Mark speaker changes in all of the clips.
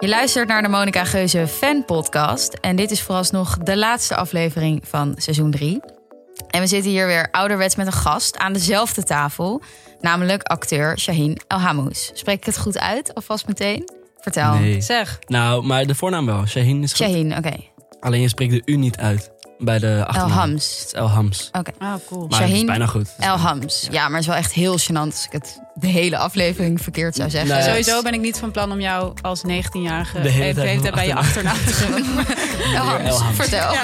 Speaker 1: Je luistert naar de Monica Geuze Fan Podcast. En dit is vooralsnog de laatste aflevering van seizoen 3. En we zitten hier weer ouderwets met een gast aan dezelfde tafel. Namelijk acteur Shaheen Elhamous. Spreek ik het goed uit? Alvast meteen? Vertel.
Speaker 2: Nee.
Speaker 1: Zeg.
Speaker 2: Nou, maar de voornaam wel. Shaheen is goed.
Speaker 1: Shaheen, oké.
Speaker 2: Alleen je spreekt de U niet uit bij de achternaam. Het
Speaker 1: Elhams.
Speaker 2: is Elhams.
Speaker 1: Oké.
Speaker 3: Ah, cool.
Speaker 2: Maar het is
Speaker 1: Shaheen
Speaker 2: bijna goed.
Speaker 1: Elhams. Ja, maar het is wel echt heel gênant als ik het de hele aflevering verkeerd zou zeggen.
Speaker 2: Nee.
Speaker 3: Sowieso ben ik niet van plan om jou als 19-jarige
Speaker 2: eh, De
Speaker 3: de
Speaker 2: hele tijd
Speaker 3: hele tijd bij je achternaam te noemen.
Speaker 1: Elhams,
Speaker 2: Elhams.
Speaker 1: vertel.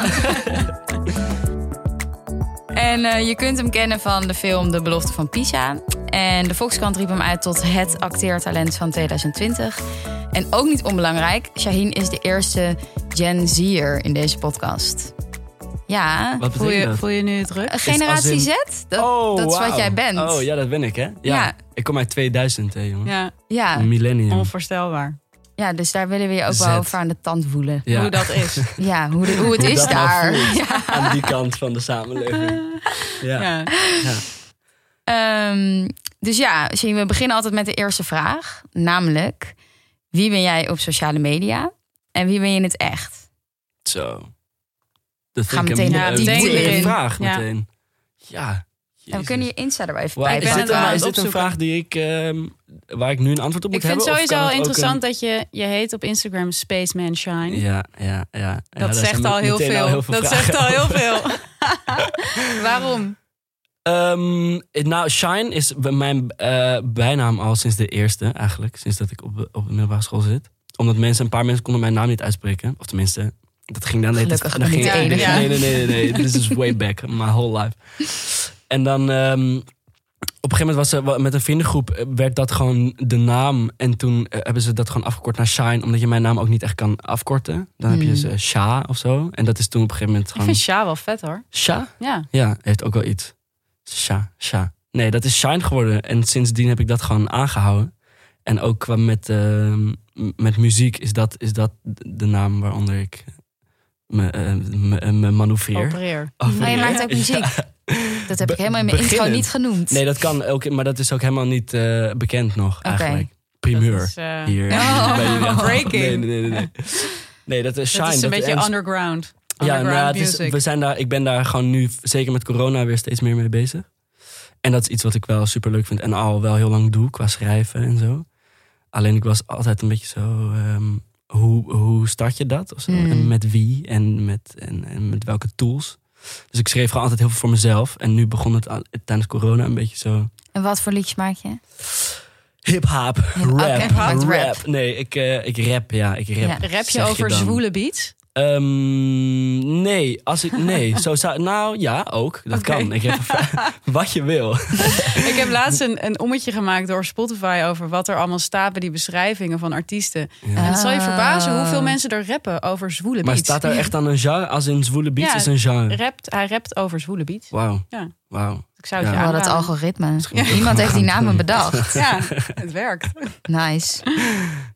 Speaker 1: En eh, je kunt hem kennen van de film De Belofte van Pisa. En de Volkskrant riep hem uit tot het acteertalent van 2020. En ook niet onbelangrijk, Shaheen is de eerste Gen Z'er in deze podcast. Ja,
Speaker 2: Wat
Speaker 3: Voel
Speaker 2: betekent
Speaker 3: je,
Speaker 2: dat?
Speaker 3: voel je nu druk?
Speaker 1: een generatie
Speaker 2: als in-
Speaker 1: Z, dat,
Speaker 2: Oh,
Speaker 1: dat is wat
Speaker 2: wauw.
Speaker 1: jij bent.
Speaker 2: Oh, ja, dat ben ik, hè? Ja.
Speaker 1: Ja.
Speaker 2: Ik kom uit 2000, hè, jongen.
Speaker 3: Ja,
Speaker 1: ja,
Speaker 2: Een Millennium.
Speaker 3: onvoorstelbaar.
Speaker 1: ja, dus daar willen we je ook
Speaker 2: Z.
Speaker 1: wel over aan de tand woelen.
Speaker 2: Ja.
Speaker 3: Hoe dat is.
Speaker 1: Ja, hoe, de- hoe het
Speaker 2: Hoe
Speaker 1: is
Speaker 2: dat nou
Speaker 1: daar.
Speaker 2: voelt.
Speaker 1: Ja.
Speaker 2: Aan die kant van de samenleving. Ja.
Speaker 3: Ja.
Speaker 1: Ehm, dus ja, zien we beginnen altijd met de eerste vraag. Namelijk, wie ben jij op sociale media? En wie ben je in het echt?
Speaker 2: Zo. Dat
Speaker 1: Ga
Speaker 2: vind ik
Speaker 1: meteen
Speaker 2: een
Speaker 1: naar
Speaker 2: mo-
Speaker 1: die
Speaker 2: een
Speaker 1: diepte
Speaker 2: moeilijke
Speaker 3: in.
Speaker 2: vraag
Speaker 3: Ja.
Speaker 2: meteen. Ja.
Speaker 1: En we kunnen je Insta er wel even
Speaker 2: Waar,
Speaker 1: bij
Speaker 2: is,
Speaker 3: ben
Speaker 2: dit,
Speaker 3: het
Speaker 2: een-
Speaker 3: wel aan
Speaker 2: is
Speaker 3: het
Speaker 2: dit een
Speaker 3: opzoeken.
Speaker 2: vraag die ik, ehm, waar ik nu een antwoord op moet
Speaker 3: Ik vind
Speaker 2: hebben?
Speaker 3: het
Speaker 2: of
Speaker 3: sowieso
Speaker 2: kan
Speaker 3: al
Speaker 2: het ook
Speaker 3: interessant
Speaker 2: een-
Speaker 3: dat je, je heet op Instagram Spaceman Shine.
Speaker 2: Ja, ja, ja. Dat, ja,
Speaker 3: Dat
Speaker 2: daar
Speaker 3: zegt
Speaker 2: zijn
Speaker 3: al heel,
Speaker 2: meteen
Speaker 3: veel. Dat
Speaker 2: vragen.
Speaker 3: zegt al heel veel. Waarom?
Speaker 2: Ehm, nou, Shine is bij mijn eh, bijnaam al sinds de eerste eigenlijk. Sinds dat ik op, de- op de middelbare school zit. Omdat mensen, een paar mensen konden mijn naam niet uitspreken. Of tenminste, dat ging dan...
Speaker 1: Gelukkig
Speaker 2: dan
Speaker 1: ben
Speaker 2: ging
Speaker 1: ik de
Speaker 2: ik-
Speaker 1: enige.
Speaker 2: Nee, nee, nee, nee. nee. This is way back. My whole life. En dan... ehm, op een gegeven moment was er wa- met een vriendengroep eh, werd dat gewoon de naam. En toen eh, hebben ze dat gewoon afgekort naar Shine. Omdat je mijn naam ook niet echt kan afkorten. Dan heb je
Speaker 1: Hmm.
Speaker 2: dus eh, Sha of zo. En dat is toen op een gegeven moment
Speaker 3: Ik
Speaker 2: gewoon...
Speaker 3: vind Sja wel vet hoor.
Speaker 2: Sha?
Speaker 3: Ja.
Speaker 2: Ja, heeft ook wel iets. Sha, sha. Nee, dat is Shine geworden. En sindsdien heb ik dat gewoon aangehouden. En ook qua met, ehm, m- met muziek is dat, is dat de naam waaronder ik me, eh, me, eh, me manoeuvreer.
Speaker 3: Opereer.
Speaker 1: eh, Maar je
Speaker 2: Opereer.
Speaker 1: maakt ook muziek. Dat heb
Speaker 2: Be-
Speaker 1: ik helemaal in mijn intro
Speaker 2: beginnend.
Speaker 1: niet genoemd.
Speaker 2: Nee, dat kan ook, maar dat is ook helemaal niet eh, bekend nog eigenlijk. Primeur.
Speaker 3: Dat is, eh,
Speaker 2: Hier.
Speaker 1: Oh,
Speaker 2: bij jullie allemaal.
Speaker 3: breaking.
Speaker 2: Nee, nee, nee. Nee, nee. nee dat is Shine.
Speaker 3: dat is een
Speaker 2: dat-
Speaker 3: beetje
Speaker 2: en-
Speaker 3: underground.
Speaker 2: Ja,
Speaker 3: Underground
Speaker 2: nou, het is,
Speaker 3: music.
Speaker 2: we zijn daar, ik ben daar gewoon nu, zeker met corona, weer steeds meer mee bezig. En dat is iets wat ik wel super leuk vind en al wel heel lang doe qua schrijven en zo. Alleen ik was altijd een beetje zo, ehm, hoe, hoe start je dat? Of zo?
Speaker 1: Mm.
Speaker 2: En met wie en met, en, en met welke tools? Dus ik schreef gewoon altijd heel veel voor mezelf. En nu begon het al- tijdens corona een beetje zo
Speaker 1: En wat voor liedjes maak je?
Speaker 2: hip-hop, rap,
Speaker 1: oké, hip-hop,
Speaker 2: rap.
Speaker 1: rap.
Speaker 2: Nee, ik, eh, ik rap, ja, ik rap.
Speaker 1: Ja.
Speaker 3: Rap je
Speaker 2: zeg
Speaker 3: over
Speaker 2: dan.
Speaker 3: zwoele beats?
Speaker 2: Ehm, nee, als ik. Nee, zo zou. Nou ja, ook. Dat
Speaker 3: Oké.
Speaker 2: kan. Ik heb wat je wil.
Speaker 3: Ik heb laatst een, een ommetje gemaakt door Spotify over wat er allemaal staat bij die beschrijvingen van artiesten. En
Speaker 1: Ah.
Speaker 3: het zal je verbazen hoeveel mensen er rappen over zwoele
Speaker 2: Maar
Speaker 3: beats.
Speaker 2: staat er echt dan een genre? Als in zwoele beats
Speaker 3: Ja.
Speaker 2: is een genre.
Speaker 3: Rapt, hij rapt over zwoele beats.
Speaker 2: Wauw.
Speaker 3: Ja.
Speaker 2: Wauw.
Speaker 3: Ik zou het
Speaker 2: Ja.
Speaker 3: je
Speaker 1: Oh, dat
Speaker 3: aanraden.
Speaker 1: algoritme.
Speaker 2: moet ik
Speaker 1: Niemand
Speaker 2: dat
Speaker 1: heeft die
Speaker 2: gaan
Speaker 1: namen
Speaker 2: doen.
Speaker 1: bedacht.
Speaker 3: Ja, het werkt.
Speaker 1: Nice.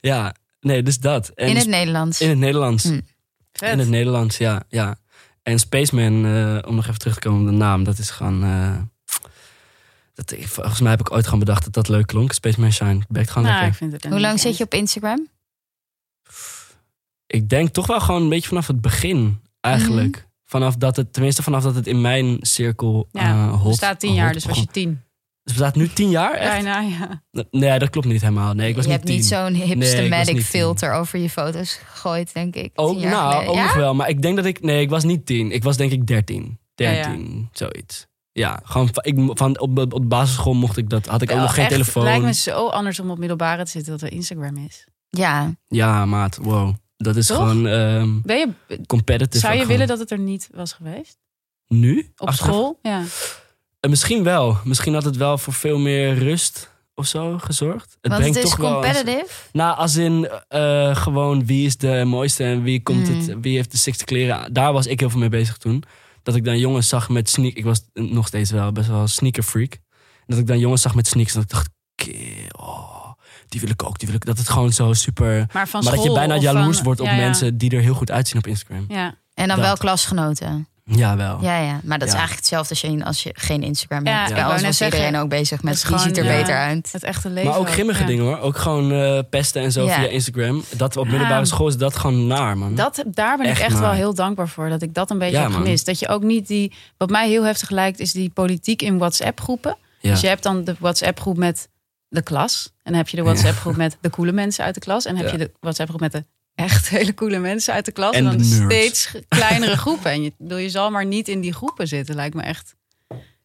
Speaker 2: Ja, nee, dus dat. En
Speaker 1: In het Nederlands.
Speaker 2: in het Nederlands.
Speaker 1: Hm.
Speaker 2: In het
Speaker 3: Vet.
Speaker 2: Nederlands, ja. ja. En Spaceman, eh, om nog even terug te komen op de naam, dat is gewoon. eh, dat, volgens mij heb ik ooit gewoon bedacht dat dat leuk klonk. Spaceman Shine. Bekt gewoon
Speaker 3: Nou, ik
Speaker 2: lekker.
Speaker 3: vind het
Speaker 1: Hoe lang zit je op Instagram?
Speaker 2: Ik denk toch wel gewoon een beetje vanaf het begin, eigenlijk. Vanaf dat het, tenminste vanaf dat het in mijn cirkel
Speaker 3: Mhm. Ja,
Speaker 2: eh, hot
Speaker 3: Het staat tien jaar,
Speaker 2: hot
Speaker 3: dus was
Speaker 2: begon.
Speaker 3: je tien.
Speaker 2: Dus bestaat nu tien jaar? Echt?
Speaker 3: Bijna, ja.
Speaker 2: Nee, dat klopt niet helemaal. Nee, ik was
Speaker 1: je
Speaker 2: niet
Speaker 1: hebt niet
Speaker 2: tien.
Speaker 1: zo'n
Speaker 2: Nee, ik was
Speaker 1: hipstermatic
Speaker 2: niet tien.
Speaker 1: filter over je foto's gegooid, denk ik.
Speaker 2: Ook,
Speaker 1: tien jaar
Speaker 2: nou,
Speaker 1: geleden.
Speaker 2: ook
Speaker 1: Ja?
Speaker 2: nog wel. Maar ik denk dat ik... Nee, ik was niet tien. Ik was denk ik dertien.
Speaker 3: Ja, ja.
Speaker 2: Dertien, zoiets. Ja, gewoon van, ik, van, op, op, op basisschool mocht ik dat... Had ik ook nog geen
Speaker 3: Echt,
Speaker 2: telefoon.
Speaker 3: Het lijkt me zo anders om op middelbare te zitten dat er Instagram is.
Speaker 1: Ja,
Speaker 2: Ja, maat, wow. Dat is
Speaker 3: Toch?
Speaker 2: gewoon ehm
Speaker 3: Ben je,
Speaker 2: competitive.
Speaker 3: zou je
Speaker 2: ook gewoon.
Speaker 3: willen dat het er niet was geweest?
Speaker 2: Nu?
Speaker 3: Op
Speaker 2: Achteraf-
Speaker 3: school? Ja.
Speaker 2: Eh, misschien wel. Misschien had het wel voor veel meer rust of zo gezorgd. Het
Speaker 1: want het is
Speaker 2: wel-
Speaker 1: competitive.
Speaker 2: Nou, als in eh, gewoon wie is de mooiste en wie, komt
Speaker 1: Mm.
Speaker 3: Hmm.
Speaker 2: het, wie heeft de sixte kleren. Daar was ik heel veel mee bezig toen. Dat ik dan jongens zag met sneak. Ik was nog steeds wel best wel een sneaker freak. Dat ik dan jongens zag met sneakers. En dat ik dacht, "Kee, oh, die wil ik ook, die wil ik. Dat het gewoon zo super...
Speaker 3: Maar van
Speaker 2: maar dat je
Speaker 3: school
Speaker 2: bijna
Speaker 3: of
Speaker 2: jaloers
Speaker 3: van-
Speaker 2: wordt op
Speaker 3: ja, ja.
Speaker 2: mensen die er heel goed uitzien op Instagram.
Speaker 3: Ja.
Speaker 1: En dan
Speaker 2: Dat.
Speaker 1: wel klasgenoten.
Speaker 2: Jawel.
Speaker 1: Ja, ja. Maar dat is
Speaker 2: Ja.
Speaker 1: eigenlijk hetzelfde als je, als je geen Instagram
Speaker 3: Ja,
Speaker 1: hebt.
Speaker 2: ik
Speaker 1: Bij
Speaker 3: wou
Speaker 1: ons
Speaker 3: net
Speaker 1: was
Speaker 3: zeggen,
Speaker 1: iedereen ook bezig met
Speaker 3: is
Speaker 1: wie ziet er
Speaker 3: gewoon, ja.
Speaker 1: beter uit.
Speaker 3: Het echte leven.
Speaker 2: Maar ook grimmige
Speaker 3: ja.
Speaker 2: dingen hoor. Ook gewoon eh, pesten en zo
Speaker 1: Ja.
Speaker 2: via Instagram. Dat op middelbare
Speaker 3: Ja.
Speaker 2: school is dat gewoon naar, man.
Speaker 3: Dat, daar ben
Speaker 2: Hm? Echt
Speaker 3: ik echt wel
Speaker 2: maar.
Speaker 3: heel dankbaar voor. Dat ik dat een beetje
Speaker 2: Ja,
Speaker 3: heb
Speaker 2: man.
Speaker 3: gemist. Dat je ook niet die. Wat mij heel heftig lijkt, is die politiek in WhatsApp-groepen.
Speaker 2: Ja.
Speaker 3: Dus je hebt dan de WhatsApp-groep met de klas. En dan heb je de
Speaker 2: Ja.
Speaker 3: WhatsApp-groep met de coole mensen uit de klas. En dan heb
Speaker 2: Ja.
Speaker 3: je de WhatsApp-groep met de echt hele coole mensen uit de klas. En,
Speaker 2: En
Speaker 3: dan
Speaker 2: de nerds.
Speaker 3: steeds ge- kleinere groepen. En je, bedoel, je zal maar niet in die groepen zitten, lijkt me echt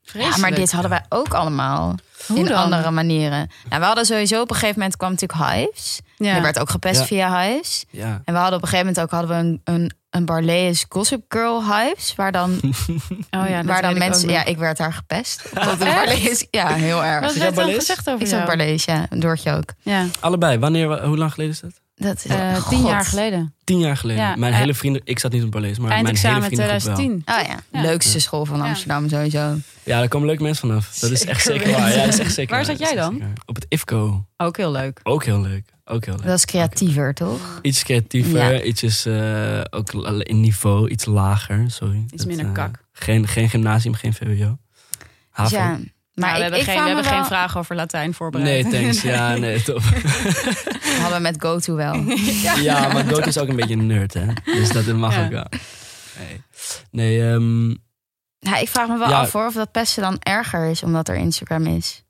Speaker 3: vreselijk.
Speaker 1: Ja, maar dit hadden wij ook allemaal.
Speaker 3: Hoe
Speaker 1: in
Speaker 3: dan?
Speaker 1: andere manieren. Nou, we hadden sowieso op een gegeven moment kwam natuurlijk Hives.
Speaker 3: Ja.
Speaker 1: Er werd ook gepest
Speaker 2: Ja.
Speaker 1: via Hives.
Speaker 2: Ja.
Speaker 1: En we hadden op een gegeven moment ook hadden we een, een, een Barley's Gossip Girl Hives. Waar dan,
Speaker 3: oh ja, dat
Speaker 1: waar
Speaker 3: weet
Speaker 1: dan
Speaker 3: ik
Speaker 1: mensen...
Speaker 3: ook nog.
Speaker 1: Ja, ik werd daar gepest. Op de
Speaker 3: Echt?
Speaker 1: Barley's. Ja, heel erg.
Speaker 3: Wat
Speaker 2: Is
Speaker 3: werd
Speaker 2: dat
Speaker 3: dan
Speaker 2: Barlees?
Speaker 3: gezegd over
Speaker 1: Ik zat
Speaker 3: jou?
Speaker 1: Barley's, ja. En Doortje ook.
Speaker 3: Ja,
Speaker 2: Allebei. Wanneer, wa- hoe lang geleden is dat?
Speaker 1: Dat, is
Speaker 3: eh, tien jaar
Speaker 1: God.
Speaker 3: geleden.
Speaker 2: Tien jaar geleden.
Speaker 3: Ja,
Speaker 2: mijn
Speaker 3: eh,
Speaker 2: hele vrienden... Ik zat niet op Barlees, maar mijn hele
Speaker 3: Eindexamen
Speaker 2: vriendengroep wel.
Speaker 3: 2010.
Speaker 1: Oh ja,
Speaker 3: Ja.
Speaker 1: leukste school van
Speaker 3: Ja.
Speaker 1: Amsterdam sowieso.
Speaker 2: Ja, daar komen leuke mensen vanaf. Dat is echt
Speaker 3: Zeker
Speaker 2: zeker waar. Ja, dat is echt zeker
Speaker 3: Waar
Speaker 2: waar.
Speaker 3: zat jij
Speaker 2: Dat is echt
Speaker 3: dan?
Speaker 2: zeker waar. Op het IFCO.
Speaker 3: Ook heel leuk.
Speaker 2: Ook heel leuk. Ook heel leuk.
Speaker 1: Dat is creatiever, toch?
Speaker 2: Iets creatiever,
Speaker 1: Ja.
Speaker 2: iets is eh, ook la- in niveau, iets lager, sorry.
Speaker 3: Iets minder
Speaker 2: eh,
Speaker 3: kak.
Speaker 2: Geen, geen gymnasium, geen VWO.
Speaker 1: Dus
Speaker 2: HAVO.
Speaker 1: ja. Maar
Speaker 3: Maar
Speaker 1: ik,
Speaker 3: we hebben,
Speaker 1: ik
Speaker 3: geen,
Speaker 1: vraag
Speaker 3: we
Speaker 1: me
Speaker 3: hebben geen
Speaker 1: wel-
Speaker 3: vragen over Latijn
Speaker 2: Nee,
Speaker 3: voorbereid.
Speaker 2: thanks. Ja, nee, top.
Speaker 1: Hadden we met GoTo wel.
Speaker 2: Ja, maar Goat is ook een beetje een nerd, hè? Dus dat mag
Speaker 3: Ja.
Speaker 2: ook wel. Nee, nee ehm,
Speaker 1: Ja, ik vraag me wel
Speaker 2: Ja.
Speaker 1: af hoor, of dat pesten dan erger is omdat er Instagram is.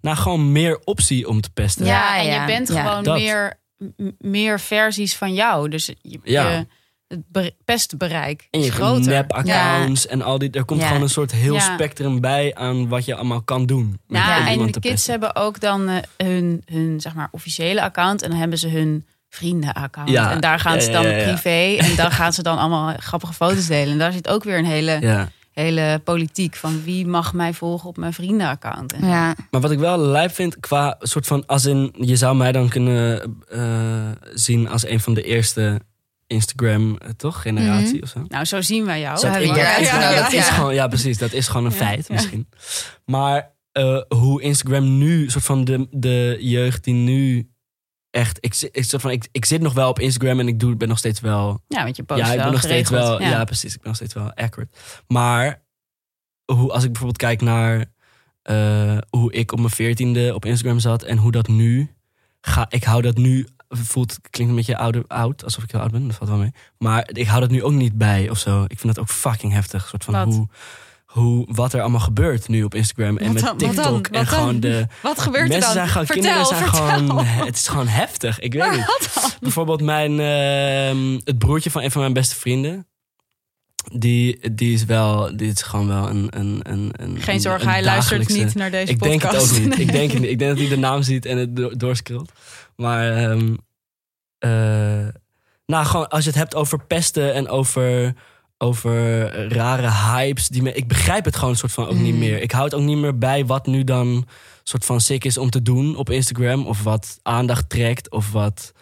Speaker 2: nou gewoon meer optie om te pesten.
Speaker 1: Ja.
Speaker 3: Ja, en je bent
Speaker 1: ja.
Speaker 3: gewoon
Speaker 2: Dat.
Speaker 3: meer, m- meer versies van jou. Dus je,
Speaker 2: Ja.
Speaker 3: je- het be- pestbereik
Speaker 2: En
Speaker 3: is
Speaker 2: je
Speaker 3: groter.
Speaker 2: nep-accounts en al die... Er komt
Speaker 1: Ja.
Speaker 2: gewoon een soort heel
Speaker 3: Ja.
Speaker 2: spectrum bij aan wat je allemaal kan doen. met
Speaker 3: Ja,
Speaker 2: om
Speaker 3: en
Speaker 2: iemand
Speaker 3: de
Speaker 2: te
Speaker 3: kids
Speaker 2: pesten.
Speaker 3: hebben ook dan eh, hun, hun zeg maar, officiële account. En dan hebben ze hun vriendenaccount.
Speaker 2: Ja.
Speaker 3: En daar gaan
Speaker 2: Ja,
Speaker 3: ze
Speaker 2: ja,
Speaker 3: dan
Speaker 2: ja, ja.
Speaker 3: privé. En daar gaan ze dan allemaal grappige foto's delen. En daar zit ook weer een hele,
Speaker 2: Ja.
Speaker 3: hele politiek van wie mag mij volgen op mijn vriendenaccount. En-
Speaker 1: Ja,
Speaker 2: Maar wat ik wel lijp vind qua soort van... Als in, je zou mij dan kunnen eh, zien als een van de eerste Instagram, eh, toch? Generatie of zo.
Speaker 3: Nou, zo zien wij jou.
Speaker 2: Zo
Speaker 1: hebben
Speaker 2: ik
Speaker 1: we
Speaker 2: dat-
Speaker 1: hier
Speaker 2: ja,
Speaker 1: uitgenodigd,
Speaker 2: dat is
Speaker 1: ja.
Speaker 2: gewoon, ja, precies. Dat is gewoon een
Speaker 3: Ja,
Speaker 2: feit
Speaker 3: ja.
Speaker 2: misschien. Maar eh, hoe Instagram nu, soort van de, de jeugd die nu echt... Ik, zi- ik, soort van, ik, ik zit nog wel op Instagram en ik doe, ben nog steeds wel
Speaker 3: Ja, want je post
Speaker 2: ja, ik
Speaker 3: wel
Speaker 2: ben nog
Speaker 3: geregeld.
Speaker 2: steeds wel. Ja.
Speaker 3: Ja.
Speaker 2: precies. Ik ben nog steeds wel accurate. Maar hoe, als ik bijvoorbeeld kijk naar eh, hoe ik op mijn veertiende op Instagram zat en hoe dat nu ga, ik hou dat nu voelt klinkt een beetje ouder oud, alsof ik heel oud ben. Dat valt wel mee. Maar ik hou dat nu ook niet bij of zo. Ik vind dat ook fucking heftig. Soort van
Speaker 3: Wat?
Speaker 2: hoe. Hoe, wat er allemaal gebeurt nu op Instagram en
Speaker 3: Wat
Speaker 2: met
Speaker 3: dan? Wat dan?
Speaker 2: TikTok.
Speaker 3: Wat
Speaker 2: en
Speaker 3: dan?
Speaker 2: gewoon de.
Speaker 3: Wat gebeurt
Speaker 2: mensen
Speaker 3: er dan?
Speaker 2: zijn gewoon.
Speaker 3: vertel,
Speaker 2: kinderen zijn
Speaker 3: vertel.
Speaker 2: gewoon. eh, Het is gewoon heftig. Ik weet niet. Bijvoorbeeld mijn, ehm, het broertje van een van mijn beste vrienden. Die, die is wel, dit is gewoon wel een. een, een, een
Speaker 3: Geen zorgen,
Speaker 2: een
Speaker 3: hij luistert
Speaker 2: dagelijkse-
Speaker 3: niet naar deze
Speaker 2: Ik denk
Speaker 3: podcast.
Speaker 2: het ook niet.
Speaker 3: Nee.
Speaker 2: Ik denk, het niet. ik denk dat hij de naam ziet en het do- doorscrollt. Maar, ehm, eh, nou, gewoon als je het hebt over pesten en over, over rare hypes. Die me, ik begrijp het gewoon soort van ook
Speaker 3: Hmm.
Speaker 2: niet
Speaker 1: Mm.
Speaker 2: meer. Ik houd ook niet meer bij wat nu dan soort van sick is om te doen op Instagram. Of wat aandacht trekt. Of wat.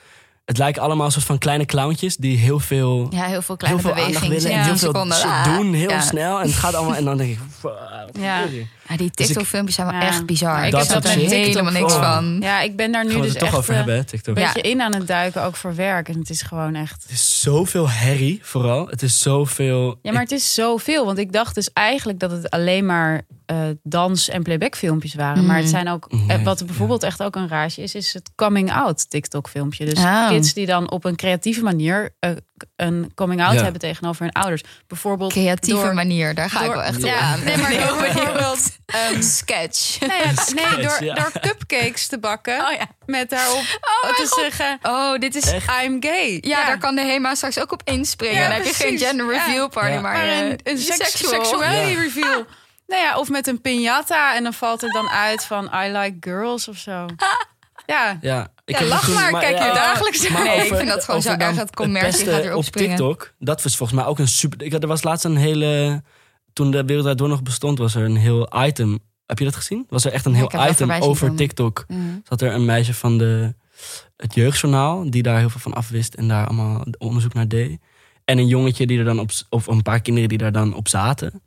Speaker 2: Het lijken allemaal soort van kleine clowntjes die heel veel
Speaker 1: ja heel veel kleine
Speaker 2: heel veel aandacht
Speaker 1: bewegingen.
Speaker 2: willen
Speaker 1: in
Speaker 2: en heel
Speaker 1: 10
Speaker 2: veel
Speaker 1: seconden.
Speaker 2: shit
Speaker 1: Ah.
Speaker 2: doen, heel
Speaker 1: Ja.
Speaker 2: snel. En het gaat allemaal en dan denk ik, "Fuck, wat
Speaker 3: Ja.
Speaker 2: gebeurt hier?"
Speaker 1: Ja, die
Speaker 2: Dus ik-
Speaker 1: TikTok-filmpjes zijn wel
Speaker 3: Ja.
Speaker 1: echt bizar.
Speaker 3: Ja,
Speaker 1: Ik
Speaker 2: dat
Speaker 1: snap
Speaker 2: op
Speaker 1: er
Speaker 2: zich.
Speaker 1: helemaal niks
Speaker 2: Oh.
Speaker 1: van.
Speaker 3: Ja, ik ben daar nu
Speaker 2: Gaan we
Speaker 3: dus
Speaker 2: het er
Speaker 3: echt
Speaker 2: toch over
Speaker 3: eh,
Speaker 2: hebben, hè, TikTok.
Speaker 3: een beetje in aan het duiken, ook voor werk. En het is gewoon echt...
Speaker 2: Het is zoveel herrie, vooral. Het is zoveel...
Speaker 3: Ja, maar het is zoveel. Want ik dacht dus eigenlijk dat het alleen maar eh, dans- en playback-filmpjes waren. Maar het zijn ook... eh,
Speaker 2: Nee,
Speaker 3: wat er bijvoorbeeld echt ook een raasje is, is het coming-out TikTok-filmpje. Dus
Speaker 1: Ah.
Speaker 3: kids die dan op een creatieve manier eh, k- een coming-out
Speaker 2: Ja.
Speaker 3: hebben tegenover hun ouders. Bijvoorbeeld
Speaker 1: Creatieve
Speaker 3: door-
Speaker 1: manier, daar ga ik
Speaker 3: door-
Speaker 1: wel echt
Speaker 2: Ja.
Speaker 1: op aan.
Speaker 3: Nee, maar door bijvoorbeeld...
Speaker 1: Ehm, sketch.
Speaker 3: Nee, het- nee,
Speaker 2: Sketch,
Speaker 3: door,
Speaker 2: ja.
Speaker 3: door cupcakes te bakken.
Speaker 1: Oh ja.
Speaker 3: Met daarop te zeggen...
Speaker 1: Oh, dit is... Ja,
Speaker 3: I'm gay.
Speaker 1: daar kan de HEMA straks ook op inspringen.
Speaker 3: Ja,
Speaker 1: dan heb je geen
Speaker 3: precies.
Speaker 1: gender reveal
Speaker 3: Ja.
Speaker 1: party,
Speaker 2: Ja.
Speaker 1: maar,
Speaker 3: maar
Speaker 1: eh,
Speaker 3: een, een seks-
Speaker 1: sexual.
Speaker 3: sexuality
Speaker 2: Ja.
Speaker 3: reveal. Nou ja, of met een piñata en dan valt er dan uit van I like girls of zo. Ja,
Speaker 2: Ja, ik
Speaker 3: Ja, lach
Speaker 2: toen-
Speaker 3: maar, kijk
Speaker 2: ja,
Speaker 3: hier dagelijks
Speaker 2: maar
Speaker 1: Nee, ik
Speaker 2: over-
Speaker 1: vind dat gewoon
Speaker 2: over
Speaker 1: zo
Speaker 2: dan
Speaker 1: erg, dat
Speaker 2: het
Speaker 1: commercie
Speaker 2: pesten
Speaker 1: gaat erop
Speaker 2: op
Speaker 1: springen.
Speaker 2: TikTok, dat was volgens mij ook een super... Ik, had- er was laatst een hele... Toen de Wereld Draait Door nog bestond, was er een heel item... Heb je dat gezien? Was er echt een
Speaker 1: Ja, ik heb
Speaker 2: heel
Speaker 1: dat
Speaker 2: item
Speaker 1: voorbij zien
Speaker 2: over
Speaker 1: komen.
Speaker 2: TikTok.
Speaker 1: Mhm.
Speaker 2: zat er een meisje van de, het jeugdjournaal... die daar heel veel van afwist en daar allemaal onderzoek naar deed. En een jongetje die er dan op... of een paar kinderen die daar dan op zaten.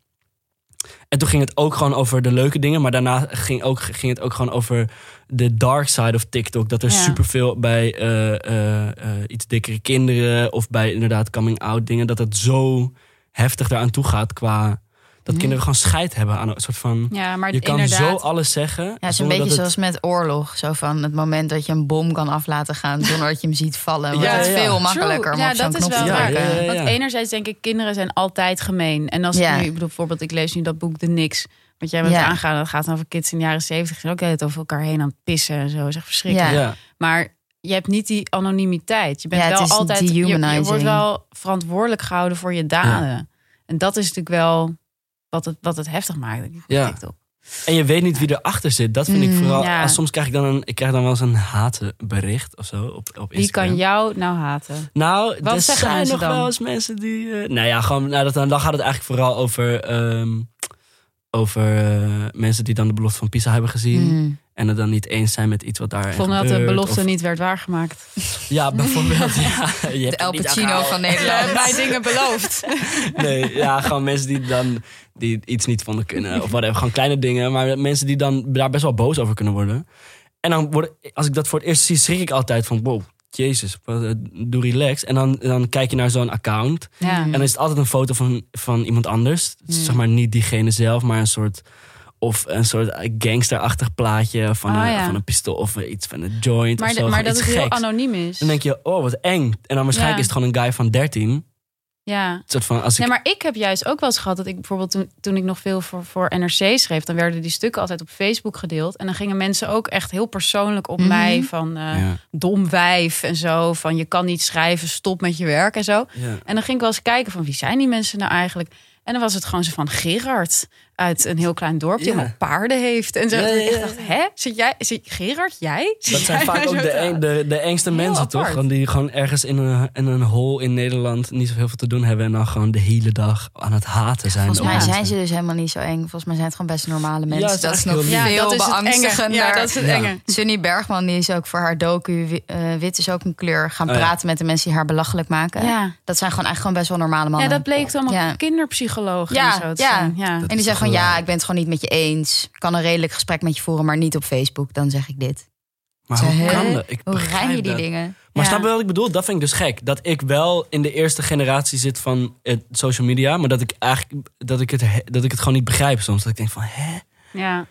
Speaker 2: En toen ging het ook gewoon over de leuke dingen... maar daarna ging, ook, ging het ook gewoon over de dark side of TikTok. Dat er
Speaker 3: Ja.
Speaker 2: superveel bij eh, eh, eh, iets dikkere kinderen... of bij inderdaad coming-out dingen... dat het zo heftig daaraan toe gaat qua... Dat
Speaker 3: Mm.
Speaker 2: kinderen gewoon scheid hebben aan een soort van...
Speaker 3: Ja, maar
Speaker 2: Je kan zo
Speaker 3: inderdaad.
Speaker 2: alles zeggen.
Speaker 1: Ja, het is een
Speaker 2: zonder
Speaker 1: beetje
Speaker 2: dat
Speaker 1: zoals met oorlog. Zo van het moment dat je een bom kan af laten gaan zonder dat je hem ziet vallen. Want
Speaker 2: Ja,
Speaker 1: het is
Speaker 2: ja.
Speaker 1: veel
Speaker 2: True.
Speaker 1: makkelijker om
Speaker 3: Ja,
Speaker 1: op zo'n
Speaker 3: dat is
Speaker 1: knop te
Speaker 3: wel
Speaker 2: Ja,
Speaker 3: waar.
Speaker 1: drukken.
Speaker 2: ja, ja, ja.
Speaker 3: Want enerzijds denk ik, kinderen zijn altijd gemeen. En als
Speaker 1: Ja.
Speaker 3: ik nu, ik bedoel, bijvoorbeeld, ik lees nu dat boek De Niks. Wat jij bent
Speaker 1: Ja.
Speaker 3: aangaan, dat gaat dan over kids in de jaren zeventig. Zijn ook de hele tijd over elkaar heen aan het pissen en zo. Is echt verschrikkelijk.
Speaker 1: Ja.
Speaker 2: Ja,
Speaker 3: Maar je hebt niet die anonimiteit. Je bent
Speaker 1: Ja, het
Speaker 3: wel
Speaker 1: is
Speaker 3: altijd. je- Je,
Speaker 1: dehumanizing.
Speaker 3: wordt wel verantwoordelijk gehouden voor je daden. En dat is natuurlijk wel wat het, wat het heftig maakt. denk ik,
Speaker 2: Ja.
Speaker 3: TikTok.
Speaker 2: En je weet niet wie erachter zit. Dat vind ik
Speaker 1: Mm,
Speaker 2: vooral.
Speaker 3: Hmm, ja.
Speaker 2: als soms krijg ik dan een, ik krijg dan wel eens een hatenbericht of zo op, op
Speaker 3: Wie
Speaker 2: Instagram.
Speaker 3: kan jou nou haten?
Speaker 2: Nou,
Speaker 3: Wat
Speaker 2: er
Speaker 3: zeggen
Speaker 2: zijn
Speaker 3: mensen
Speaker 2: nog
Speaker 3: dan?
Speaker 2: wel eens mensen die. eh, nou ja, gewoon, nou, dat, dan, dan gaat het eigenlijk vooral over. ehm, over eh, mensen die dan de belofte van Pisa hebben gezien.
Speaker 1: Mm.
Speaker 2: En het dan niet eens zijn met iets wat daar.
Speaker 3: Hmm. Ik vond dat de belofte niet werd waargemaakt.
Speaker 2: Ja, bijvoorbeeld. ja, je
Speaker 1: De
Speaker 2: hebt
Speaker 1: El
Speaker 2: het niet
Speaker 1: Pacino
Speaker 2: aangehouden.
Speaker 1: van Nederland.
Speaker 3: mij dingen beloofd.
Speaker 2: Nee, ja, gewoon mensen die dan die iets niet vonden kunnen. Of whatever, gewoon kleine dingen. Maar mensen die dan daar best wel boos over kunnen worden. En dan word, als ik dat voor het eerst zie, schrik ik altijd van... Wow, jezus, wat, eh, doe relax. En dan, dan kijk je naar zo'n account.
Speaker 3: Ja.
Speaker 2: En dan is het altijd een foto van, van iemand anders. Het is
Speaker 3: Hmm.
Speaker 2: Zeg maar niet diegene zelf, maar een soort... Of een soort eh, gangsterachtig plaatje van,
Speaker 3: Ah,
Speaker 2: een,
Speaker 3: ja.
Speaker 2: van een pistool of iets van een joint
Speaker 3: Maar,
Speaker 2: of
Speaker 3: de-
Speaker 2: zo.
Speaker 3: maar
Speaker 2: gewoon
Speaker 3: dat
Speaker 2: iets
Speaker 3: het heel
Speaker 2: geks.
Speaker 3: anoniem is.
Speaker 2: Dan denk je, oh, wat eng. En dan waarschijnlijk
Speaker 3: Ja.
Speaker 2: is het gewoon een guy van 13. Een
Speaker 3: ja.
Speaker 2: soort van, als ik
Speaker 3: Nee, maar ik heb juist ook wel eens gehad dat ik bijvoorbeeld toen, toen ik nog veel voor, voor NRC schreef, dan werden die stukken altijd op Facebook gedeeld. En dan gingen mensen ook echt heel persoonlijk op
Speaker 1: Mhm.
Speaker 3: mij van eh,
Speaker 2: Ja.
Speaker 3: dom wijf en zo. Van je kan niet schrijven, stop met je werk en zo.
Speaker 2: Ja.
Speaker 3: En dan ging ik wel eens kijken van wie zijn die mensen nou eigenlijk. En dan was het gewoon zo van Gerard uit een heel klein dorp die
Speaker 2: Ja.
Speaker 3: allemaal paarden heeft. En zo.
Speaker 2: Ja,
Speaker 3: dat ik
Speaker 2: ja,
Speaker 3: echt
Speaker 2: ja,
Speaker 3: dacht, hè? Zit jij, zit Gerard, jij? Zit
Speaker 2: Dat zijn
Speaker 3: jij
Speaker 2: vaak
Speaker 3: nou
Speaker 2: ook
Speaker 3: zo
Speaker 2: de,
Speaker 3: te-
Speaker 2: eng- de, de engste
Speaker 3: Heel
Speaker 2: mensen, toch?
Speaker 3: apart.
Speaker 2: Gewoon die gewoon ergens in een, in een hol in Nederland niet zoveel te doen hebben. En dan gewoon de hele dag aan het haten zijn.
Speaker 1: Volgens mij
Speaker 2: op
Speaker 1: zijn ze
Speaker 2: mensen.
Speaker 1: dus helemaal niet zo eng. Volgens mij zijn het gewoon best normale mensen.
Speaker 2: het is
Speaker 1: dat is nog
Speaker 2: eigenlijk heel
Speaker 1: veel
Speaker 3: Ja, dat is het enge.
Speaker 1: beangstigender.
Speaker 3: Ja, dat is het
Speaker 2: Ja.
Speaker 3: enge.
Speaker 1: Sunny Bergman die is ook voor haar docu wi- eh, Wit is ook een kleur gaan
Speaker 2: Oh, ja.
Speaker 1: praten met de mensen die haar belachelijk maken.
Speaker 3: Ja.
Speaker 1: Dat zijn gewoon eigenlijk gewoon best wel normale mannen.
Speaker 3: Ja, dat bleek dan allemaal
Speaker 1: Ja.
Speaker 3: kinderpsychologen
Speaker 1: Ja,
Speaker 3: en zo te
Speaker 1: ja.
Speaker 3: zijn. Ja.
Speaker 1: en die
Speaker 2: is
Speaker 1: zeggen
Speaker 2: toch
Speaker 1: van
Speaker 2: wel-
Speaker 1: ja, ik ben het gewoon niet met je eens. Ik kan een redelijk gesprek met je voeren, maar niet op Facebook. Dan zeg ik dit.
Speaker 2: Maar hoe
Speaker 1: Hè?
Speaker 2: kan dat? Ik
Speaker 1: Hoe
Speaker 2: begrijp
Speaker 1: rijm je die
Speaker 2: dat.
Speaker 1: dingen?
Speaker 2: Maar
Speaker 3: Ja.
Speaker 2: snap je wat ik bedoel? Dat vind ik dus gek. Dat ik wel in de eerste generatie zit van het social media. Maar dat ik eigenlijk dat ik het, he- dat ik het gewoon niet begrijp soms. Dat ik denk van, hè?
Speaker 3: Ja.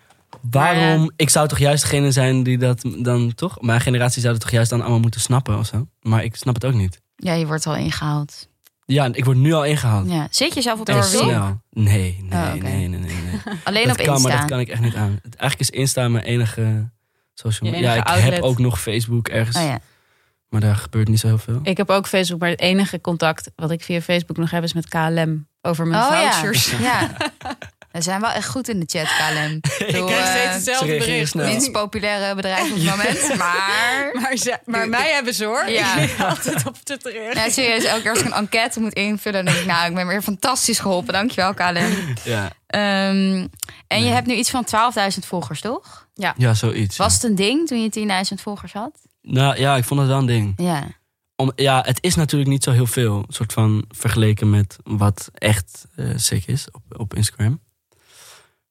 Speaker 2: Waarom?
Speaker 3: Maar ja.
Speaker 2: Ik zou toch juist degene zijn die dat dan toch... Mijn generatie zou het toch juist dan allemaal moeten snappen of zo? Maar ik snap het ook niet.
Speaker 1: Ja, je wordt al ingehaald.
Speaker 2: Ja, ik word nu al ingehaald.
Speaker 1: Ja. Zit je zelf op de
Speaker 2: Echt
Speaker 1: oorlog?
Speaker 2: snel. Nee, nee,
Speaker 1: Oh, oké.
Speaker 2: nee, nee, nee. nee.
Speaker 1: Alleen
Speaker 2: dat
Speaker 1: op
Speaker 2: kan,
Speaker 1: Insta.
Speaker 2: maar dat kan ik echt niet aan. Het- Eigenlijk is Insta mijn enige social
Speaker 3: Je
Speaker 2: media. Ja, ik
Speaker 3: enige outlet.
Speaker 2: heb ook nog Facebook ergens,
Speaker 1: Oh, ja.
Speaker 2: maar daar gebeurt niet zo heel veel.
Speaker 3: Ik heb ook Facebook, maar het enige contact wat ik via Facebook nog heb is met KLM over mijn
Speaker 1: Oh, ja.
Speaker 3: vouchers.
Speaker 1: ja. We zijn wel echt goed in de chat, KLM. Ik bedoel,
Speaker 3: krijg
Speaker 1: eh,
Speaker 3: steeds hetzelfde
Speaker 2: Ze reageren
Speaker 3: bericht.
Speaker 2: snel.
Speaker 1: minst populaire bedrijf op het moment. Maar
Speaker 3: Maar, ze- maar mij hebben ze hoor.
Speaker 1: Ja.
Speaker 3: Ik lig altijd op te terecht.
Speaker 1: ja, serieus, elke keer als ik een enquête moet invullen, dan denk ik, nou, ik ben weer fantastisch geholpen. Dankjewel, KLM.
Speaker 2: Ja,
Speaker 1: Ehm, en je
Speaker 2: Nee.
Speaker 1: hebt nu iets van 12.000 volgers, toch?
Speaker 2: ja zoiets. ja.
Speaker 1: Was het een ding toen je 10.000 volgers had?
Speaker 2: Nou ja, ik vond het wel een ding.
Speaker 1: Ja.
Speaker 2: Om, ja, het is natuurlijk niet zo heel veel, een soort van vergeleken met wat echt eh, sick is op, op Instagram.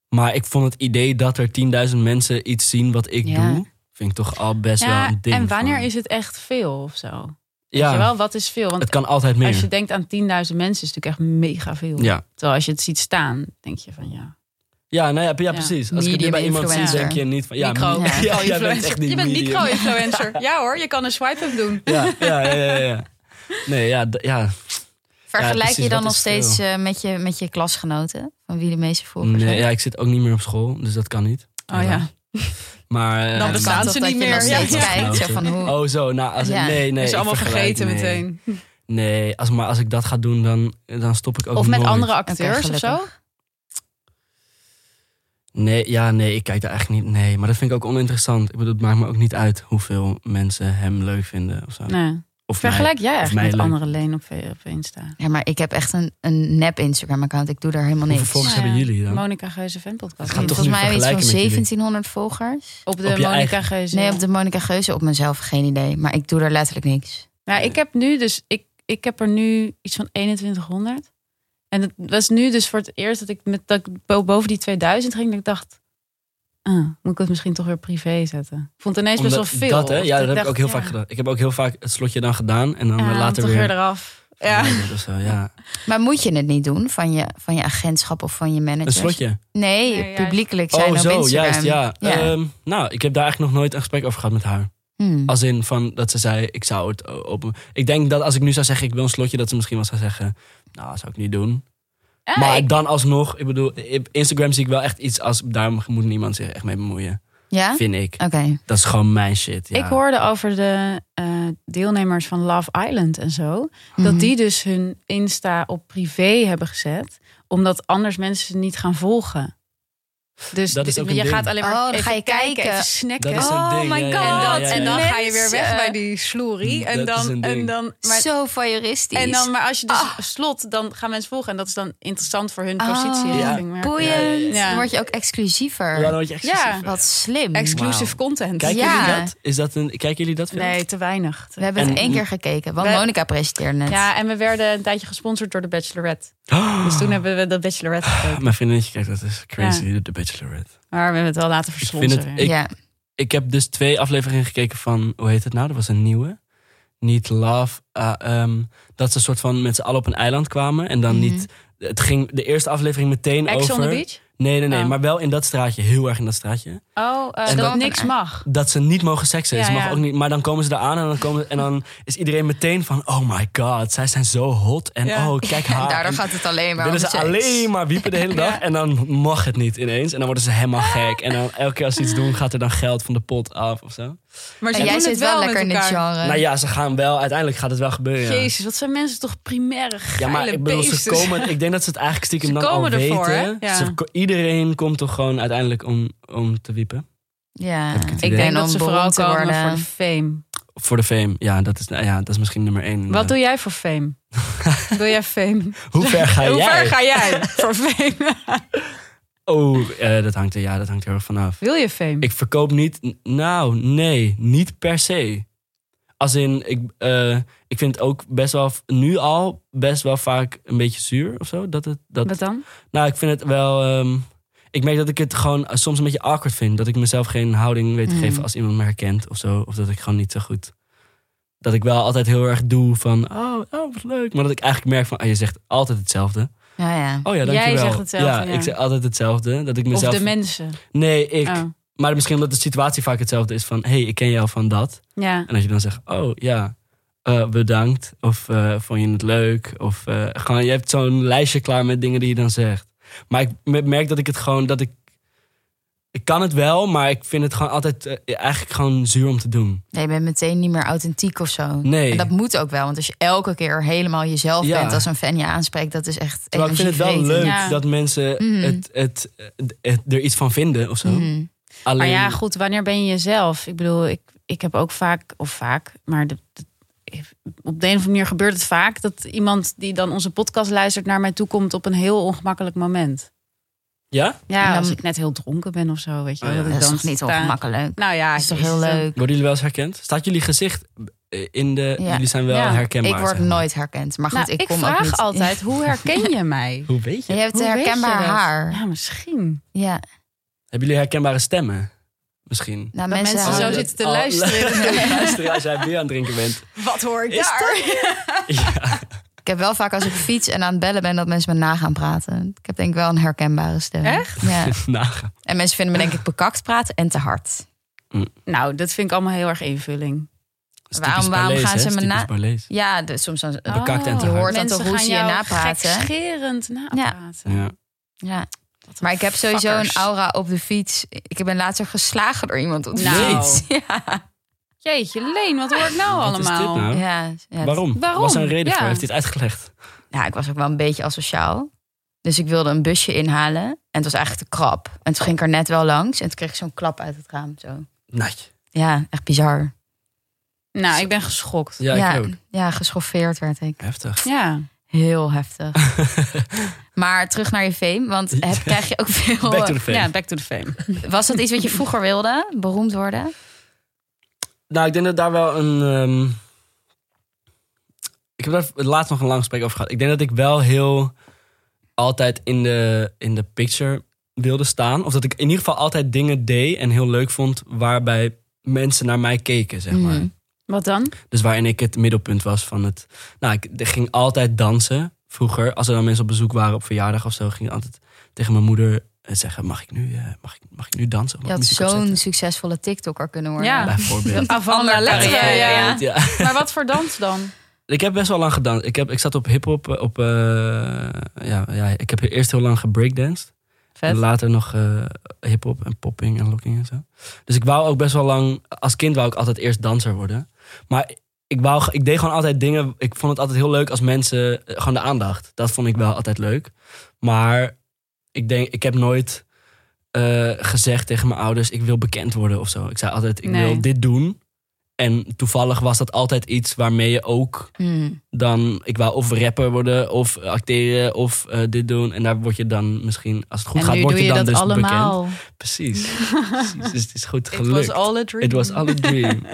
Speaker 2: Maar ik vond het idee dat er 10.000 mensen iets zien wat ik
Speaker 1: Ja.
Speaker 2: doe, vind ik toch al best wel een ding.
Speaker 3: en wanneer
Speaker 2: van-
Speaker 3: is het echt veel of zo? Weet
Speaker 2: ja,
Speaker 3: je wel, wat is veel? Want
Speaker 2: het kan altijd meer.
Speaker 3: als je denkt aan 10.000 mensen is het natuurlijk echt mega veel.
Speaker 2: Ja.
Speaker 3: Terwijl als je het ziet staan, denk je van ja.
Speaker 2: Ja, nou ja, ja precies. Als ik het nu bij
Speaker 1: Medium
Speaker 2: iemand zie,
Speaker 1: influencer.
Speaker 2: denk je niet van... Ja,
Speaker 3: micro,
Speaker 2: mi-
Speaker 1: Ja.
Speaker 2: ja, jij bent echt niet
Speaker 3: je bent
Speaker 2: medium.
Speaker 3: micro-influencer. ja hoor, je kan een swipe-up doen.
Speaker 2: Ja, ja, ja, ja, ja. Nee, ja, d- ja.
Speaker 1: Vergelijk
Speaker 2: precies,
Speaker 1: je dan
Speaker 2: wat
Speaker 1: nog
Speaker 2: is
Speaker 1: steeds eh, met, je, met je klasgenoten? Van wie de meeste volgers
Speaker 2: Nee,
Speaker 1: zijn?
Speaker 2: ja, ik zit ook niet meer op school, dus dat kan niet.
Speaker 3: Oh ja.
Speaker 2: Maar... eh,
Speaker 3: Dan
Speaker 1: Het
Speaker 3: bestaan
Speaker 1: kan
Speaker 3: ze
Speaker 1: toch dat
Speaker 3: niet
Speaker 1: je
Speaker 3: meer.
Speaker 1: nog
Speaker 3: Ja,
Speaker 1: steeds
Speaker 2: ja.
Speaker 1: kijkt, zo van hoe...
Speaker 2: Oh zo, nou, als ik,
Speaker 1: Ja.
Speaker 2: nee, nee.
Speaker 3: is
Speaker 2: ik
Speaker 3: allemaal
Speaker 2: vergelijk-
Speaker 3: vergeten
Speaker 2: nee.
Speaker 3: meteen.
Speaker 2: Nee, als, maar als ik dat ga doen, dan, dan stop ik ook
Speaker 3: of met
Speaker 2: nooit.
Speaker 3: andere
Speaker 1: Oké,
Speaker 3: acteurs of
Speaker 1: gelukkig.
Speaker 3: zo?
Speaker 2: Nee, ja, nee, ik kijk daar eigenlijk niet... Nee, maar dat vind ik ook oninteressant. Ik bedoel, het maakt me ook niet uit hoeveel mensen hem leuk vinden of zo.
Speaker 3: Nee.
Speaker 2: Of
Speaker 3: Vergelijk jij
Speaker 2: mij
Speaker 3: eigenlijk met
Speaker 2: leuk.
Speaker 3: andere leen op, op Insta?
Speaker 1: Ja, maar ik heb echt een, een nep Instagram-account. Ik doe daar helemaal
Speaker 2: Hoeveel
Speaker 1: niks.
Speaker 2: volgers
Speaker 3: Ja,
Speaker 2: hebben jullie dan?
Speaker 3: Monica Geuze fanpodcast.
Speaker 2: Het gaat toch
Speaker 1: Volgens
Speaker 2: niet
Speaker 1: mij iets van
Speaker 2: vergelijken met jullie?
Speaker 1: 1700 volgers.
Speaker 3: Op de
Speaker 2: op je
Speaker 3: Monica
Speaker 2: eigen-
Speaker 3: Geuze.
Speaker 1: Nee, op de Monica Geuze op mezelf geen idee. Maar ik doe daar letterlijk niks.
Speaker 3: Nou, ik heb nu dus ik, ik heb er nu iets van 2100. En het was nu dus voor het eerst dat ik met dat ik bo- boven die 2000 ging. Dat ik dacht, ah, moet ik het misschien toch weer privé zetten? Ik vond het ineens best
Speaker 2: Omdat
Speaker 3: wel veel.
Speaker 2: Dat, hè?
Speaker 3: Of
Speaker 2: Ja, dat heb
Speaker 3: dacht,
Speaker 2: ik ook heel
Speaker 3: ja,
Speaker 2: vaak gedaan. Ik heb ook heel vaak het slotje dan gedaan en dan
Speaker 3: ja,
Speaker 2: later
Speaker 3: toch
Speaker 2: weer
Speaker 3: weer eraf. Ja.
Speaker 2: verwijderd of zo. Ja.
Speaker 1: Maar moet je het niet doen van je, van je agentschap of van je
Speaker 2: Een
Speaker 1: manager?
Speaker 2: slotje.
Speaker 1: Nee,
Speaker 3: Nee, juist.
Speaker 1: publiekelijk zijn
Speaker 2: oh,
Speaker 1: op
Speaker 2: zo,
Speaker 1: Instagram.
Speaker 2: juist, ja.
Speaker 1: Ja.
Speaker 2: Ehm, nou, ik heb daar eigenlijk nog nooit een gesprek over gehad met haar.
Speaker 1: Hmm.
Speaker 2: Als in van dat ze zei, ik zou het o- open... Ik denk dat als ik nu zou zeggen, ik wil een slotje, dat ze misschien wel zou zeggen... Nou, dat zou ik niet doen.
Speaker 3: Ja,
Speaker 2: maar
Speaker 3: ik-
Speaker 2: dan alsnog, ik bedoel, op Instagram zie ik wel echt iets als... Daar moet niemand zich echt mee bemoeien,
Speaker 1: Ja?
Speaker 2: vind ik.
Speaker 1: Oké.
Speaker 2: Dat is gewoon mijn shit, ja.
Speaker 3: Ik hoorde over de eh, deelnemers van Love Island en zo.
Speaker 1: Mhm.
Speaker 3: Dat die dus hun Insta op privé hebben gezet. Omdat anders mensen ze niet gaan volgen. Dus
Speaker 2: Dat is
Speaker 3: dit-
Speaker 2: ook
Speaker 3: je
Speaker 2: een ding.
Speaker 3: gaat alleen maar
Speaker 1: Oh, dan
Speaker 3: even
Speaker 1: ga je kijken.
Speaker 3: even snacken.
Speaker 2: Dat is een
Speaker 1: Oh
Speaker 2: ding,
Speaker 1: my
Speaker 2: ja,
Speaker 1: god.
Speaker 2: ja, ja, ja,
Speaker 3: dat
Speaker 2: ja.
Speaker 3: en dan ga je weer weg
Speaker 1: mensen. eh,
Speaker 3: bij die sloerie. En
Speaker 2: Dat is
Speaker 3: dan,
Speaker 2: een ding.
Speaker 3: en dan, maar,
Speaker 1: Zo voyeuristisch.
Speaker 3: en dan, maar als je dus slot, dan gaan mensen volgen. En dat is dan interessant voor hun
Speaker 1: Oh,
Speaker 3: positie.
Speaker 2: Ja.
Speaker 3: richting merk.
Speaker 1: Boeiend.
Speaker 2: Ja, ja, ja,
Speaker 3: ja.
Speaker 1: Dan word je ook exclusiever.
Speaker 2: Ja, dan word je echt
Speaker 3: Ja.
Speaker 2: exclusief.
Speaker 1: Wat slim.
Speaker 3: Exclusive
Speaker 2: Wauw.
Speaker 3: content.
Speaker 2: Kijken
Speaker 1: Ja.
Speaker 2: jullie dat? Is dat een, kijken jullie dat filmpje?
Speaker 3: Nee, te weinig.
Speaker 1: We hebben het
Speaker 2: En-
Speaker 1: één keer gekeken, want
Speaker 3: We-
Speaker 1: Monica presenteerde net.
Speaker 3: Ja, en we werden een tijdje gesponsord door de Bachelorette.
Speaker 2: Oh,
Speaker 3: Dus toen hebben we de Bachelorette gekeken.
Speaker 2: Ah, Mijn vriendinnetje kijkt, dat is crazy, The Bachelorette.
Speaker 3: Maar we hebben het wel laten
Speaker 2: vind
Speaker 3: verslonsen.
Speaker 2: het-
Speaker 3: weer.
Speaker 2: ik-
Speaker 1: ja.
Speaker 2: Ik heb dus twee afleveringen gekeken van, hoe heet het nou? Dat was een nieuwe. Niet Love. ah, ehm, dat ze soort van met z'n allen op een eiland kwamen. En dan
Speaker 1: Mhm.
Speaker 2: niet, het ging de eerste aflevering meteen
Speaker 3: Ex
Speaker 2: over.
Speaker 3: on the beach?
Speaker 2: Nee, nee, nee.
Speaker 3: Oh.
Speaker 2: Maar wel in dat straatje, heel erg in dat straatje.
Speaker 3: Oh, eh,
Speaker 1: En
Speaker 3: dat
Speaker 1: dan-
Speaker 3: niks mag.
Speaker 2: Dat ze niet mogen seksen.
Speaker 3: Ja,
Speaker 2: ze mag
Speaker 3: ja.
Speaker 2: ook niet, maar dan komen ze eraan en dan, komen, en dan is iedereen meteen van, oh my god, zij zijn zo hot. En
Speaker 3: Ja.
Speaker 2: oh, kijk haar.
Speaker 1: En daardoor
Speaker 2: En-
Speaker 1: gaat het alleen maar om
Speaker 2: willen ze
Speaker 1: seks.
Speaker 2: alleen maar wiepen de hele dag. En dan mag het niet ineens. En dan worden ze helemaal
Speaker 3: Ah.
Speaker 2: gek. En dan elke keer als ze iets doen, gaat er dan geld van de pot af of zo.
Speaker 3: Maar
Speaker 1: En jij
Speaker 3: doen
Speaker 1: zit
Speaker 3: het
Speaker 1: wel
Speaker 3: met
Speaker 1: lekker in dit
Speaker 3: elkaar.
Speaker 1: genre.
Speaker 2: Nou ja, ze gaan wel. Uiteindelijk gaat het wel gebeuren. ja.
Speaker 3: Jezus, wat zijn mensen toch primaire geile
Speaker 2: Ja, maar ik bedoel, ze
Speaker 3: beesten.
Speaker 2: komen, ik denk dat ze het eigenlijk stiekem
Speaker 3: Ze
Speaker 2: dan al
Speaker 3: komen ervoor,
Speaker 2: weten.
Speaker 3: hè? Ja.
Speaker 2: Ze ko- iedereen komt toch gewoon uiteindelijk om, om te wiepen?
Speaker 1: Ja.
Speaker 2: Heb ik het
Speaker 3: Ik
Speaker 2: idee.
Speaker 3: denk
Speaker 1: En
Speaker 3: dat
Speaker 1: om
Speaker 3: ze
Speaker 1: beroemd
Speaker 3: vooral
Speaker 1: te
Speaker 3: komen
Speaker 1: worden.
Speaker 3: voor de fame.
Speaker 2: Voor de fame, ja, dat is, nou ja, dat is misschien nummer één. eh.
Speaker 3: Wat doe jij voor fame? Wil jij fame?
Speaker 2: Hoe ver ga
Speaker 3: Hoe
Speaker 2: jij?
Speaker 3: ver ga jij voor fame?
Speaker 2: Oh, eh, dat, hangt, er- ja, dat hangt er heel erg vanaf.
Speaker 3: Wil je fame?
Speaker 2: Ik verkoop niet. n- Nou, nee, niet per se. Als in, ik, eh, ik vind het ook best wel, v- nu al, best wel vaak een beetje zuur of zo. Dat het, dat,
Speaker 3: Wat dan?
Speaker 2: Nou, ik vind het wel. ehm, ik merk dat ik het gewoon eh, soms een beetje awkward vind. Dat ik mezelf geen houding weet te
Speaker 1: Mm.
Speaker 3: Mhm.
Speaker 2: geven als iemand me herkent of zo. Of dat ik gewoon niet zo goed. Dat ik wel altijd heel erg doe van. Oh, oh wat leuk. Maar dat ik eigenlijk merk van. ah, je zegt altijd hetzelfde.
Speaker 1: Ja, ja.
Speaker 2: Oh ja,
Speaker 3: Jij
Speaker 2: dankjewel.
Speaker 3: zegt hetzelfde, ja.
Speaker 2: ik zeg altijd hetzelfde. Dat ik mezelf.
Speaker 3: Of de mensen.
Speaker 2: nee, ik.
Speaker 3: Oh,
Speaker 2: Maar misschien omdat de situatie vaak hetzelfde is van. hey, ik ken jou van dat.
Speaker 3: ja.
Speaker 2: En als je dan zegt, oh ja, eh, bedankt. Of eh, vond je het leuk? Of eh, gewoon, je hebt zo'n lijstje klaar met dingen die je dan zegt. Maar ik me- merk dat ik het gewoon, dat ik... Ik kan het wel, maar ik vind het gewoon altijd eh, eigenlijk gewoon zuur om te doen.
Speaker 1: Nee, je bent meteen niet meer authentiek of zo.
Speaker 2: Nee.
Speaker 1: En dat moet ook wel, want als je elke keer helemaal jezelf
Speaker 2: Ja.
Speaker 1: bent als een fan je aanspreekt, dat is echt.
Speaker 2: Terwijl ik vind het wel leuk
Speaker 1: energievretend.
Speaker 3: Ja.
Speaker 2: dat mensen
Speaker 1: Mhm.
Speaker 2: het, het, het- het- er iets van vinden of zo.
Speaker 1: Mhm.
Speaker 2: Alleen,
Speaker 3: Maar ja, goed, wanneer ben je jezelf? Ik bedoel, ik, ik heb ook vaak, of vaak, maar de, de- op de een of andere manier gebeurt het vaak dat iemand die dan onze podcast luistert naar mij toe komt op een heel ongemakkelijk moment.
Speaker 2: ja?
Speaker 3: Ja,
Speaker 1: En dan-
Speaker 3: als ik net heel dronken ben of zo, weet je wel.
Speaker 2: Oh ja.
Speaker 3: ik
Speaker 1: Dat is
Speaker 3: dan
Speaker 1: toch niet
Speaker 3: sta-
Speaker 1: ongemakkelijk.
Speaker 3: Nou ja,
Speaker 1: Dat is toch heel
Speaker 3: jezus,
Speaker 1: leuk.
Speaker 2: Worden jullie wel eens herkend? Staat jullie gezicht eh, in de...
Speaker 1: Ja.
Speaker 2: Jullie zijn wel
Speaker 3: Ja.
Speaker 2: herkenbaar.
Speaker 1: ik word
Speaker 2: zeg maar.
Speaker 1: nooit herkend, maar goed,
Speaker 3: Nou,
Speaker 1: ik
Speaker 3: ik
Speaker 1: kom ook
Speaker 3: vraag
Speaker 1: niet.
Speaker 3: altijd, hoe herken je mij?
Speaker 2: Hoe weet je?
Speaker 1: Je hebt
Speaker 3: Hoe weet je
Speaker 1: herkenbaar
Speaker 3: dat?
Speaker 1: haar.
Speaker 3: Ja, misschien.
Speaker 1: Ja,
Speaker 2: Hebben jullie herkenbare stemmen? Misschien.
Speaker 1: nou,
Speaker 3: Dat
Speaker 1: mensen,
Speaker 3: mensen
Speaker 1: houden-
Speaker 3: zo
Speaker 2: dat-
Speaker 3: zitten te
Speaker 2: oh,
Speaker 3: luisteren.
Speaker 2: luisteren als jij bier aan het drinken bent.
Speaker 3: Wat hoor ik
Speaker 2: Is Ja.
Speaker 1: Ik heb wel vaak als ik fiets en aan het bellen ben dat mensen me na gaan praten. Ik heb denk ik wel een herkenbare stem.
Speaker 3: Echt?
Speaker 1: Ja.
Speaker 2: Nou, Nagaan.
Speaker 1: En mensen vinden me denk ik bekakt praten en te hard.
Speaker 3: Nou, dat vind ik allemaal heel erg invulling.
Speaker 2: Dat is
Speaker 1: Waarom-
Speaker 2: typisch
Speaker 1: waarom
Speaker 2: Barlees,
Speaker 1: gaan
Speaker 2: hè?
Speaker 1: ze
Speaker 2: Dat is
Speaker 1: me
Speaker 2: typisch
Speaker 1: na-
Speaker 2: Barlees.
Speaker 1: Ja, dus soms dan.
Speaker 2: Oh. Bekakt en te
Speaker 1: Je
Speaker 2: hard.
Speaker 1: hoort dan
Speaker 3: Mensen
Speaker 1: toch hoe
Speaker 3: gaan
Speaker 1: ze je
Speaker 3: jou
Speaker 1: napraten.
Speaker 3: gekscherend napraten.
Speaker 2: Ja.
Speaker 1: Ja.
Speaker 3: Wat een
Speaker 1: Maar ik heb sowieso een
Speaker 3: fuckers.
Speaker 1: aura op de fiets. Ik ben laatst ook geslagen door iemand op de
Speaker 3: Nou.
Speaker 1: fiets. Ja.
Speaker 3: Jeetje, Leen, wat hoor ik nou
Speaker 2: Wat is dit
Speaker 3: allemaal?
Speaker 2: nou?
Speaker 1: Ja, ja,
Speaker 2: Waarom?
Speaker 3: Waarom?
Speaker 2: Was er een reden
Speaker 3: Ja.
Speaker 2: voor? Heeft hij het uitgelegd?
Speaker 1: Ja, ik was ook wel een beetje asociaal. Dus ik wilde een busje inhalen. En het was eigenlijk te krap. En toen ging ik er net wel langs. En toen kreeg ik zo'n klap uit het raam. Zo.
Speaker 2: Nee.
Speaker 1: Ja, echt bizar.
Speaker 3: Nou, ik ben geschokt.
Speaker 2: Ja, ik
Speaker 1: ja,
Speaker 2: ook.
Speaker 1: ja, geschoffeerd werd ik.
Speaker 2: Heftig.
Speaker 3: Ja.
Speaker 1: Heel heftig. maar terug naar je fame. Want heb, krijg je ook veel... eh,
Speaker 2: Back to the fame.
Speaker 3: ja, back to the fame.
Speaker 1: Was dat iets wat je vroeger wilde? Beroemd worden?
Speaker 2: Nou, ik denk dat daar wel een... ehm, Ik heb daar laatst nog een lang gesprek over gehad. Ik denk dat ik wel heel altijd in de, in de picture wilde staan. Of dat ik in ieder geval altijd dingen deed en heel leuk vond... waarbij mensen naar mij keken, zeg maar.
Speaker 1: Mhm.
Speaker 3: Wat dan?
Speaker 2: Dus waarin ik het middelpunt was van het. Nou, ik ik ging altijd dansen vroeger. Als er dan mensen op bezoek waren op verjaardag of zo, ging ik altijd tegen mijn moeder eh, zeggen: Mag ik nu, eh, mag ik, mag ik nu dansen? Of
Speaker 1: Je
Speaker 2: mag ik
Speaker 1: had
Speaker 2: muziek opzetten?"
Speaker 1: zo'n succesvolle TikToker kunnen worden.
Speaker 3: Ja.
Speaker 2: Bijvoorbeeld.
Speaker 3: Avanda
Speaker 1: Ander
Speaker 3: Lettre,
Speaker 1: carrière,
Speaker 3: ja.
Speaker 1: ja.
Speaker 2: Ja.
Speaker 3: Maar wat voor dans dan?
Speaker 2: Ik heb best wel lang gedanst. Ik, heb, ik zat op hip-hop. eh, Op, eh, ja, ja, ik heb eerst heel lang gebreakdanced. En
Speaker 3: Vet.
Speaker 2: later nog eh hip-hop en popping en locking en zo. Dus ik wou ook best wel lang. Als kind wou ik altijd eerst danser worden. Maar ik, wou, ik deed gewoon altijd dingen. Ik vond het altijd heel leuk als mensen. eh, Gewoon de aandacht. Dat vond ik wel altijd leuk. Maar ik denk, ik heb nooit eh, gezegd tegen mijn ouders: ik wil bekend worden of zo. Ik zei altijd: ik
Speaker 3: Nee.
Speaker 2: wil dit doen. En toevallig was dat altijd iets waarmee je ook
Speaker 1: Hmm.
Speaker 2: dan ik wou of rapper worden of acteren of eh, dit doen. En daar word je dan misschien, als het goed
Speaker 3: en
Speaker 2: gaat,
Speaker 3: nu
Speaker 2: word
Speaker 3: doe
Speaker 2: je
Speaker 3: je
Speaker 2: dan
Speaker 3: dat
Speaker 2: dus bekend.
Speaker 3: allemaal.
Speaker 2: Precies. Precies. Dus het is goed
Speaker 3: It was
Speaker 2: gelukt.
Speaker 3: all a dream.
Speaker 2: It was all a dream.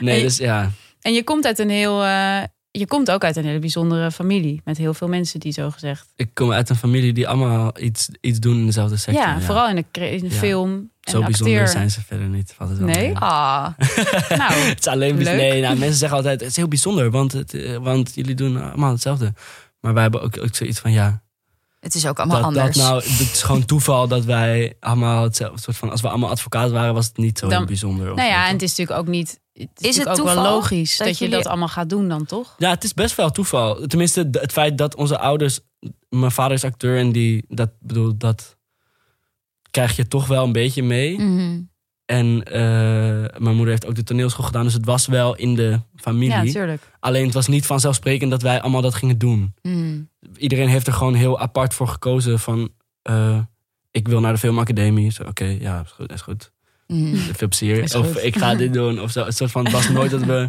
Speaker 2: Nee,
Speaker 3: En-
Speaker 2: dus ja.
Speaker 3: En je komt uit een heel... eh, je komt ook uit een hele bijzondere familie. Met heel veel mensen die zo gezegd...
Speaker 2: Ik kom uit een familie die allemaal iets, iets doen in dezelfde sector.
Speaker 3: ja, vooral in de, cre- in de
Speaker 2: Ja.
Speaker 3: film en
Speaker 2: Zo bijzonder
Speaker 3: acteer.
Speaker 2: zijn ze verder niet. valt het wel
Speaker 3: Nee?
Speaker 2: mee.
Speaker 1: Ah,
Speaker 3: Nou,
Speaker 2: Het is alleen bijz-
Speaker 3: Leuk.
Speaker 2: Nee, nou, mensen zeggen altijd: het is heel bijzonder, want, het, eh, want jullie doen allemaal hetzelfde. Maar wij hebben ook, ook zoiets van: ja,
Speaker 1: het is ook allemaal
Speaker 2: dat, dat
Speaker 1: anders.
Speaker 2: nou, het is gewoon toeval dat wij allemaal hetzelfde soort van. Als we allemaal advocaat waren, was het niet zo
Speaker 3: Dan-
Speaker 2: heel bijzonder. of
Speaker 3: nou ja,
Speaker 2: wat
Speaker 3: en
Speaker 2: dan.
Speaker 3: het is natuurlijk ook niet... Het is,
Speaker 1: Is het
Speaker 3: natuurlijk ook wel
Speaker 1: toeval
Speaker 3: logisch dat,
Speaker 1: dat
Speaker 3: je
Speaker 1: jullie-
Speaker 3: dat allemaal gaat doen dan, toch?
Speaker 2: ja, het is best wel toeval. Tenminste, d- het feit dat onze ouders. Mijn vader is acteur en die. Dat bedoel, dat krijg je toch wel een beetje
Speaker 3: Mm.
Speaker 2: mee.
Speaker 1: Mhm.
Speaker 2: En eh, mijn moeder heeft ook de toneelschool gedaan, dus het was wel in de
Speaker 3: Ja,
Speaker 2: familie.
Speaker 3: natuurlijk.
Speaker 2: Alleen het was niet vanzelfsprekend dat wij allemaal dat gingen doen.
Speaker 1: Hmm.
Speaker 2: iedereen heeft er gewoon heel apart voor gekozen van... eh, ik wil naar de filmacademie. Zo, Oké, ja, is goed. Is goed.
Speaker 1: Mhm.
Speaker 2: Veel
Speaker 3: Is
Speaker 2: plezier. Of
Speaker 3: goed.
Speaker 2: ik ga dit doen. Of zo. Het soort van, het was nooit dat we...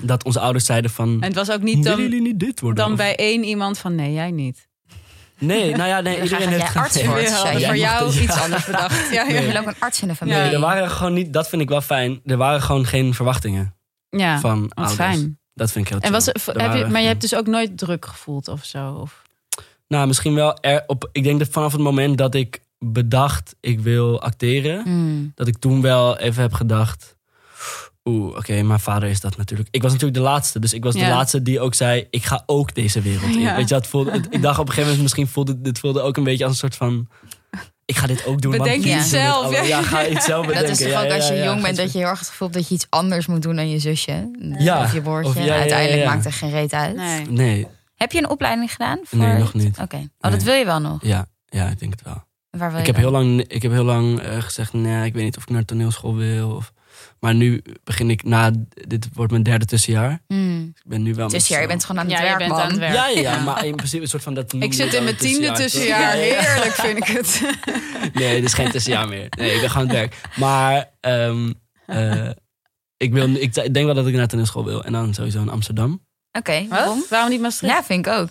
Speaker 2: Dat onze ouders zeiden van...
Speaker 3: En het was ook niet
Speaker 2: Willen
Speaker 3: dan,
Speaker 2: jullie niet dit worden?
Speaker 3: dan
Speaker 2: Of-
Speaker 3: bij één iemand van... Nee, jij niet.
Speaker 2: Nee, nou ja, nee,
Speaker 1: Dan
Speaker 2: iedereen
Speaker 1: ga
Speaker 2: heeft...
Speaker 1: jij
Speaker 2: geen-
Speaker 1: arts worden. Jij
Speaker 3: Ja, voor
Speaker 2: mag
Speaker 3: jou
Speaker 2: het, ja.
Speaker 3: iets anders bedacht. Ja, ja.
Speaker 1: Je
Speaker 2: Nee.
Speaker 1: wil ook een arts in de familie.
Speaker 2: Nee, er waren gewoon niet... Dat vind ik wel fijn. Er waren gewoon geen verwachtingen
Speaker 3: Ja,
Speaker 2: van
Speaker 3: wat
Speaker 2: ouders.
Speaker 3: fijn.
Speaker 2: Dat vind ik heel
Speaker 3: En was,
Speaker 2: chill.
Speaker 3: v-
Speaker 2: Er
Speaker 3: heb je,
Speaker 2: waren
Speaker 3: maar je
Speaker 2: geen-
Speaker 3: hebt dus ook nooit druk gevoeld of zo? Of,
Speaker 2: Nou, misschien wel... Er, op, ik denk dat vanaf het moment dat ik bedacht... Ik wil acteren...
Speaker 1: Hmm.
Speaker 2: dat ik toen wel even heb gedacht. Oeh, oké, mijn vader is dat natuurlijk. Ik was natuurlijk de laatste, dus ik was
Speaker 3: Ja.
Speaker 2: de laatste die ook zei: ik ga ook deze wereld in.
Speaker 3: Ja.
Speaker 2: Weet je, dat voelde, het- ik dacht op een gegeven moment misschien voelde dit voelde ook een beetje als een soort van: ik ga dit ook doen. want
Speaker 3: Bedenk
Speaker 1: je
Speaker 2: jullie
Speaker 1: het
Speaker 2: doen het
Speaker 3: zelf,
Speaker 2: allemaal.
Speaker 3: ja.
Speaker 2: Ja, ga je het zelf bedenken.
Speaker 1: Dat is toch
Speaker 2: Ja,
Speaker 1: ook
Speaker 2: ja,
Speaker 1: als je
Speaker 2: ja,
Speaker 1: jong
Speaker 2: ja.
Speaker 1: bent dat je heel erg het gevoel hebt dat je iets anders moet doen dan je zusje.
Speaker 2: Ja.
Speaker 1: Of je broertje.
Speaker 2: Of- ja, ja, ja,
Speaker 1: Uiteindelijk
Speaker 2: ja.
Speaker 1: maakt er geen reet uit.
Speaker 3: nee.
Speaker 2: Nee,
Speaker 1: Heb je een opleiding gedaan? Voor
Speaker 2: nee, nog niet.
Speaker 1: Oké. Oh, dat
Speaker 2: Nee.
Speaker 1: wil je wel nog.
Speaker 2: Ja, ja, ik denk het wel.
Speaker 1: Waar wil
Speaker 2: Ik
Speaker 1: je
Speaker 2: heb heel lang, ik heb heel lang eh, gezegd, nee, ik weet niet of ik naar toneelschool wil. Of, maar nu begin ik na, dit wordt mijn derde tussenjaar.
Speaker 1: dan? Hmm.
Speaker 2: Ik ben nu wel. met
Speaker 1: Dus ja, je
Speaker 2: zo'n-
Speaker 1: bent gewoon aan het
Speaker 3: Ja, je
Speaker 1: werk,
Speaker 3: bent
Speaker 1: man.
Speaker 3: aan het werk.
Speaker 2: Ja, ja, ja, maar in principe een soort van dat.
Speaker 3: Ik zit in mijn tiende tussenjaar.
Speaker 2: jaar
Speaker 3: Heerlijk vind ik het.
Speaker 2: Nee, het is geen tussenjaar meer. Nee, ik ben gewoon aan het werk. Maar ehm, eh, ik, wil, ik denk wel dat ik naar toneelschool wil. En dan sowieso in Amsterdam.
Speaker 1: Oké, waarom?
Speaker 3: Wat? Waarom niet Maastricht?
Speaker 1: Ja, vind ik ook.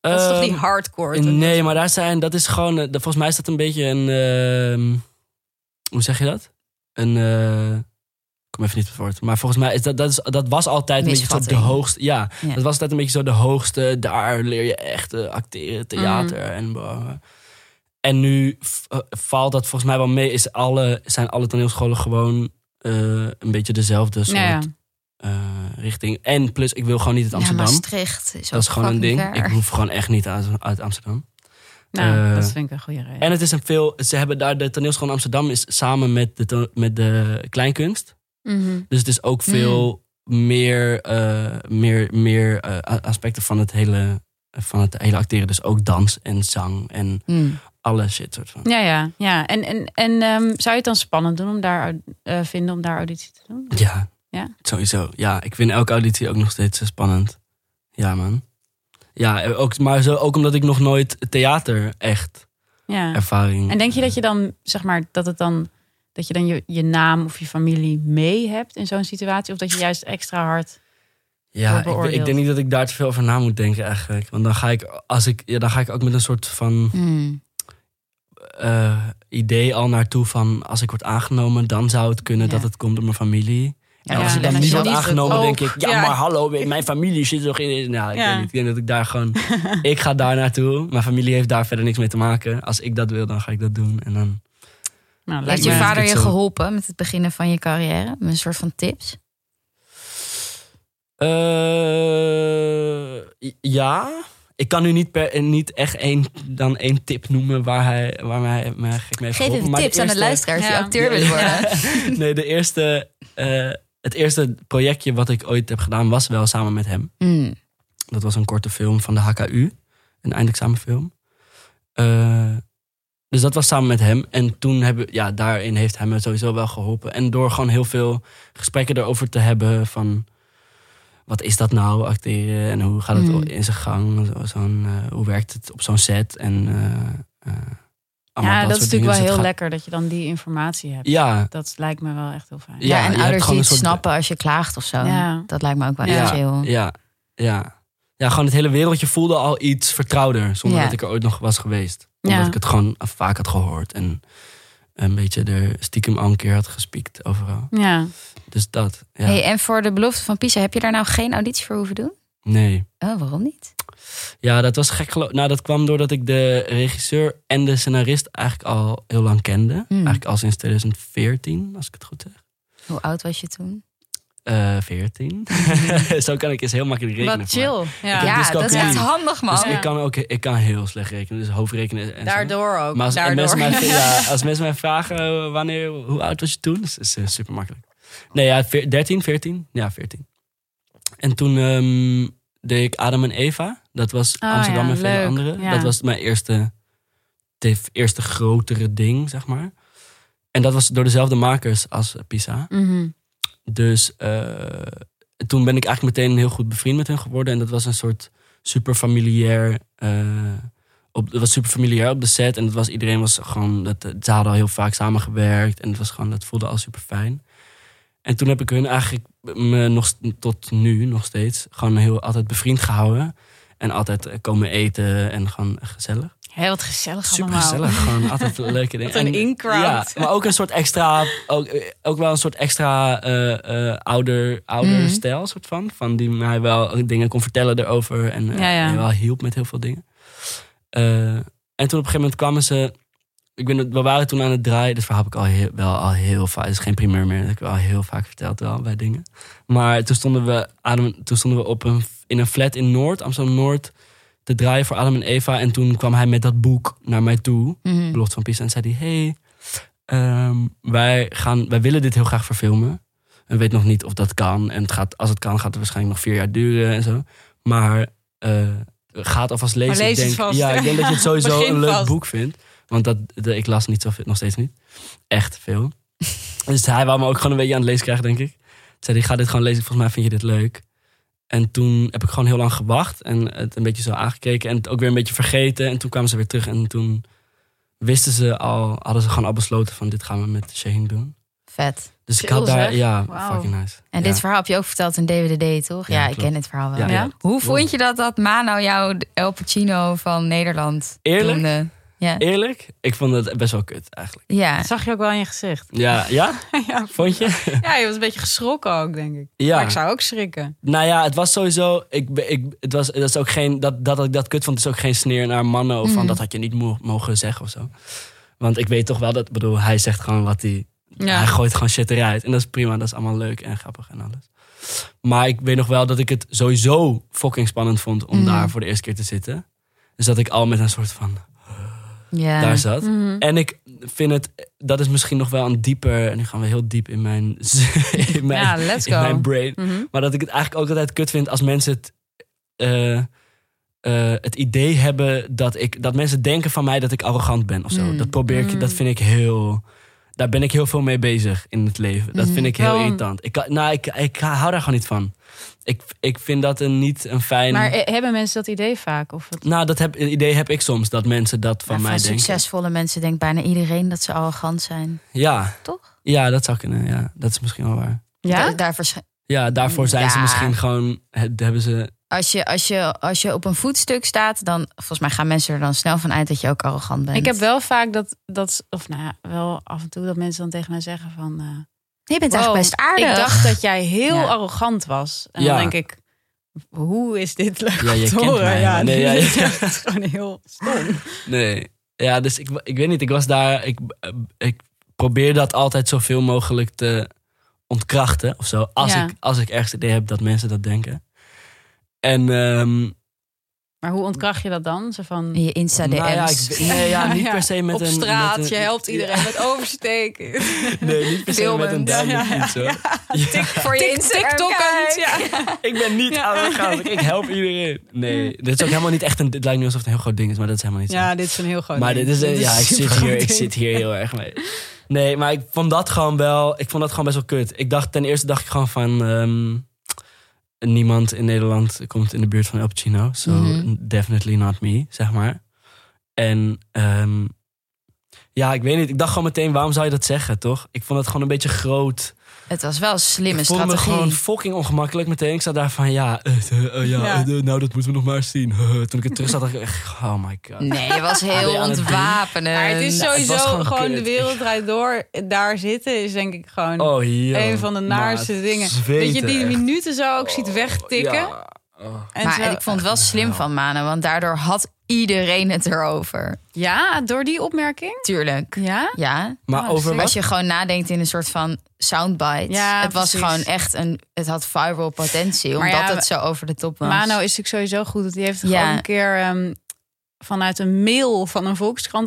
Speaker 3: dat is toch
Speaker 2: Ehm,
Speaker 3: die hardcore?
Speaker 2: Nee, maar daar zijn, dat is gewoon, eh, dat- volgens mij is dat een beetje een, ehm, hoe zeg je dat? Een, eh, ik kom even niet op het woord. Maar volgens mij is dat, dat, is, dat was altijd een beetje zo de
Speaker 1: Misvatting.
Speaker 2: hoogste. Ja,
Speaker 1: Ja.
Speaker 2: dat was altijd een beetje zo de hoogste. Daar leer je echt eh, acteren, theater
Speaker 1: Mhm.
Speaker 2: en bla. En nu v- eh, valt dat volgens mij wel mee. Is alle, zijn alle toneelscholen gewoon eh, een beetje dezelfde soort
Speaker 3: Ja, ja.
Speaker 2: eh, richting. En plus, ik wil gewoon niet uit Amsterdam.
Speaker 1: Ja, Maastricht is,
Speaker 2: dat is
Speaker 1: ook
Speaker 2: gewoon een ding.
Speaker 1: fucking
Speaker 2: Ik
Speaker 1: ver.
Speaker 2: hoef gewoon echt niet uit, uit Amsterdam.
Speaker 3: Nou,
Speaker 2: Eh,
Speaker 3: dat vind ik een goede reden.
Speaker 2: En het is een veel. Ze hebben daar de toneelschool in Amsterdam is samen met de, to- met de kleinkunst.
Speaker 3: Mhm.
Speaker 1: Mm-hmm.
Speaker 2: Dus het is ook veel meer, eh, meer, meer eh, a- aspecten van het, hele, van het hele acteren. Dus ook dans en zang en
Speaker 3: Mm.
Speaker 1: Hmm.
Speaker 2: alle shit soort van.
Speaker 3: Ja, ja, ja. En, en, en ehm, zou je het dan spannend doen om daar, eh, vinden om daar auditie te doen?
Speaker 2: Ja,
Speaker 3: Ja?
Speaker 2: sowieso. Ja, ik vind elke auditie ook nog steeds eh, spannend. Ja, man. Ja, eh, ook, maar zo, ook omdat ik nog nooit theater echt
Speaker 3: Ja.
Speaker 2: ervaring.
Speaker 3: En denk je dat je dan, zeg maar, dat het dan, dat je dan je, je naam of je familie mee hebt in zo'n situatie? Of dat je juist extra hard.
Speaker 2: Ja,
Speaker 3: wordt
Speaker 2: ik, ik
Speaker 3: beoordeeld.
Speaker 2: denk niet dat ik daar te veel over na moet denken eigenlijk. Want dan ga ik, als ik, ja, dan ga ik ook met een soort van
Speaker 1: Hmm.
Speaker 2: eh, idee al naartoe van... als ik word aangenomen, dan zou het kunnen
Speaker 1: Ja.
Speaker 2: dat het komt door mijn familie. En
Speaker 1: Ja,
Speaker 2: als ik
Speaker 1: en
Speaker 2: dan
Speaker 1: als
Speaker 2: niet
Speaker 1: je
Speaker 2: word
Speaker 1: niet
Speaker 2: aangenomen,
Speaker 3: ook-
Speaker 2: denk ik... Ja,
Speaker 3: ja.
Speaker 2: maar hallo, mijn familie zit toch in... Nou, ik,
Speaker 3: Ja.
Speaker 2: weet niet, ik denk dat ik daar gewoon... ik ga daar naartoe. Mijn familie heeft daar verder niks mee te maken. Als ik dat wil, dan ga ik dat doen. En dan...
Speaker 3: Nou,
Speaker 1: Heeft
Speaker 3: lijkt
Speaker 1: je
Speaker 3: me-
Speaker 2: me-
Speaker 1: vader
Speaker 2: Ik
Speaker 1: je
Speaker 2: zo-
Speaker 1: geholpen met het beginnen van je carrière? Met een soort van tips?
Speaker 2: Eh, ja. Ik kan nu niet, per, niet echt één, dan één tip noemen waar hij, waar hij me eigenlijk mee
Speaker 1: Geef
Speaker 2: heeft geholpen.
Speaker 1: even
Speaker 2: Maar de
Speaker 1: tips aan de
Speaker 2: eerste-
Speaker 1: luisteraars die
Speaker 3: Ja.
Speaker 1: acteur willen worden.
Speaker 2: nee, de eerste, eh, het eerste projectje wat ik ooit heb gedaan was wel samen met hem.
Speaker 1: Mm.
Speaker 2: Dat was een korte film van de HKU. Een eindexamenfilm. Eh, dus dat was samen met hem. En toen hebben, ja, daarin heeft hij me sowieso wel geholpen. En door gewoon heel veel gesprekken erover te hebben van... Wat is dat nou, acteren? En hoe gaat het
Speaker 3: Hmm.
Speaker 1: Mm.
Speaker 2: in zijn gang? Zo- zo'n, eh, hoe werkt het op zo'n set? En, eh, eh, allemaal
Speaker 3: Ja, dat, is
Speaker 2: soort dingen.
Speaker 3: natuurlijk wel
Speaker 2: Dus het
Speaker 3: heel
Speaker 2: gaat-
Speaker 3: lekker dat je dan die informatie hebt.
Speaker 2: Ja,
Speaker 3: Dat lijkt me wel echt heel fijn.
Speaker 1: Ja,
Speaker 2: je
Speaker 1: en
Speaker 2: hebt
Speaker 1: ouders
Speaker 2: gewoon
Speaker 1: die
Speaker 2: een
Speaker 1: het
Speaker 2: soort-
Speaker 1: snappen als je klaagt of zo.
Speaker 3: Ja.
Speaker 1: Dat lijkt me ook wel
Speaker 3: Ja.
Speaker 1: echt chill.
Speaker 2: Ja, ja. Ja, gewoon het hele wereldje voelde al iets vertrouwder. Zonder
Speaker 1: Ja.
Speaker 2: dat ik er ooit nog was geweest. Omdat
Speaker 3: Ja.
Speaker 2: ik het gewoon vaak had gehoord. En een beetje er stiekem al een keer had gespiekt overal.
Speaker 3: Ja.
Speaker 2: Dus dat, ja.
Speaker 1: Hey, en voor de belofte van Pisa, heb je daar nou geen auditie voor hoeven doen?
Speaker 2: Nee.
Speaker 1: Oh, waarom niet?
Speaker 2: Ja, dat was gek geloof Nou, dat kwam doordat ik de regisseur en de scenarist eigenlijk al heel lang kende. Eigenlijk al sinds 2014, als ik het goed zeg.
Speaker 1: Hoe oud was je toen?
Speaker 2: Eh 14. Zo kan ik eens heel makkelijk rekenen.
Speaker 3: Wat
Speaker 2: voor mij.
Speaker 3: chill. Ja.
Speaker 2: heb
Speaker 1: ja,
Speaker 2: dyscalculie.
Speaker 1: dat is echt handig, man.
Speaker 2: Dus
Speaker 3: Ja.
Speaker 2: ik kan, ook, ik kan heel slecht rekenen. Dus hoofdrekenen en zo.
Speaker 3: Daardoor ook.
Speaker 2: Maar als, en
Speaker 3: Daardoor.
Speaker 2: Mensen mij, ja, als mensen mij vragen eh, wanneer, hoe oud was je toen, is, is eh, super makkelijk. Nee, ja, veer- 13, 14? Ja, 14. En toen ehm, deed ik Adam en Eva. Dat was
Speaker 3: Ah,
Speaker 2: Amsterdam
Speaker 3: ja,
Speaker 2: en vele
Speaker 3: leuk.
Speaker 2: anderen.
Speaker 3: Ja.
Speaker 2: Dat was mijn eerste, tv eerste grotere ding, zeg maar. En dat was door dezelfde makers als Pisa.
Speaker 3: Mhm.
Speaker 2: Dus eh, toen ben ik eigenlijk meteen heel goed bevriend met hen geworden. En dat was een soort super familiair. eh, op, het was super familiair op de set. En het was, iedereen was gewoon. Dat, eh, ze hadden al heel vaak samengewerkt. En het was gewoon, dat voelde al super fijn. En toen heb ik hun eigenlijk me nog, st- tot nu nog steeds gewoon heel altijd bevriend gehouden. En altijd eh, komen eten en gewoon gezellig.
Speaker 3: Hé, wat gezellig
Speaker 2: Super
Speaker 3: allemaal.
Speaker 2: gezellig, gewoon altijd leuke dingen.
Speaker 3: Wat een
Speaker 2: En-
Speaker 3: in-crowd.
Speaker 2: Ja, maar ook een soort extra, ook, eh, ook wel een soort extra eh, eh, ouder, ouder
Speaker 1: Mhm.
Speaker 2: stijl, soort van. Van die mij wel dingen kon vertellen erover en eh,
Speaker 3: Ja, ja.
Speaker 2: mij wel hielp met heel veel dingen. Eh, en toen op een gegeven moment kwamen ze, ik weet niet, we waren toen aan het draaien, dit verhaal heb ik al heel, wel al heel vaak, het is geen primeur meer, dat heb ik al heel vaak verteld wel bij dingen. Maar toen stonden we, Adam, toen stonden we op een, in een flat in Noord, Amsterdam-Noord, te draaien voor Adam en Eva. En toen kwam hij met dat boek naar mij toe,
Speaker 1: Mhm.
Speaker 2: Belofte van Pisa, en zei hij... Hey, ehm, wij, gaan, wij willen dit heel graag verfilmen. We weten nog niet of dat kan. En het gaat, als het kan, gaat het waarschijnlijk nog vier jaar duren en zo. Maar eh gaat alvast lezen.
Speaker 3: Maar lees
Speaker 2: ik denk,
Speaker 3: het vast.
Speaker 2: Ja, ik denk dat je het sowieso
Speaker 3: Begin
Speaker 2: een leuk
Speaker 3: vast.
Speaker 2: boek vindt. Want dat, de- ik las niet zoveel, nog steeds niet. Echt veel. dus hij wou me ook gewoon een beetje aan het lezen krijgen, denk ik. Toen zei hij, ga dit gewoon lezen. Volgens mij vind je dit leuk. En toen heb ik gewoon heel lang gewacht. En het een beetje zo aangekeken. En het ook weer een beetje vergeten. En toen kwamen ze weer terug. En toen wisten ze al, hadden ze gewoon al besloten van dit gaan we met Shane doen.
Speaker 1: Vet.
Speaker 2: Dus ik
Speaker 3: Chill,
Speaker 2: had daar,
Speaker 3: zeg.
Speaker 2: ja,
Speaker 3: Wauw.
Speaker 2: fucking nice.
Speaker 1: En
Speaker 2: Ja.
Speaker 1: dit verhaal heb je ook verteld in DWDD, toch? Ja,
Speaker 2: Ja,
Speaker 1: ik
Speaker 2: klopt.
Speaker 1: ken dit verhaal wel.
Speaker 2: Ja,
Speaker 3: Ja?
Speaker 2: ja.
Speaker 1: Hoe vond je dat dat Mano jou de El Pacino van Nederland
Speaker 2: Eerlijk?
Speaker 1: noemde? Ja.
Speaker 2: Eerlijk, ik vond het best wel kut eigenlijk.
Speaker 1: ja.
Speaker 3: Dat zag je ook wel in je gezicht.
Speaker 2: Ja, ja?
Speaker 3: ja.
Speaker 2: Vond je?
Speaker 3: ja, je was een beetje geschrokken ook, denk ik.
Speaker 2: Ja.
Speaker 3: Maar ik zou ook schrikken.
Speaker 2: Nou ja, het was sowieso. Ik, be- ik, het was, dat is ook geen. Dat, dat ik dat kut vond, is ook geen sneer naar mannen. Of van
Speaker 1: Mhm.
Speaker 2: dat had je niet mo- mogen zeggen of zo. Want ik weet toch wel dat. bedoel, hij zegt gewoon wat hij. Hij gooit gewoon shit eruit. En dat is prima. Dat is allemaal leuk en grappig en alles. Maar ik weet nog wel dat ik het sowieso fucking spannend vond om
Speaker 1: Mhm.
Speaker 2: daar voor de eerste keer te zitten. Dus dat ik al met een soort van.
Speaker 1: ja.
Speaker 2: daar zat.
Speaker 3: Mhm.
Speaker 2: En ik vind het, dat is misschien nog wel een dieper. En nu gaan we heel diep in mijn, in mijn,
Speaker 3: Ja, let's
Speaker 2: in mijn
Speaker 3: go.
Speaker 2: brain.
Speaker 3: Mhm.
Speaker 2: Maar dat ik het eigenlijk ook altijd kut vind als mensen het, eh, eh, het idee hebben dat, ik, dat mensen denken van mij dat ik arrogant ben of zo.
Speaker 1: Mm.
Speaker 2: Dat probeer ik,
Speaker 3: Mm.
Speaker 2: dat vind ik heel. Daar ben ik heel veel mee bezig in het leven. Dat
Speaker 1: Mhm.
Speaker 2: vind ik heel
Speaker 3: Wel-
Speaker 2: irritant. Ik, kan- nou, ik, ik hou daar gewoon niet van. Ik, ik vind dat een, niet een fijn.
Speaker 3: Maar eh, hebben mensen dat idee vaak? Of het...
Speaker 2: nou, dat heb, idee heb ik soms dat mensen dat van
Speaker 1: Ja,
Speaker 2: mij denken.
Speaker 1: succesvolle mensen denkt bijna iedereen dat ze arrogant zijn.
Speaker 2: Ja.
Speaker 1: Toch?
Speaker 2: Ja, dat zou kunnen. Ja, dat is misschien wel waar.
Speaker 1: Daar, daar versch-
Speaker 2: Ja, daarvoor zijn
Speaker 1: Hmm,
Speaker 2: ze
Speaker 1: Ja.
Speaker 2: misschien gewoon. het- Hebben ze.
Speaker 1: als, je, als, je, als je op een voetstuk staat, dan volgens mij gaan mensen er dan snel van uit dat je ook arrogant bent.
Speaker 3: Ik heb wel vaak dat, dat, of nou ja, wel af en toe dat mensen dan tegen mij zeggen van... eh,
Speaker 1: je bent
Speaker 3: Wow,
Speaker 1: eigenlijk best aardig.
Speaker 3: Ik dacht dat jij heel
Speaker 1: Ja.
Speaker 3: arrogant was. En
Speaker 2: Ja.
Speaker 3: dan denk ik, hoe is dit leuk
Speaker 2: Ja,
Speaker 3: om
Speaker 2: je
Speaker 3: te
Speaker 2: kent
Speaker 3: horen?
Speaker 2: mij,
Speaker 3: ja,
Speaker 2: maar nee, ja, ja.
Speaker 3: Het is gewoon heel stom.
Speaker 2: Nee. Ja, dus ik, ik weet niet. Ik was daar. Ik, ik probeer dat altijd zoveel mogelijk te ontkrachten of zo. Als,
Speaker 3: Ja.
Speaker 2: ik, als ik ergens het idee heb dat mensen dat denken. En ehm,
Speaker 3: Maar hoe ontkracht je dat dan? Zo van,
Speaker 1: In je Insta-DM's.
Speaker 2: nou ja, ik, nee, ja, niet per se met
Speaker 1: Op
Speaker 2: een...
Speaker 1: straat,
Speaker 2: met een-
Speaker 1: je helpt iedereen met oversteken.
Speaker 2: Nee, niet per se
Speaker 1: Filmen.
Speaker 2: met een duim
Speaker 3: Ja,
Speaker 2: of
Speaker 3: ja,
Speaker 2: iets hoor.
Speaker 1: Voor je Instagram kijk.
Speaker 2: Ik ben niet aan het gaan, ik help iedereen. Nee, dit is ook helemaal niet echt een... Het lijkt nu alsof het een heel groot ding is, maar dat is helemaal niet zo.
Speaker 3: Ja, dit is een heel
Speaker 1: Oh,
Speaker 3: groot
Speaker 2: maar
Speaker 3: ding.
Speaker 2: dit is, eh, ja, ik, zit
Speaker 3: supergroot
Speaker 2: hier, ik
Speaker 3: ding.
Speaker 2: zit hier heel erg mee. Nee, maar ik vond dat gewoon wel. Ik vond dat gewoon best wel kut. Ik dacht, ten eerste dacht ik gewoon van. ehm, niemand in Nederland komt in de buurt van El Pacino. So
Speaker 1: Mhm.
Speaker 2: definitely not me, zeg maar. En ehm, ja, ik weet niet. Ik dacht gewoon meteen, waarom zou je dat zeggen, toch? Ik vond dat gewoon een beetje groot.
Speaker 1: Het was wel een slimme
Speaker 2: ik voelde me
Speaker 1: strategie.
Speaker 2: gewoon fucking ongemakkelijk meteen. Ik zat daar van, ja, eh, eh, eh, ja,
Speaker 3: Ja.
Speaker 2: eh, eh, nou, dat moeten we nog maar eens zien. Toen ik het terug zat, dacht ik echt, oh my god.
Speaker 1: Nee, je was heel
Speaker 2: Ja, dat doe ik.
Speaker 1: ontwapenend.
Speaker 3: Maar het is
Speaker 2: Nou, het
Speaker 3: sowieso
Speaker 2: was gewoon
Speaker 3: gewoon,
Speaker 2: kut.
Speaker 3: de wereld draait door. Daar zitten is denk ik gewoon
Speaker 2: Oh, joh.
Speaker 3: een van de naarste
Speaker 2: Maat,
Speaker 3: dingen.
Speaker 2: zweet
Speaker 3: Dat je die
Speaker 2: echt.
Speaker 3: minuten zo ook ziet
Speaker 2: Oh,
Speaker 3: wegtikken.
Speaker 2: ja. Oh.
Speaker 3: En
Speaker 1: maar
Speaker 3: terwijl-
Speaker 1: ik vond het wel
Speaker 2: Nou.
Speaker 1: slim van Manen, want daardoor had iedereen het erover.
Speaker 3: Ja, door die opmerking?
Speaker 1: Tuurlijk.
Speaker 3: Ja?
Speaker 1: Ja.
Speaker 2: Maar
Speaker 3: Oh,
Speaker 2: over
Speaker 3: zeker.
Speaker 2: wat?
Speaker 1: Als je gewoon nadenkt in een soort van soundbite.
Speaker 3: Ja,
Speaker 1: het was
Speaker 3: precies.
Speaker 1: gewoon echt een. Het had viral potentie,
Speaker 3: Maar
Speaker 1: omdat
Speaker 3: ja,
Speaker 1: het zo over de top was.
Speaker 3: Mano nou is natuurlijk sowieso goed. want Die heeft
Speaker 1: Ja.
Speaker 3: gewoon een keer ehm, vanuit een mail van een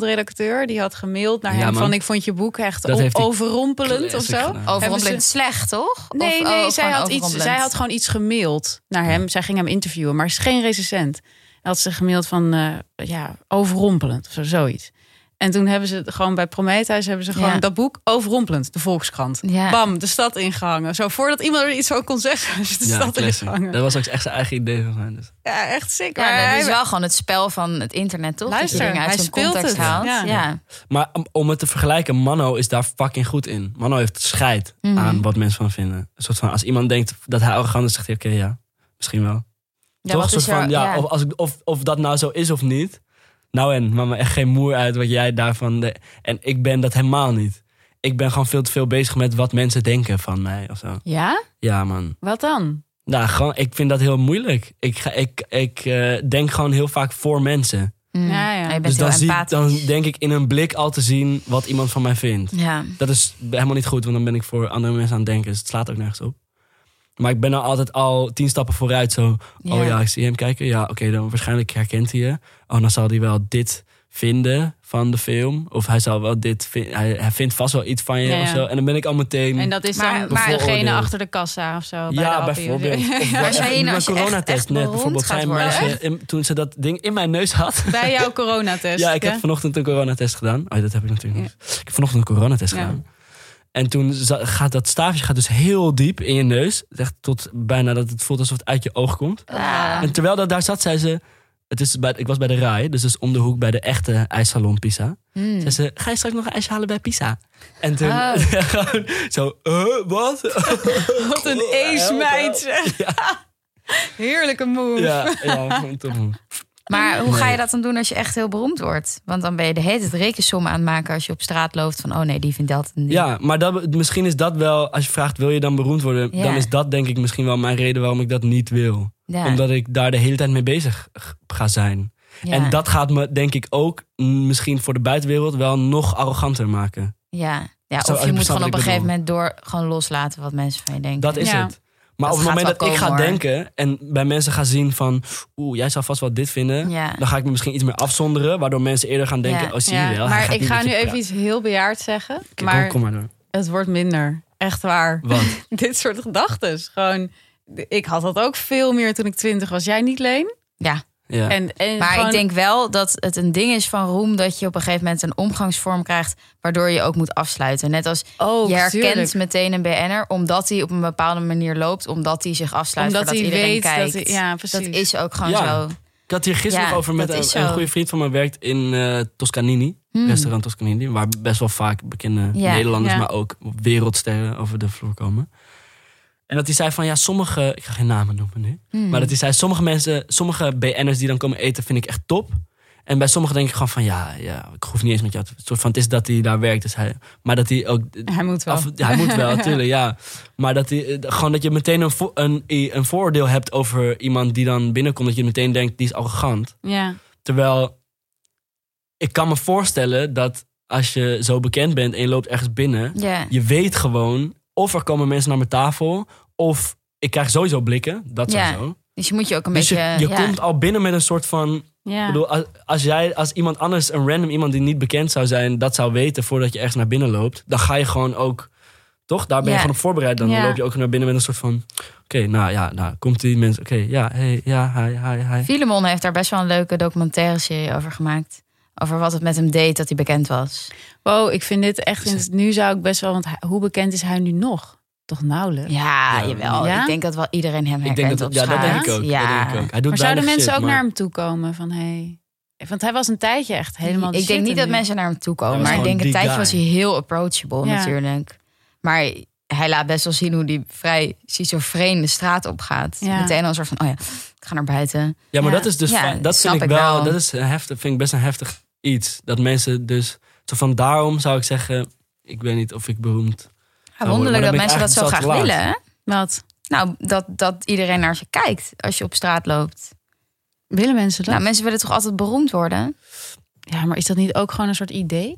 Speaker 3: Volkskrant-redacteur... die had gemaild naar
Speaker 2: Ja,
Speaker 3: hem
Speaker 2: man.
Speaker 3: van... ik vond je boek echt
Speaker 2: Dat
Speaker 3: o-
Speaker 2: heeft hij
Speaker 3: overrompelend of
Speaker 2: classic
Speaker 3: zo.
Speaker 2: gedaan.
Speaker 3: Hebben
Speaker 1: Overrompelend
Speaker 3: ze-
Speaker 1: slecht, toch? Of-
Speaker 3: Nee,
Speaker 1: oh,
Speaker 3: nee, zij,
Speaker 1: gewoon
Speaker 3: had iets,
Speaker 1: overrompelend.
Speaker 3: zij had gewoon iets gemaild naar hem. Zij ging hem interviewen, maar is geen recensent. En had ze gemaild van, eh, ja, overrompelend of zo, zoiets. En toen hebben ze het gewoon bij Prometheus hebben ze gewoon
Speaker 1: Ja.
Speaker 3: dat boek overrompelend, de Volkskrant.
Speaker 1: Ja.
Speaker 3: Bam, de stad ingehangen. Zo voordat iemand er iets van kon zeggen, is de
Speaker 2: Ja,
Speaker 3: stad
Speaker 2: classic.
Speaker 3: ingehangen.
Speaker 2: Dat was ook echt zijn eigen idee van zijn. Dus.
Speaker 3: Ja, echt sick.
Speaker 1: Ja,
Speaker 3: Maar
Speaker 1: dat
Speaker 3: hij-
Speaker 1: is wel gewoon het spel van het internet, toch? dat
Speaker 3: Luister,
Speaker 1: je dingen uit
Speaker 3: hij
Speaker 1: zijn
Speaker 3: speelt
Speaker 1: context
Speaker 3: het.
Speaker 1: haalt.
Speaker 3: Ja.
Speaker 1: Ja.
Speaker 2: Maar om- om het te vergelijken, Manno is daar fucking goed in. Manno heeft scheid
Speaker 1: Mhm.
Speaker 2: aan wat mensen van hem vinden. Een soort van, als iemand denkt dat hij arrogant is, zegt hij, oké, ja, misschien wel.
Speaker 1: Ja,
Speaker 2: Toch?
Speaker 1: wat
Speaker 2: Een soort
Speaker 1: is er-
Speaker 2: van, ja, oh,
Speaker 1: ja.
Speaker 2: Of, als ik, of, of dat nou zo is of niet. Nou en, maakt me echt geen moer uit wat jij daarvan... de- en ik ben dat helemaal niet. Ik ben gewoon veel te veel bezig met wat mensen denken van mij of zo.
Speaker 3: ja?
Speaker 2: Ja, man.
Speaker 3: Wat dan?
Speaker 2: Nou, gewoon, ik vind dat heel moeilijk. Ik, ga, ik, ik eh, denk gewoon heel vaak voor mensen.
Speaker 1: Mm.
Speaker 3: Ja, ja.
Speaker 1: Je bent
Speaker 2: Dus dan,
Speaker 1: heel
Speaker 2: zie, ik-
Speaker 1: empathisch.
Speaker 2: dan denk ik in een blik al te zien wat iemand van mij vindt.
Speaker 1: Ja.
Speaker 2: Dat is helemaal niet goed, want dan ben ik voor andere mensen aan het denken. Dus het slaat ook nergens op. Maar ik ben nou altijd al tien stappen vooruit. Zo,
Speaker 1: Ja.
Speaker 2: oh ja, ik zie hem kijken. Ja, oké, dan waarschijnlijk herkent hij je. Oh, dan zal hij wel dit vinden van de film. Of hij zal wel dit vin- hij, hij vindt vast wel iets van je
Speaker 3: Ja,
Speaker 2: of
Speaker 3: ja.
Speaker 2: zo. En dan ben ik al meteen...
Speaker 3: En dat is
Speaker 1: Maar-
Speaker 3: dan
Speaker 1: maar-
Speaker 3: degene
Speaker 2: Bevooroordeeld.
Speaker 3: achter de kassa of zo. bij de
Speaker 2: ja,
Speaker 3: appie of zo.
Speaker 2: bijvoorbeeld. Of bij-
Speaker 1: als jij-
Speaker 2: bij
Speaker 1: als je
Speaker 2: mijn
Speaker 1: echt-
Speaker 2: coronatest
Speaker 1: echt
Speaker 2: net
Speaker 1: beroemd
Speaker 2: bijvoorbeeld.
Speaker 1: gaat
Speaker 2: Zijn
Speaker 1: worden.
Speaker 2: meisje, in- toen ze dat ding in mijn neus had.
Speaker 3: Bij jouw coronatest.
Speaker 2: Ja, ik
Speaker 3: hè?
Speaker 2: heb vanochtend een coronatest gedaan. Oh, dat heb ik natuurlijk niet. Ik heb vanochtend een coronatest
Speaker 3: Ja.
Speaker 2: gedaan. En toen za- gaat dat staafje gaat dus heel diep in je neus. Het is Echt tot bijna dat het voelt alsof het uit je oog komt.
Speaker 1: Ja.
Speaker 2: En terwijl dat daar zat, zei ze... Het is bij, ik was bij de RAI, dus dat is om de hoek bij de echte ijssalon Pisa.
Speaker 1: Mm.
Speaker 2: Zei ze, ga je straks nog een ijsje halen bij Pisa? En toen
Speaker 1: Oh.
Speaker 2: gewoon zo, eh, wat?
Speaker 3: Wat een ace meid. zeg. Heerlijke move.
Speaker 2: eh, ja, ja, gewoon tof.
Speaker 1: Maar hoe ga
Speaker 2: Nee.
Speaker 1: je dat dan doen als je echt heel beroemd wordt? Want dan ben je de hele tijd rekensommen aan het maken als je op straat loopt van oh nee, die vindt dat en die.
Speaker 2: Ja, maar dat, misschien is dat wel, als je vraagt, wil je dan beroemd worden?
Speaker 1: Ja.
Speaker 2: Dan is dat denk ik misschien wel mijn reden waarom ik dat niet wil.
Speaker 1: Ja.
Speaker 2: Omdat ik daar de hele tijd mee bezig g- ga zijn.
Speaker 1: Ja.
Speaker 2: En dat gaat me, denk ik, ook mm, misschien voor de buitenwereld wel nog arroganter maken.
Speaker 1: Ja. Ja,
Speaker 2: Zo,
Speaker 1: of
Speaker 2: ik
Speaker 1: je moet
Speaker 2: bestel
Speaker 1: gewoon
Speaker 2: wat
Speaker 1: op
Speaker 2: ik
Speaker 1: een gegeven
Speaker 2: bedoel.
Speaker 1: moment door gewoon loslaten wat mensen van je denken.
Speaker 2: Dat is
Speaker 3: Ja.
Speaker 2: het. Maar
Speaker 1: Dat
Speaker 2: op het
Speaker 1: gaat
Speaker 2: moment dat
Speaker 1: wel
Speaker 2: ik ga
Speaker 1: komen, hoor.
Speaker 2: denken en bij mensen ga zien van, oeh, jij zou vast wel dit vinden.
Speaker 1: Ja.
Speaker 2: Dan ga ik me misschien iets meer afzonderen, waardoor mensen eerder gaan denken,
Speaker 1: Ja.
Speaker 2: oh zie
Speaker 3: Ja,
Speaker 2: je wel. hij
Speaker 3: maar
Speaker 2: gaat
Speaker 3: ik ga
Speaker 2: met
Speaker 3: nu
Speaker 2: je
Speaker 3: even
Speaker 2: praten.
Speaker 3: iets heel bejaard zeggen.
Speaker 2: Oké, kom-
Speaker 3: maar
Speaker 2: kom maar door.
Speaker 3: het wordt minder. Echt waar.
Speaker 2: Wat?
Speaker 3: Dit soort gedachten. Gewoon, ik had dat ook veel meer toen ik twintig was. Jij niet, Leen?
Speaker 1: Ja.
Speaker 2: Ja.
Speaker 3: En, en
Speaker 1: Maar
Speaker 3: gewoon-
Speaker 1: ik denk wel dat het een ding is van roem dat je op een gegeven moment een omgangsvorm krijgt waardoor je ook moet afsluiten. Net als
Speaker 3: Ook,
Speaker 1: je herkent
Speaker 3: Oh, tuurlijk.
Speaker 1: meteen een BN'er omdat hij op een bepaalde manier loopt, omdat hij zich afsluit,
Speaker 3: Omdat
Speaker 1: voordat
Speaker 3: hij
Speaker 1: iedereen
Speaker 3: weet dat
Speaker 1: kijkt.
Speaker 3: hij- ja, precies.
Speaker 1: Dat is ook gewoon
Speaker 2: Ja.
Speaker 1: zo.
Speaker 2: Ik had hier gisteren
Speaker 1: Ja,
Speaker 2: nog over met
Speaker 1: dat is
Speaker 2: een, een
Speaker 1: zo.
Speaker 2: goede vriend van mij werkt in eh Toscanini.
Speaker 1: Hmm.
Speaker 2: Restaurant Toscanini. Waar best wel vaak bekende
Speaker 1: Ja,
Speaker 2: Nederlanders,
Speaker 3: ja.
Speaker 2: maar ook wereldsterren over de vloer komen. En dat hij zei van ja, sommige. Ik ga geen namen noemen nu.
Speaker 1: Hmm.
Speaker 2: Maar dat hij zei, sommige mensen, sommige BN'ers die dan komen eten, vind ik echt top. En bij sommigen denk ik gewoon van ja, ja ik hoef niet eens met jou te. Het soort van het is dat hij daar werkt. Dus hij, maar dat hij ook.
Speaker 3: Hij moet wel.
Speaker 2: Af, ja, hij moet wel, tuurlijk, ja. Maar dat hij, eh, gewoon dat je meteen een, vo- een, een vooroordeel hebt over iemand die dan binnenkomt. Dat je meteen denkt, die is arrogant.
Speaker 3: Ja.
Speaker 2: Terwijl ik kan me voorstellen dat als je zo bekend bent en je loopt ergens binnen,
Speaker 1: Ja.
Speaker 2: je weet gewoon Of er komen mensen naar mijn tafel. Of ik krijg sowieso blikken. Dat
Speaker 1: Ja,
Speaker 2: sowieso.
Speaker 1: Dus je moet je ook een
Speaker 2: Dus je,
Speaker 1: beetje...
Speaker 2: je
Speaker 1: ja.
Speaker 2: komt al binnen met een soort van...
Speaker 3: Ja.
Speaker 2: Ik bedoel, als, als jij, als iemand anders, een random iemand die niet bekend zou zijn, dat zou weten voordat je ergens naar binnen loopt, dan ga je gewoon ook, toch? Daar ben
Speaker 1: Ja.
Speaker 2: je gewoon op voorbereid. Dan
Speaker 3: Ja.
Speaker 2: loop je ook naar binnen met een soort van, oké, nou ja, nou komt die mensen, oké, ja, hey, ja, hi, hi, hi.
Speaker 1: Filemon heeft daar best wel een leuke documentaire serie over gemaakt. Over wat het met hem deed dat hij bekend was.
Speaker 3: Wow, ik vind dit echt. ins- Nu zou ik best wel. Want hij- hoe bekend is hij nu nog? Toch nauwelijks.
Speaker 1: Ja,
Speaker 2: Ja.
Speaker 1: jawel.
Speaker 3: Ja?
Speaker 1: Ik denk dat wel iedereen hem
Speaker 2: Ik
Speaker 1: herkent
Speaker 2: denk dat,
Speaker 1: op
Speaker 2: ja, dat denk
Speaker 1: straat.
Speaker 2: ik ook.
Speaker 1: Ja.
Speaker 2: Dat denk ik ook. Hij doet
Speaker 3: Maar
Speaker 2: weinig
Speaker 3: zouden mensen
Speaker 2: shit,
Speaker 3: ook
Speaker 2: maar-
Speaker 3: naar hem toe komen van hey. Want hij was een tijdje echt helemaal. de
Speaker 1: ik denk
Speaker 3: shit
Speaker 1: niet
Speaker 3: en
Speaker 1: dat
Speaker 3: nu-
Speaker 1: mensen naar hem toe komen.
Speaker 2: Hij was
Speaker 1: maar ik
Speaker 2: gewoon
Speaker 1: denk een
Speaker 2: die
Speaker 1: tijdje
Speaker 2: guy.
Speaker 1: was hij heel approachable
Speaker 3: Ja.
Speaker 1: natuurlijk. Maar hij laat best wel zien hoe hij vrij schizofreen de straat op gaat.
Speaker 3: Ja.
Speaker 1: Meteen al een soort van, oh ja, ik ga naar buiten.
Speaker 2: Ja, maar
Speaker 3: Ja.
Speaker 2: dat is dus
Speaker 1: Ja,
Speaker 2: fijn. dat
Speaker 1: snap
Speaker 2: vind ik
Speaker 1: ik
Speaker 2: wel,
Speaker 1: wel.
Speaker 2: Dat is een heftig, vind ik best een heftig iets. Dat mensen dus, zo van daarom zou ik zeggen, ik weet niet of ik beroemd.
Speaker 1: Ja,
Speaker 2: Oh, maar dan
Speaker 1: wonderlijk
Speaker 2: ben
Speaker 1: dat
Speaker 2: ik
Speaker 1: mensen dat zo
Speaker 2: eigenlijk
Speaker 1: graag
Speaker 2: zo te laat.
Speaker 1: willen. hè?
Speaker 3: Wat
Speaker 1: Nou, dat, dat iedereen naar je kijkt als je op straat loopt.
Speaker 3: willen mensen dat?
Speaker 1: Nou, mensen willen toch altijd beroemd worden?
Speaker 3: ja, maar is dat niet ook gewoon een soort idee?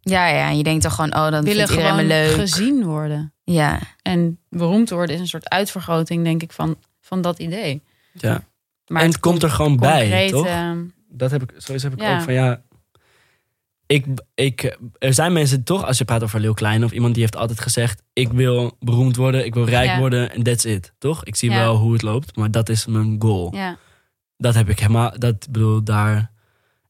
Speaker 1: Ja, ja. En je denkt toch gewoon, oh, dan
Speaker 3: willen
Speaker 1: vindt iedereen me
Speaker 3: gewoon
Speaker 1: leuk.
Speaker 3: gezien worden
Speaker 1: Ja.
Speaker 3: en beroemd worden is een soort uitvergroting, denk ik, van van dat idee.
Speaker 2: Ja.
Speaker 3: Maar
Speaker 2: en het komt er gewoon bij,
Speaker 3: concreet,
Speaker 2: toch?
Speaker 3: ehm,
Speaker 2: dat heb ik, sowieso heb ik
Speaker 3: Ja.
Speaker 2: ook van ja. Ik, ik, er zijn mensen toch, als je praat over Leeuw Klein of iemand die heeft altijd gezegd: Ik wil beroemd worden, ik wil rijk
Speaker 3: Ja.
Speaker 2: worden en that's it. Toch? Ik zie
Speaker 3: Ja.
Speaker 2: wel hoe het loopt, maar dat is mijn goal.
Speaker 3: ja.
Speaker 2: Dat heb ik helemaal, dat bedoel daar.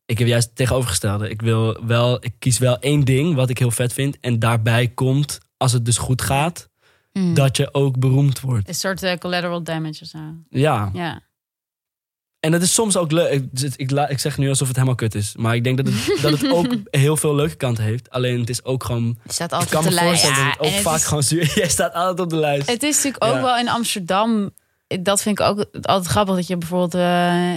Speaker 2: Ik heb juist het tegenovergestelde. Ik wil wel, ik kies wel één ding wat ik heel vet vind en daarbij komt, als het dus goed gaat,
Speaker 1: Mm.
Speaker 2: dat je ook beroemd wordt.
Speaker 3: Een soort eh, collateral damage of zo.
Speaker 2: Ja.
Speaker 3: Ja.
Speaker 2: En dat is soms ook leuk. Ik, ik, la- ik zeg nu alsof het helemaal kut is. Maar ik denk dat het, dat het ook heel veel leuke kanten heeft. Alleen het is ook gewoon
Speaker 1: Je staat
Speaker 2: Ik
Speaker 1: altijd
Speaker 2: kan
Speaker 1: op de
Speaker 2: me
Speaker 1: lijst.
Speaker 2: voorstellen
Speaker 1: Ja,
Speaker 2: dat het ook
Speaker 1: en het
Speaker 2: vaak
Speaker 1: is-
Speaker 2: gewoon zuur Jij staat altijd op de lijst.
Speaker 3: Het is natuurlijk ook
Speaker 2: Ja.
Speaker 3: wel in Amsterdam. Dat vind ik ook altijd grappig. Dat je bijvoorbeeld. eh,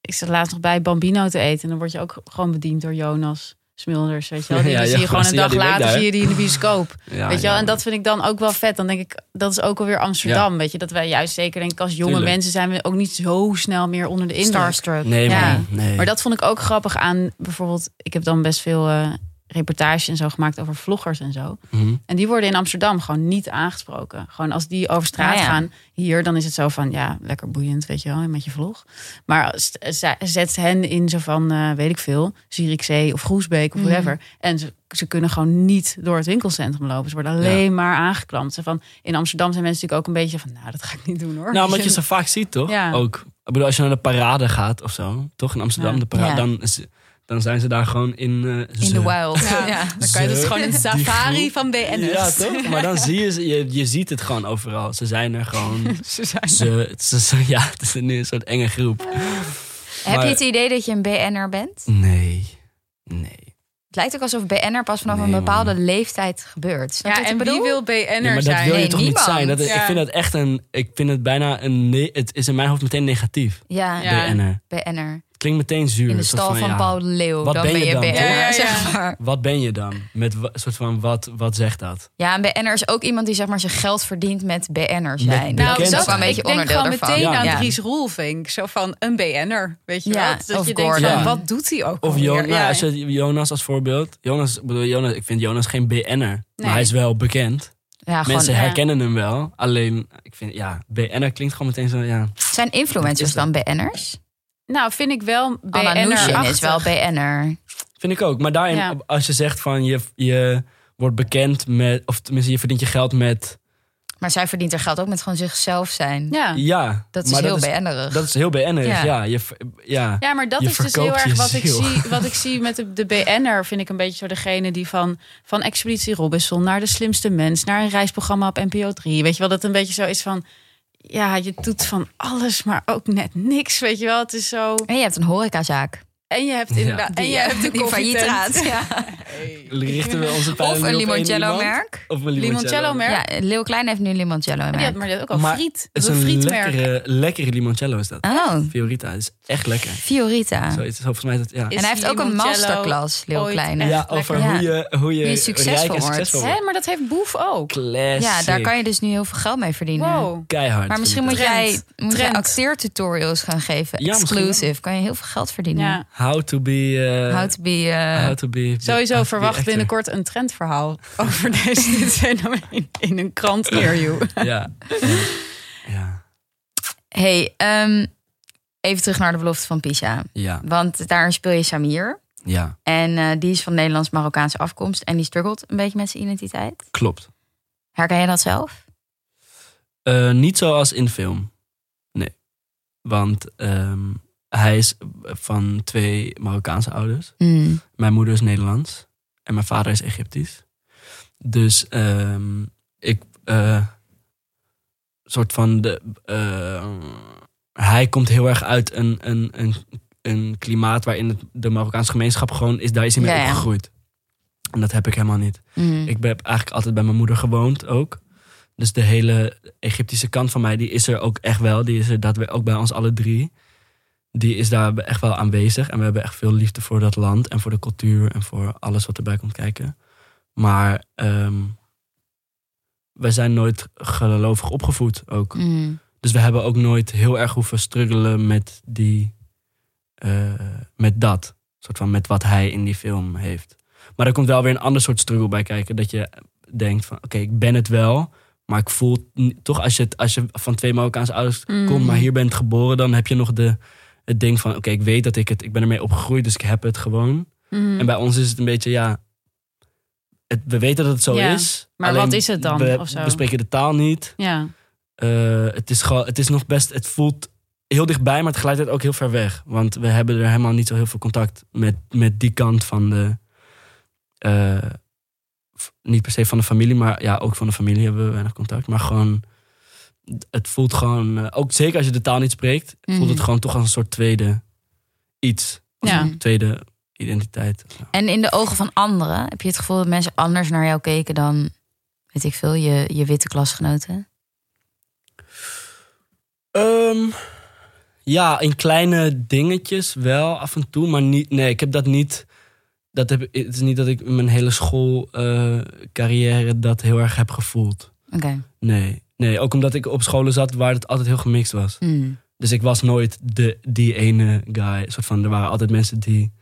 Speaker 3: ik zat laatst nog bij Bambino te eten. En dan word je ook gewoon bediend door Jonas Smulders. Weet je wel. Die, dus
Speaker 2: Ja,
Speaker 3: die
Speaker 2: ja,
Speaker 3: zie je gewoon
Speaker 2: gast,
Speaker 3: een
Speaker 2: ja,
Speaker 3: dag
Speaker 2: die werkt
Speaker 3: later.
Speaker 2: daar, hè?
Speaker 3: Zie je die in de bioscoop.
Speaker 2: Ja,
Speaker 3: weet je wel.
Speaker 2: ja.
Speaker 3: En dat vind ik dan ook wel vet. Dan denk ik. Dat is ook alweer Amsterdam. Weet je. Dat wij juist zeker denk ik als jonge
Speaker 2: Tuurlijk.
Speaker 3: mensen zijn we ook niet zo snel meer onder de indruk.
Speaker 1: Starstruck.
Speaker 2: Nee,
Speaker 3: Ja.
Speaker 2: man. Nee.
Speaker 3: Maar dat vond ik ook grappig aan bijvoorbeeld. Ik heb dan best veel eh reportages en zo gemaakt over vloggers en zo.
Speaker 2: Mhm.
Speaker 3: En die worden in Amsterdam gewoon niet aangesproken. Gewoon als die over straat
Speaker 1: Ah, ja.
Speaker 3: gaan hier, dan is het zo van ja, lekker boeiend, weet je wel, met je vlog. Maar als- ze- zet hen in zo van, eh, weet ik veel, Zierikzee of Groesbeek of
Speaker 1: Mhm.
Speaker 3: whatever. En ze, ze kunnen gewoon niet door het winkelcentrum lopen. Ze worden alleen maar aangeklampt. Zo van, in Amsterdam zijn mensen natuurlijk ook een beetje van, nou, dat ga ik niet doen hoor.
Speaker 2: Nou, wat je zo vaak ziet, toch?
Speaker 3: Ja.
Speaker 2: Ook. Ik bedoel, als je naar de parade gaat of zo, toch? In Amsterdam,
Speaker 3: Ja.
Speaker 2: de parade,
Speaker 1: Ja.
Speaker 2: dan, is- dan zijn ze daar gewoon in... eh,
Speaker 1: In
Speaker 2: ze-
Speaker 1: the wild.
Speaker 3: Ja.
Speaker 1: Ja.
Speaker 3: Dan kan je dus
Speaker 2: Ze-
Speaker 3: gewoon een
Speaker 2: die
Speaker 3: safari
Speaker 2: groep-
Speaker 3: van BN'ers.
Speaker 2: Ja, toch? Maar dan zie je ze, je, je ziet het gewoon overal. Ze zijn er gewoon.
Speaker 3: Ze zijn
Speaker 2: Ze, ze, ze- ja, het is nu een soort enge groep.
Speaker 1: Heb
Speaker 2: Maar-
Speaker 1: je het idee dat je een BN'er bent?
Speaker 2: Nee. Nee.
Speaker 1: Het lijkt ook alsof BN'er pas vanaf
Speaker 2: Nee,
Speaker 1: een bepaalde
Speaker 2: man.
Speaker 1: leeftijd gebeurt. Snap je
Speaker 3: Ja,
Speaker 1: wat
Speaker 3: en
Speaker 1: ik bedoel?
Speaker 3: wie wil BN'er
Speaker 2: Ja, maar dat
Speaker 3: zijn?
Speaker 2: wil je
Speaker 1: Nee,
Speaker 2: toch
Speaker 1: niemand.
Speaker 2: niet zijn? Dat, Ik
Speaker 3: Ja.
Speaker 2: vind dat echt een... Ik vind het bijna een... ne- Het is in mijn hoofd meteen negatief.
Speaker 1: Ja,
Speaker 3: Ja.
Speaker 2: BN'er.
Speaker 1: BN'er.
Speaker 2: Klinkt meteen zuur.
Speaker 1: In de
Speaker 2: Zo
Speaker 1: stal van
Speaker 2: ja,
Speaker 1: Paul de Leeuw.
Speaker 2: Wat
Speaker 1: dan
Speaker 2: ben
Speaker 1: ben
Speaker 2: je
Speaker 1: je
Speaker 2: dan?
Speaker 1: BN'er,
Speaker 3: Ja, ja, ja.
Speaker 1: zeg maar.
Speaker 2: Wat ben je dan? Met wa- soort van wat, wat zegt dat?
Speaker 1: Ja, een BN'er is ook iemand die zeg maar zijn geld verdient met BN'er zijn.
Speaker 2: Met
Speaker 1: dat
Speaker 2: bekend
Speaker 1: is ook wel
Speaker 2: zijn.
Speaker 1: een beetje
Speaker 3: Nou, ik
Speaker 1: onderdeel
Speaker 3: denk gewoon
Speaker 1: daarvan.
Speaker 3: meteen
Speaker 2: Ja.
Speaker 3: aan
Speaker 1: Ja.
Speaker 3: Dries Roelvink. Zo van een BN'er, weet je
Speaker 1: Ja,
Speaker 3: wel? Dat
Speaker 1: of
Speaker 3: je denkt
Speaker 1: Gordon.
Speaker 3: van, wat doet hij ook
Speaker 2: Of
Speaker 3: alweer?
Speaker 2: Jonas,
Speaker 3: Oh, Ja.
Speaker 2: als je Jonas als voorbeeld. Jonas, ik bedoel, Jonas, ik vind Jonas geen BN'er.
Speaker 3: Nee.
Speaker 2: Maar hij is wel bekend.
Speaker 1: Ja, gewoon,
Speaker 2: Mensen
Speaker 3: ja.
Speaker 2: herkennen hem wel. Alleen, ik vind, ja, BN'er klinkt gewoon meteen zo, ja.
Speaker 1: Zijn influencers
Speaker 2: Is dat?
Speaker 1: dan BN'ers?
Speaker 3: Nou, vind ik wel
Speaker 1: Anna Nushin
Speaker 3: BN'er
Speaker 1: is wel BN'er.
Speaker 2: Vind ik ook. Maar daarin,
Speaker 3: Ja.
Speaker 2: als je zegt van, je, je wordt bekend met... Of tenminste, je verdient je geld met...
Speaker 1: Maar zij verdient haar geld ook met gewoon zichzelf zijn.
Speaker 3: Ja.
Speaker 2: Ja.
Speaker 1: Dat is
Speaker 2: maar
Speaker 1: heel
Speaker 2: dat is,
Speaker 1: BN'erig.
Speaker 2: dat is heel BN'er,
Speaker 1: Ja.
Speaker 2: ja. je, v- ja.
Speaker 3: ja, maar dat
Speaker 2: Je
Speaker 3: is dus heel
Speaker 2: verkoopt
Speaker 3: erg
Speaker 2: je
Speaker 3: wat ik,
Speaker 2: ziel.
Speaker 3: zie, wat ik zie met de, de BN'er. Vind ik een beetje zo degene die van, van Expeditie Robinson naar de slimste mens... naar een reisprogramma op NPO 3. Weet je wel, dat een beetje zo is van... Ja, je doet van alles, maar ook net niks, weet je wel. Het is zo...
Speaker 1: En je hebt een horecazaak.
Speaker 3: En je hebt
Speaker 2: Ja.
Speaker 3: inderdaad... En
Speaker 1: Die,
Speaker 3: je
Speaker 1: eh,
Speaker 3: hebt de
Speaker 1: die failliet
Speaker 3: koffietent.
Speaker 1: gaat. Ja.
Speaker 2: Richten we onze pijlen
Speaker 1: Of
Speaker 2: nu
Speaker 1: een
Speaker 2: op één
Speaker 1: limoncello
Speaker 2: iemand?
Speaker 1: merk.
Speaker 2: Of een
Speaker 3: Limoncello merk.
Speaker 1: Ja, Leeuw Klein heeft nu limoncello
Speaker 3: Maar die had,
Speaker 1: merk.
Speaker 3: maar die had ook al
Speaker 2: Maar
Speaker 3: friet.
Speaker 2: Het
Speaker 3: Dat
Speaker 2: is
Speaker 3: is een
Speaker 2: een
Speaker 3: frietmerk.
Speaker 2: lekkere, lekkere limoncello is dat.
Speaker 1: Oh,
Speaker 2: Fiorita is echt lekker.
Speaker 1: Fiorita.
Speaker 2: Zo, het is volgens mij dat, ja.
Speaker 1: En hij heeft ook een
Speaker 3: limoncello
Speaker 1: masterclass, Leeuw
Speaker 3: ooit
Speaker 1: Kleine.
Speaker 3: echt
Speaker 2: ja, over
Speaker 1: lekker.
Speaker 2: hoe je, hoe je,
Speaker 1: Wie succesvol
Speaker 2: rijk en
Speaker 1: wordt.
Speaker 2: succesvol wordt.
Speaker 3: Hè, maar dat heeft Boef ook.
Speaker 2: Classic.
Speaker 1: Ja, daar kan je dus nu heel veel geld mee verdienen.
Speaker 3: Wow.
Speaker 2: Keihard.
Speaker 1: Maar misschien moet
Speaker 3: Trend.
Speaker 1: jij, moet jij
Speaker 3: Trend.
Speaker 1: acteertutorials gaan geven.
Speaker 2: Ja, misschien
Speaker 1: Exclusive. Kan je heel veel geld verdienen.
Speaker 3: Ja.
Speaker 2: How to be... eh,
Speaker 1: How to be... eh,
Speaker 2: how to be-
Speaker 3: Sowieso
Speaker 2: how to be
Speaker 3: verwacht
Speaker 2: actor.
Speaker 3: binnenkort een trendverhaal over deze dit fenomeen in een krant near you.
Speaker 2: Ja. ja. ja.
Speaker 1: Hey, ehm, even terug naar de belofte van Pisa.
Speaker 2: Ja,
Speaker 1: Want daar speel je Samir.
Speaker 2: ja,
Speaker 1: En eh, die is van Nederlands-Marokkaanse afkomst. En die struggelt een beetje met zijn identiteit.
Speaker 2: klopt.
Speaker 1: Herken je dat zelf?
Speaker 2: Eh, niet zoals in de film. Nee. Want ehm, hij is van twee Marokkaanse ouders.
Speaker 1: Mm.
Speaker 2: Mijn moeder is Nederlands. En mijn vader is Egyptisch. Dus ehm, ik. eh, soort van. De, eh, hij komt heel erg uit een, een, een, een klimaat waarin het, de Marokkaanse gemeenschap gewoon is. Daar is hij mee
Speaker 1: Ja, ja.
Speaker 2: opgegroeid. En dat heb ik helemaal niet.
Speaker 1: Mm.
Speaker 2: Ik heb eigenlijk altijd bij mijn moeder gewoond ook. Dus de hele Egyptische kant van mij, die is er ook echt wel. Die is er dat we ook bij ons alle drie. Die is daar echt wel aanwezig. En we hebben echt veel liefde voor dat land en voor de cultuur en voor alles wat erbij komt kijken. Maar ehm we zijn nooit gelovig opgevoed ook.
Speaker 1: Mm.
Speaker 2: Dus we hebben ook nooit heel erg hoeven struggelen met die. eh, met dat. soort van met wat hij in die film heeft. Maar er komt wel weer een ander soort struggle bij kijken. Dat je denkt van oké, ik ben het wel. Maar ik voel n- toch als je, het, als je van twee Marokkaanse ouders
Speaker 3: Mm.
Speaker 2: komt, maar hier bent geboren, dan heb je nog de, het ding van oké, ik weet dat ik het. Ik ben ermee opgegroeid, dus ik heb het gewoon.
Speaker 3: Mhm.
Speaker 2: En bij ons is het een beetje, ja. Het, we weten dat het zo
Speaker 3: Ja,
Speaker 2: is.
Speaker 3: maar
Speaker 2: alleen
Speaker 3: wat is het dan,
Speaker 2: We,
Speaker 3: of zo?
Speaker 2: we spreken de taal niet.
Speaker 3: Ja,
Speaker 2: Eh, het, is gewoon, het is nog best, het voelt heel dichtbij, maar tegelijkertijd ook heel ver weg. Want we hebben er helemaal niet zo heel veel contact met, met die kant van de. eh, f- niet per se van de familie, maar ja, ook van de familie hebben we weinig contact. Maar gewoon, het voelt gewoon, eh, ook zeker als je de taal niet spreekt, voelt het
Speaker 1: Mhm.
Speaker 2: gewoon toch als een soort tweede iets. Als
Speaker 3: Mm. Ja.
Speaker 2: een tweede identiteit. of zo.
Speaker 1: En in de ogen van anderen, heb je het gevoel dat mensen anders naar jou keken dan, weet ik veel, je, je witte klasgenoten?
Speaker 2: Ehm, ja, in kleine dingetjes wel af en toe, maar niet. Nee, ik heb dat niet. Dat heb, het is niet dat ik in mijn hele schoolcarrière dat heel erg heb gevoeld.
Speaker 1: Oké.
Speaker 2: Nee. Nee, ook omdat ik op scholen zat waar het altijd heel gemixt was.
Speaker 1: Mm.
Speaker 2: Dus ik was nooit de, die ene guy. Een soort van, er waren altijd mensen die.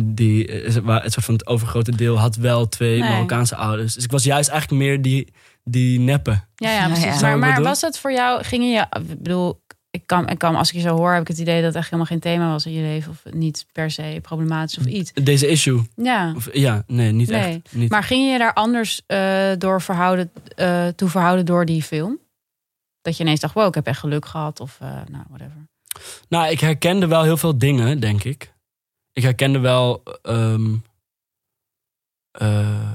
Speaker 2: die eh, waar het, soort van het overgrote deel had wel twee
Speaker 3: Nee.
Speaker 2: Marokkaanse ouders. Dus ik was juist eigenlijk meer die, die neppe.
Speaker 3: ja, ja
Speaker 1: Nou
Speaker 3: precies.
Speaker 1: ja. Zou
Speaker 3: Maar,
Speaker 2: ik
Speaker 3: maar
Speaker 2: bedoelen?
Speaker 3: was het voor jou, gingen je, ik bedoel, ik kan, ik kan, als ik je zo hoor, heb ik het idee dat het echt helemaal geen thema was in je leven. Of niet per se problematisch of iets.
Speaker 2: Deze issue.
Speaker 3: Ja.
Speaker 2: Of, ja, nee, niet
Speaker 3: Nee.
Speaker 2: echt. Niet.
Speaker 3: Maar ging je daar anders eh, door verhouden, eh, toe verhouden door die film? Dat je ineens dacht, wow, ik heb echt geluk gehad. Of eh, nou, whatever.
Speaker 2: Nou, ik herkende wel heel veel dingen, denk ik. Ik herkende wel. ehm, eh,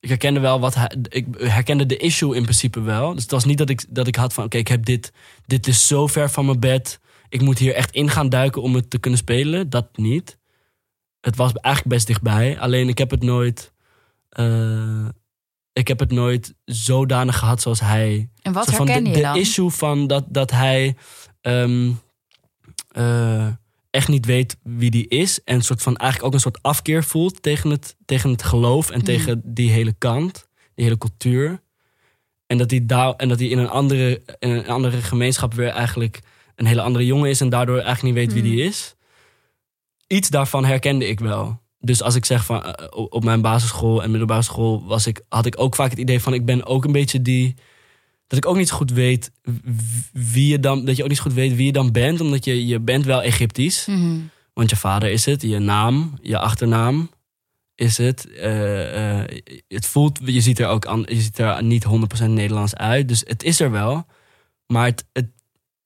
Speaker 2: ik herkende wel wat. hij- Ik herkende de issue in principe wel. Dus het was niet dat ik, dat ik had van: oké, ik heb dit. Dit is zo ver van mijn bed. Ik moet hier echt in gaan duiken om het te kunnen spelen. Dat niet. Het was eigenlijk best dichtbij. Alleen ik heb het nooit. eh, ik heb het nooit zodanig gehad zoals hij
Speaker 1: En wat
Speaker 2: soort van
Speaker 1: herken
Speaker 2: de,
Speaker 1: je
Speaker 2: de
Speaker 1: dan?
Speaker 2: issue van dat, dat hij ehm, eh, echt niet weet wie die is. En soort van eigenlijk ook een soort afkeer voelt tegen het, tegen het geloof en
Speaker 1: Mhm.
Speaker 2: tegen die hele kant, die hele cultuur. En dat hij, daar, en dat hij in, een andere, in een andere gemeenschap weer eigenlijk een hele andere jongen is en daardoor eigenlijk niet weet wie
Speaker 3: Mhm.
Speaker 1: Mm.
Speaker 2: die is. Iets daarvan herkende ik wel. Dus als ik zeg van eh, op op mijn basisschool en middelbare school was ik, had ik ook vaak het idee van ik ben ook een beetje die dat ik ook niet zo goed weet w- wie je dan, dat je ook niet zo goed weet wie je dan bent, omdat je, je bent wel Egyptisch.
Speaker 1: Mhm.
Speaker 3: Mm-hmm.
Speaker 2: Want je vader is het, je naam, je achternaam is het. Eh, eh, het voelt, je ziet er ook an, je ziet er niet 100% Nederlands uit, dus het is er wel. Maar het, het,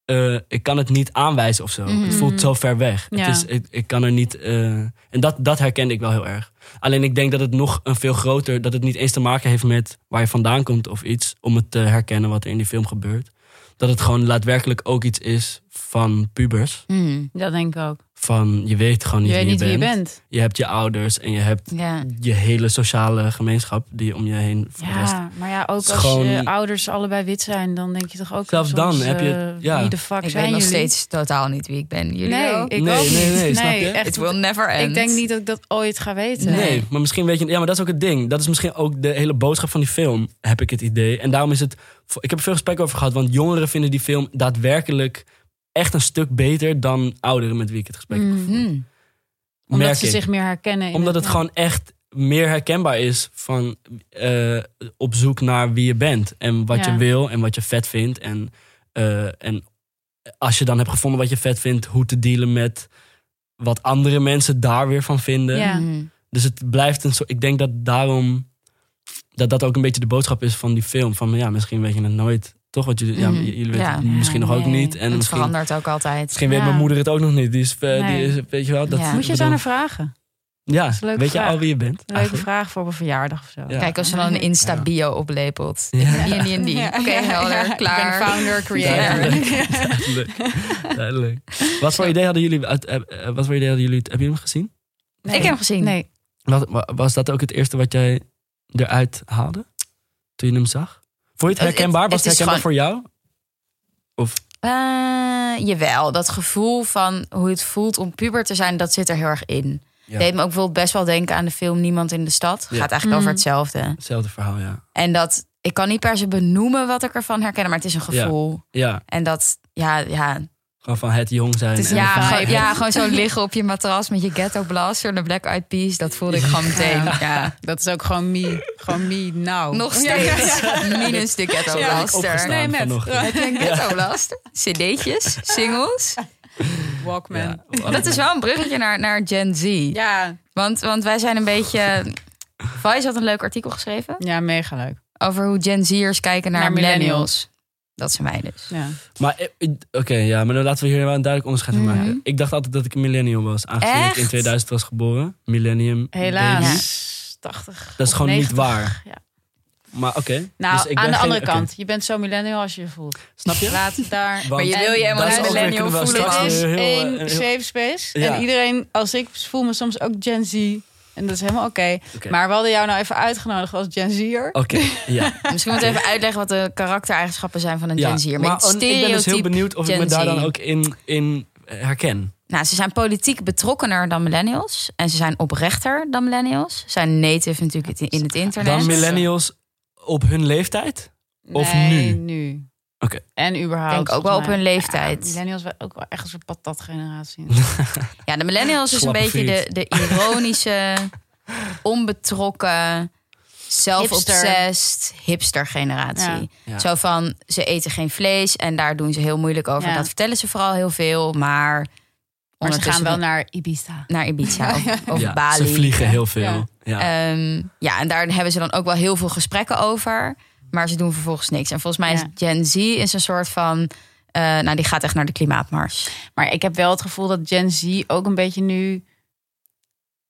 Speaker 2: eh, ik kan het niet aanwijzen of zo.
Speaker 1: Mhm.
Speaker 2: Het voelt zo ver weg.
Speaker 3: Ja.
Speaker 2: Het is, ik, ik kan er niet. eh, en dat, dat herkende ik wel heel erg. Alleen ik denk dat het nog een veel groter, dat het niet eens te maken heeft met waar je vandaan komt of iets, om het te herkennen wat er in die film gebeurt. Dat het gewoon daadwerkelijk ook iets is van pubers.
Speaker 1: Mm.
Speaker 3: Dat denk ik ook.
Speaker 2: Van je weet gewoon
Speaker 3: Je
Speaker 2: niet,
Speaker 3: weet
Speaker 2: wie,
Speaker 3: niet
Speaker 2: je
Speaker 3: wie je
Speaker 2: bent.
Speaker 3: bent.
Speaker 2: Je hebt je ouders en je hebt
Speaker 1: Ja.
Speaker 2: je hele sociale gemeenschap die om je heen voor de rest-
Speaker 3: Ja, maar ja, ook
Speaker 2: is
Speaker 3: als je
Speaker 2: gewoon-
Speaker 3: ouders allebei wit zijn, dan denk je toch ook.
Speaker 2: Zelfs
Speaker 3: soms,
Speaker 2: dan heb je-
Speaker 3: eh,
Speaker 2: ja.
Speaker 3: Wie de fuck
Speaker 1: Ik
Speaker 3: zijn
Speaker 1: weet nog
Speaker 3: jullie?
Speaker 1: steeds totaal niet wie ik ben. Jullie
Speaker 3: Nee,
Speaker 1: wel?
Speaker 3: ik
Speaker 2: Nee,
Speaker 3: ook
Speaker 2: nee,
Speaker 3: niet.
Speaker 2: nee, snap je?
Speaker 3: echt.
Speaker 1: It will never end.
Speaker 3: ik denk niet dat ik dat ooit ga weten.
Speaker 2: Nee. maar misschien weet je. Ja, maar dat is ook het ding. Dat is misschien ook de hele boodschap van die film, heb ik het idee. En daarom is het. Ik heb er veel gesprek over gehad, want jongeren vinden die film daadwerkelijk echt een stuk beter dan ouderen met wie ik het gesprek heb.
Speaker 3: Mhm.
Speaker 1: Hmm.
Speaker 3: Omdat
Speaker 2: merk
Speaker 3: ze
Speaker 2: ik.
Speaker 3: zich meer herkennen. in
Speaker 2: Omdat het
Speaker 3: ja.
Speaker 2: gewoon echt meer herkenbaar is van eh, op zoek naar wie je bent. En wat
Speaker 3: Ja.
Speaker 2: je wil en wat je vet vindt. En, eh, en als je dan hebt gevonden wat je vet vindt, hoe te dealen met wat andere mensen daar weer van vinden.
Speaker 3: Ja.
Speaker 1: Mhm.
Speaker 2: Dus het blijft een soort. Ik denk dat daarom. Dat dat ook een beetje de boodschap is van die film. Van ja, misschien weet je het nooit. Toch? Wat jullie,
Speaker 1: Mhm.
Speaker 2: ja, j- jullie weten
Speaker 1: Ja.
Speaker 2: het misschien nog ook
Speaker 3: Nee.
Speaker 2: niet. En
Speaker 1: het
Speaker 2: misschien,
Speaker 1: verandert ook altijd.
Speaker 2: misschien weet
Speaker 3: Ja.
Speaker 2: mijn moeder het ook nog niet. Die is. eh,
Speaker 3: Nee.
Speaker 2: Die is weet je wel, dat,
Speaker 1: Ja.
Speaker 3: Moet je eens
Speaker 2: bedoel-
Speaker 3: aan haar vragen.
Speaker 2: Ja,
Speaker 3: is een leuke
Speaker 2: weet je
Speaker 3: vraag.
Speaker 2: al wie je bent?
Speaker 3: Leuke
Speaker 2: eigenlijk?
Speaker 3: vraag voor een verjaardag of zo.
Speaker 2: Ja.
Speaker 1: Kijk, als ze dan een Insta-bio oplepelt.
Speaker 2: Ja.
Speaker 1: Die en die en die. Oké, helder, klaar.
Speaker 3: Ik ben founder, creator.
Speaker 2: Duidelijk. Duidelijk. Duidelijk. Wat voor idee hadden jullie? uit- eh, eh, Wat voor idee hadden jullie? Hebben jullie hem gezien?
Speaker 3: Nee.
Speaker 1: Ik heb hem gezien.
Speaker 3: Nee.
Speaker 2: Wat- wa- was dat ook het eerste wat jij eruit haalde? Toen je hem zag? Vond je het
Speaker 1: Het-
Speaker 2: herkenbaar?
Speaker 1: het-
Speaker 2: Was het
Speaker 1: het is
Speaker 2: herkenbaar voor jou?
Speaker 1: Eh, jawel, dat gevoel van hoe het voelt om puber te zijn, dat zit er heel erg in.
Speaker 2: Ja.
Speaker 1: Deed me ook bijvoorbeeld best wel denken aan de film Niemand in de Stad.
Speaker 2: Ja.
Speaker 1: Gaat eigenlijk over
Speaker 3: Mm.
Speaker 1: hetzelfde.
Speaker 2: Hetzelfde verhaal, ja.
Speaker 1: En dat, ik kan niet per se benoemen wat ik ervan herken, maar het is een gevoel.
Speaker 2: Ja,
Speaker 1: En dat, ja, ja.
Speaker 2: gewoon van het jong zijn.
Speaker 3: Het is
Speaker 2: en
Speaker 1: Ja,
Speaker 2: van-
Speaker 3: vibe.
Speaker 1: gewoon, ja, gewoon zo liggen op je matras met je ghetto blaster en de Black Eyed Peas. Dat voelde ik gewoon meteen.
Speaker 3: Ja.
Speaker 1: Ja.
Speaker 3: Dat is ook gewoon me. Gewoon me now.
Speaker 1: Nog
Speaker 3: Ja, ja, ja.
Speaker 1: steeds. Minus de ghetto
Speaker 3: Ja,
Speaker 1: blaster.
Speaker 2: opgestaan.
Speaker 3: Nee, met.
Speaker 2: Vanochtend.
Speaker 1: Heb je een ghetto blaster? CD'tjes, singles.
Speaker 3: Walkman.
Speaker 2: Ja. oh,
Speaker 3: Ja.
Speaker 1: Dat is wel een bruggetje naar, naar Gen Z.
Speaker 3: Ja.
Speaker 1: Want, want wij zijn een beetje. Vice had een leuk artikel geschreven
Speaker 3: mega leuk.
Speaker 1: over hoe Gen Z'ers kijken naar,
Speaker 3: Naar
Speaker 1: millennials.
Speaker 3: millennials.
Speaker 1: Dat zijn wij dus.
Speaker 3: Ja.
Speaker 2: Maar, eh, eh, oké, ja, maar dan laten we hier wel een duidelijk onderscheid in maken.
Speaker 1: Mhm.
Speaker 2: Ik dacht altijd dat ik een millennium was, aangezien
Speaker 1: Echt?
Speaker 2: ik in 2000 was geboren. Millennium. baby.
Speaker 3: Helaas. 80.
Speaker 2: Dat is
Speaker 3: of
Speaker 2: gewoon niet
Speaker 3: 90.
Speaker 2: waar.
Speaker 3: Ja.
Speaker 2: Maar oké.
Speaker 3: Nou,
Speaker 2: dus ik
Speaker 3: aan
Speaker 2: ben
Speaker 3: de
Speaker 2: geen-
Speaker 3: andere
Speaker 2: oké.
Speaker 3: kant. Je bent zo millennial als je je voelt.
Speaker 2: Snap je?
Speaker 3: Laat het daar.
Speaker 2: Want
Speaker 1: je wil je helemaal
Speaker 2: dat
Speaker 1: niet
Speaker 2: is ook weer-
Speaker 1: millennial
Speaker 2: kunnen we
Speaker 1: voelen, dus-
Speaker 2: straks
Speaker 1: man.
Speaker 2: weer
Speaker 3: is
Speaker 2: heel, eh,
Speaker 3: één
Speaker 2: heel-
Speaker 3: safe space.
Speaker 2: Ja.
Speaker 3: En iedereen, als ik voel me soms ook Gen Z. En dat is helemaal oké.
Speaker 2: Oké.
Speaker 3: Maar we hadden jou nou even uitgenodigd als Gen Z'er.
Speaker 2: Oké, ja.
Speaker 1: Misschien moeten we even uitleggen wat de karaktereigenschappen zijn van een
Speaker 2: ja.
Speaker 1: Gen Z'er. Met
Speaker 2: Maar
Speaker 1: het
Speaker 2: on- ik ben dus heel
Speaker 1: stereotype-
Speaker 2: benieuwd of ik me
Speaker 1: Gen Z.
Speaker 2: daar dan ook in, in eh, herken.
Speaker 1: Nou, ze zijn politiek betrokkener dan millennials. En ze zijn oprechter dan millennials. Ze zijn native natuurlijk in- in het internet.
Speaker 2: Dan millennials op hun leeftijd? Of
Speaker 3: nee,
Speaker 2: nu?
Speaker 3: nu.
Speaker 2: Oké.
Speaker 3: En
Speaker 1: Ik
Speaker 3: überhaupt.
Speaker 1: denk ook wel op
Speaker 3: volgens mij.
Speaker 1: hun leeftijd.
Speaker 3: Millennials waren ook wel echt een soort patatgeneratie.
Speaker 1: Ja, de millennials is een
Speaker 2: Slappe
Speaker 1: beetje de,
Speaker 2: vriend.
Speaker 1: de ironische, onbetrokken, zelfobsessed hipster generatie.
Speaker 2: Ja.
Speaker 1: Zo van, ze eten geen vlees en daar doen ze heel moeilijk over.
Speaker 3: Ja.
Speaker 1: Dat vertellen ze vooral heel veel, maar...
Speaker 3: Maar ze gaan
Speaker 1: ondertussen
Speaker 3: wel naar Ibiza.
Speaker 1: naar Ibiza of, of
Speaker 2: Ja,
Speaker 1: Bali.
Speaker 2: Ze vliegen heel veel. Ja.
Speaker 3: Ja.
Speaker 1: Ehm, ja, en daar hebben ze dan ook wel heel veel gesprekken over. Maar ze doen vervolgens niks. En volgens mij is
Speaker 3: Ja.
Speaker 1: Gen Z is een soort van... eh, nou, die gaat echt naar de klimaatmars.
Speaker 3: Maar ik heb wel het gevoel dat Gen Z ook een beetje nu.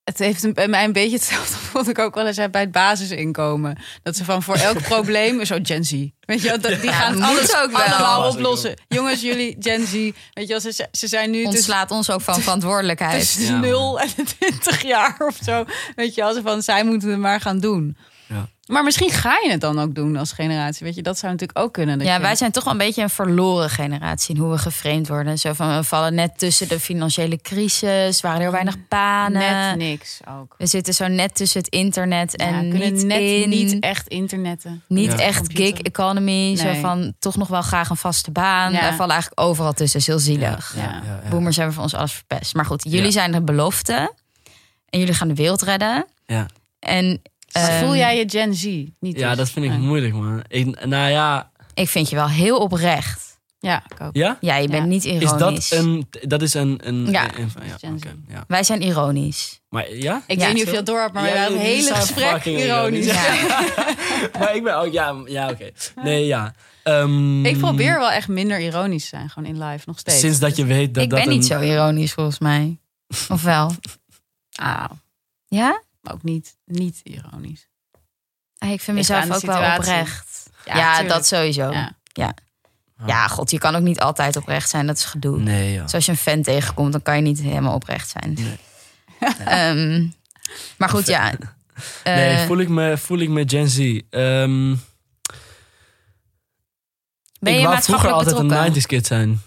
Speaker 3: Het heeft een- bij mij een beetje hetzelfde vond ik ook wel eens heb bij het basisinkomen. Dat ze van voor elk probleem zo Gen Z. Weet je, wel, dat, die
Speaker 1: Ja,
Speaker 3: gaan
Speaker 1: moet
Speaker 3: alles
Speaker 1: ook wel.
Speaker 3: allemaal oplossen. Jongens, jullie Gen Z, weet je, wel, ze, ze zijn nu tussen,
Speaker 1: Ontslaat ons ook van verantwoordelijkheid.
Speaker 3: tussen
Speaker 2: Ja, man.
Speaker 3: 0 en de 20 jaar of zo. Weet je, als ze van zij moeten het maar gaan doen.
Speaker 2: Ja.
Speaker 3: Maar misschien ga je het dan ook doen als generatie. Weet je, dat zou natuurlijk ook kunnen. dat
Speaker 1: Ja,
Speaker 3: je-
Speaker 1: wij zijn toch wel een beetje een verloren generatie in hoe we geframed worden. Zo van, we vallen net tussen de financiële crisis, waren heel weinig
Speaker 3: net
Speaker 1: banen.
Speaker 3: niks ook.
Speaker 1: We zitten zo net tussen het internet
Speaker 3: Ja,
Speaker 1: eh, en
Speaker 3: kunnen
Speaker 1: niet
Speaker 3: net
Speaker 1: in,
Speaker 3: niet
Speaker 1: niet,
Speaker 3: echt internetten.
Speaker 2: Ja.
Speaker 1: echt
Speaker 3: Computer.
Speaker 1: gig economy. Zo
Speaker 3: Nee.
Speaker 1: van, toch nog wel graag een vaste baan.
Speaker 3: Ja.
Speaker 1: Wij vallen eigenlijk overal tussen, is heel zielig.
Speaker 3: Ja.
Speaker 2: ja, ja.
Speaker 1: Boomers hebben voor ons alles verpest. Maar goed, jullie
Speaker 2: Ja.
Speaker 1: zijn de belofte. En jullie gaan de wereld redden.
Speaker 2: Ja.
Speaker 1: En
Speaker 3: Maar
Speaker 1: ehm,
Speaker 3: Dus voel jij je Gen Z niet?
Speaker 2: Ja,
Speaker 3: dus?
Speaker 2: dat vind ik
Speaker 3: Nee.
Speaker 2: moeilijk, man. Ik, nou ja,
Speaker 1: ik vind je wel heel oprecht.
Speaker 3: Ja, ik ook.
Speaker 2: ja?
Speaker 1: Ja, je bent
Speaker 3: Ja.
Speaker 1: niet
Speaker 2: Is
Speaker 1: ironisch.
Speaker 2: dat een... Dat is een...
Speaker 1: Ja.
Speaker 2: een een- ja,
Speaker 3: Gen Z.
Speaker 2: oké, ja.
Speaker 1: Wij zijn ironisch.
Speaker 2: Maar ja?
Speaker 3: Ik
Speaker 1: Ja,
Speaker 3: weet niet of
Speaker 2: zo.
Speaker 3: je dat door hebt, maar
Speaker 2: Ja,
Speaker 3: we hebben
Speaker 2: jullie
Speaker 3: het hele
Speaker 2: zijn
Speaker 3: gesprek
Speaker 2: fucking ironisch.
Speaker 3: ironisch.
Speaker 1: Ja.
Speaker 2: maar ik ben ook... Ja, ja oké. Nee, ja. Ehm,
Speaker 3: Ik probeer wel echt minder ironisch te zijn, gewoon in live nog steeds.
Speaker 2: Sinds dat je weet dat
Speaker 1: ik
Speaker 2: dat
Speaker 1: ben
Speaker 2: een-
Speaker 1: niet zo ironisch volgens mij. Of wel?
Speaker 3: Ah,
Speaker 1: Ja?
Speaker 3: maar ook niet, niet ironisch.
Speaker 1: Ah, Ik vind
Speaker 3: Ligt aan
Speaker 1: mezelf
Speaker 3: de
Speaker 1: ook wel
Speaker 3: situatie.
Speaker 1: oprecht. Ja,
Speaker 3: tuurlijk.
Speaker 1: dat sowieso. Ja.
Speaker 3: Ja.
Speaker 1: god, je kan ook niet altijd oprecht zijn. Dat is gedoe.
Speaker 2: Nee, ja.
Speaker 1: Dus als je een fan tegenkomt, dan kan je niet helemaal oprecht zijn.
Speaker 2: Nee.
Speaker 1: Ehm, maar goed, ja. Eh,
Speaker 2: Nee, voel ik me, voel ik me Gen Z. Ehm,
Speaker 1: ben je
Speaker 2: ik wou vroeger
Speaker 1: maatschappelijk
Speaker 2: altijd
Speaker 1: betrokken?
Speaker 2: een 90s kid zijn.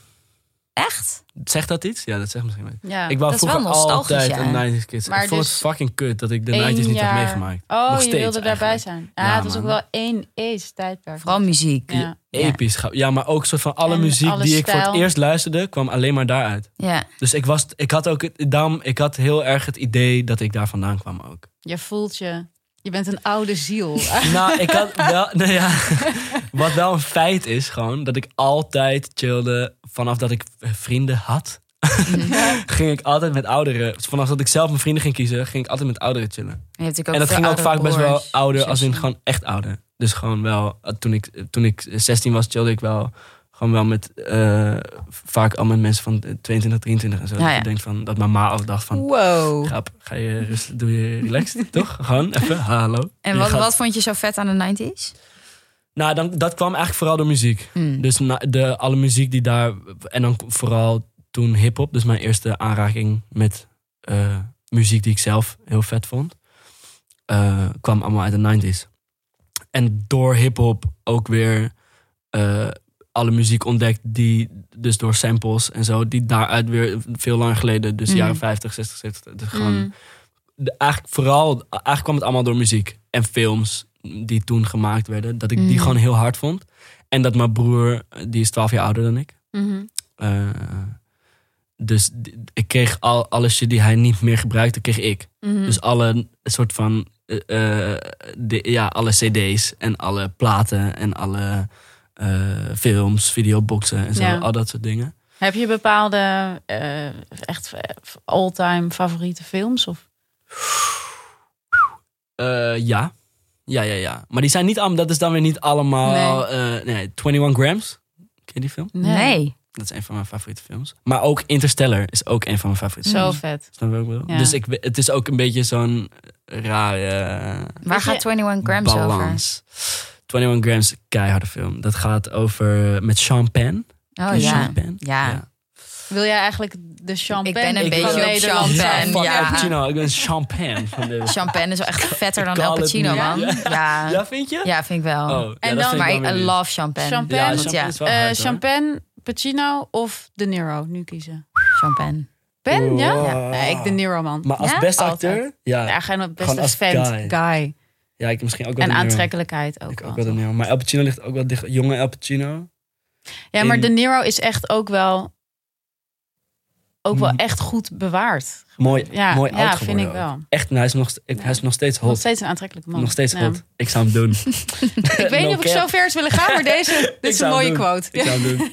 Speaker 1: Echt?
Speaker 2: Zegt dat iets? Ja, dat zegt misschien wel. iets.
Speaker 3: Ja.
Speaker 2: Ik wou
Speaker 1: dat is wel
Speaker 2: vroeger
Speaker 1: nostalgisch,
Speaker 2: altijd
Speaker 1: ja.
Speaker 2: een 90s Kids.
Speaker 3: Maar
Speaker 2: ik vond
Speaker 3: dus
Speaker 2: het fucking kut dat ik de
Speaker 3: één
Speaker 2: 90s niet
Speaker 3: jaar-
Speaker 2: had meegemaakt.
Speaker 3: Oh,
Speaker 2: Nog
Speaker 3: je
Speaker 2: steeds
Speaker 3: wilde daarbij
Speaker 2: eigenlijk.
Speaker 3: zijn. Ah,
Speaker 2: Ja,
Speaker 3: het was ook
Speaker 2: man.
Speaker 3: wel één eens tijdperk.
Speaker 1: Vooral muziek. Ja.
Speaker 3: Ja.
Speaker 1: Ja.
Speaker 2: Episch. gaaf. Ja, maar ook soort van alle
Speaker 3: En
Speaker 2: muziek
Speaker 3: alle
Speaker 2: die ik voor het
Speaker 3: stijl.
Speaker 2: eerst luisterde, kwam alleen maar daaruit. Dus ik, was, ik had ook het, daarom, ik had heel erg het idee dat ik daar vandaan kwam ook.
Speaker 3: Je voelt je. Je bent een oude ziel.
Speaker 2: Nou, ik had wel. Nou ja, wat wel een feit is, gewoon dat ik altijd chillde. Vanaf dat ik vrienden had,
Speaker 1: Mhm.
Speaker 2: ging ik altijd met ouderen. Vanaf dat ik zelf mijn vrienden ging kiezen, ging ik altijd met ouderen chillen.
Speaker 1: En, je hebt natuurlijk ook
Speaker 2: en dat
Speaker 1: veel
Speaker 2: ging ook vaak
Speaker 1: oudere
Speaker 2: best wel
Speaker 1: broers,
Speaker 2: ouder, als in
Speaker 1: zussen.
Speaker 2: gewoon echt ouder. Dus gewoon wel, eh, toen ik, toen ik 16 was, chillde ik wel. Gewoon wel met eh, vaak al met mensen van 22, 23 en zo.
Speaker 1: Ja, ja.
Speaker 2: Dat ik denk van, dat mijn ma al dacht van,
Speaker 3: Wow.
Speaker 2: grap, ga je rustig, doe je relaxed, toch? Gewoon even, hallo.
Speaker 1: En
Speaker 2: Je
Speaker 1: wat,
Speaker 2: gaat-
Speaker 1: wat vond je zo vet aan de 90s?
Speaker 2: Nou, dan, dat kwam eigenlijk vooral door muziek.
Speaker 1: Hmm.
Speaker 2: Dus na, de, alle muziek die daar. En dan vooral toen hip-hop. Dus mijn eerste aanraking met eh, muziek die ik zelf heel vet vond. eh, kwam allemaal uit de 90s. En door hip-hop ook weer eh, alle muziek ontdekt. Die dus door samples en zo. Die daaruit weer veel lang geleden. Dus
Speaker 1: Mhm.
Speaker 2: jaren 50, 60, 70. Dus gewoon de- eigenlijk vooral, eigenlijk kwam het allemaal door muziek en films die toen gemaakt werden. Dat ik die
Speaker 1: Mm.
Speaker 2: gewoon heel hard vond. En dat mijn broer, die is 12 jaar ouder dan ik.
Speaker 3: Mhm,
Speaker 2: eh, dus d- ik kreeg al alle shit die hij niet meer gebruikte, kreeg ik.
Speaker 3: mhm.
Speaker 2: Dus alle soort van, eh, eh, de, ja, alle cd's en alle platen en alle eh, films, videoboxen en zo,
Speaker 3: Ja.
Speaker 2: al dat soort dingen.
Speaker 3: Heb je bepaalde eh, echt eh, all-time favoriete films? Of?
Speaker 2: Eh, ja. Ja, ja, ja. Maar die zijn niet allemaal, dat is dan weer niet allemaal. eh, nee 21 Grams. Ken je die film?
Speaker 1: Nee.
Speaker 2: Dat is een van mijn favoriete films. Maar ook Interstellar is ook een van mijn favoriete
Speaker 3: Zo
Speaker 2: films.
Speaker 3: vet.
Speaker 2: Snap je wat ik bedoel?
Speaker 3: Ja.
Speaker 2: Dus ik, we- het is ook een beetje zo'n rare eh,
Speaker 1: Waar
Speaker 3: Weet je-
Speaker 1: gaat 21 Grams over?
Speaker 2: balans. 21 Grams, keiharde film. Dat gaat over met Sean Penn.
Speaker 1: Oh
Speaker 2: Ken je
Speaker 1: ja.
Speaker 2: Sean Penn?
Speaker 1: Ja.
Speaker 3: Wil jij eigenlijk de champagne?
Speaker 1: ben een
Speaker 3: van
Speaker 1: beetje op
Speaker 3: Nederland
Speaker 1: Sean
Speaker 3: zijn?
Speaker 1: Penn,
Speaker 2: fuck
Speaker 1: ja.
Speaker 2: Al Pacino. Ik ben Sean Penn. Van de...
Speaker 1: Champagne is wel echt vetter dan
Speaker 2: Ik
Speaker 1: El
Speaker 2: call it
Speaker 1: Pacino,
Speaker 2: me.
Speaker 1: man. Ja, ja.
Speaker 2: Ja, vind je?
Speaker 1: vind ik wel.
Speaker 2: Oh, ja,
Speaker 3: En
Speaker 2: dat
Speaker 3: dan-
Speaker 2: vind
Speaker 1: maar
Speaker 2: ik
Speaker 1: ik
Speaker 2: dan weer niet.
Speaker 1: love champagne.
Speaker 3: Champagne?
Speaker 2: Ja,
Speaker 1: Want
Speaker 2: Sean
Speaker 1: ja,
Speaker 2: Penn is wel
Speaker 3: Eh,
Speaker 2: hard, hoor.
Speaker 3: champagne, Pacino of De Niro? Nu kiezen.
Speaker 1: champagne.
Speaker 3: Ben, ja?
Speaker 2: Wow.
Speaker 3: Nee, ik De Niro, man.
Speaker 2: Maar als
Speaker 1: Ja?
Speaker 2: beste
Speaker 3: Altijd.
Speaker 2: acteur? Ja.
Speaker 3: Ja, gewoon best
Speaker 2: Gewoon
Speaker 3: een
Speaker 2: als
Speaker 3: vent,
Speaker 2: guy.
Speaker 3: guy.
Speaker 2: Ja, ik misschien ook wel
Speaker 3: En
Speaker 2: De Niro.
Speaker 3: aantrekkelijkheid ook,
Speaker 2: Ik
Speaker 3: wel.
Speaker 2: ook wel De Niro. Maar El Pacino ligt ook wel dicht. Jonge El Pacino.
Speaker 3: Ja, maar
Speaker 2: in-
Speaker 3: De Niro is echt ook wel... Ook wel
Speaker 2: Mm.
Speaker 3: echt goed bewaard.
Speaker 2: Mooi,
Speaker 3: Ja,
Speaker 2: mooi oud
Speaker 3: ja vind
Speaker 2: geworden
Speaker 3: ik
Speaker 2: ook.
Speaker 3: wel.
Speaker 2: Echt, nou, hij, is nog, st- ik- hij is nog steeds
Speaker 3: Nog
Speaker 2: hot.
Speaker 3: steeds een aantrekkelijke man.
Speaker 2: Nog steeds
Speaker 3: Ja.
Speaker 2: hot. Ik zou hem doen.
Speaker 3: Ik weet niet of ik zo ver is willen gaan, maar deze dit is een
Speaker 2: zou
Speaker 3: mooie
Speaker 2: doen.
Speaker 3: quote.
Speaker 2: Ik zou hem doen.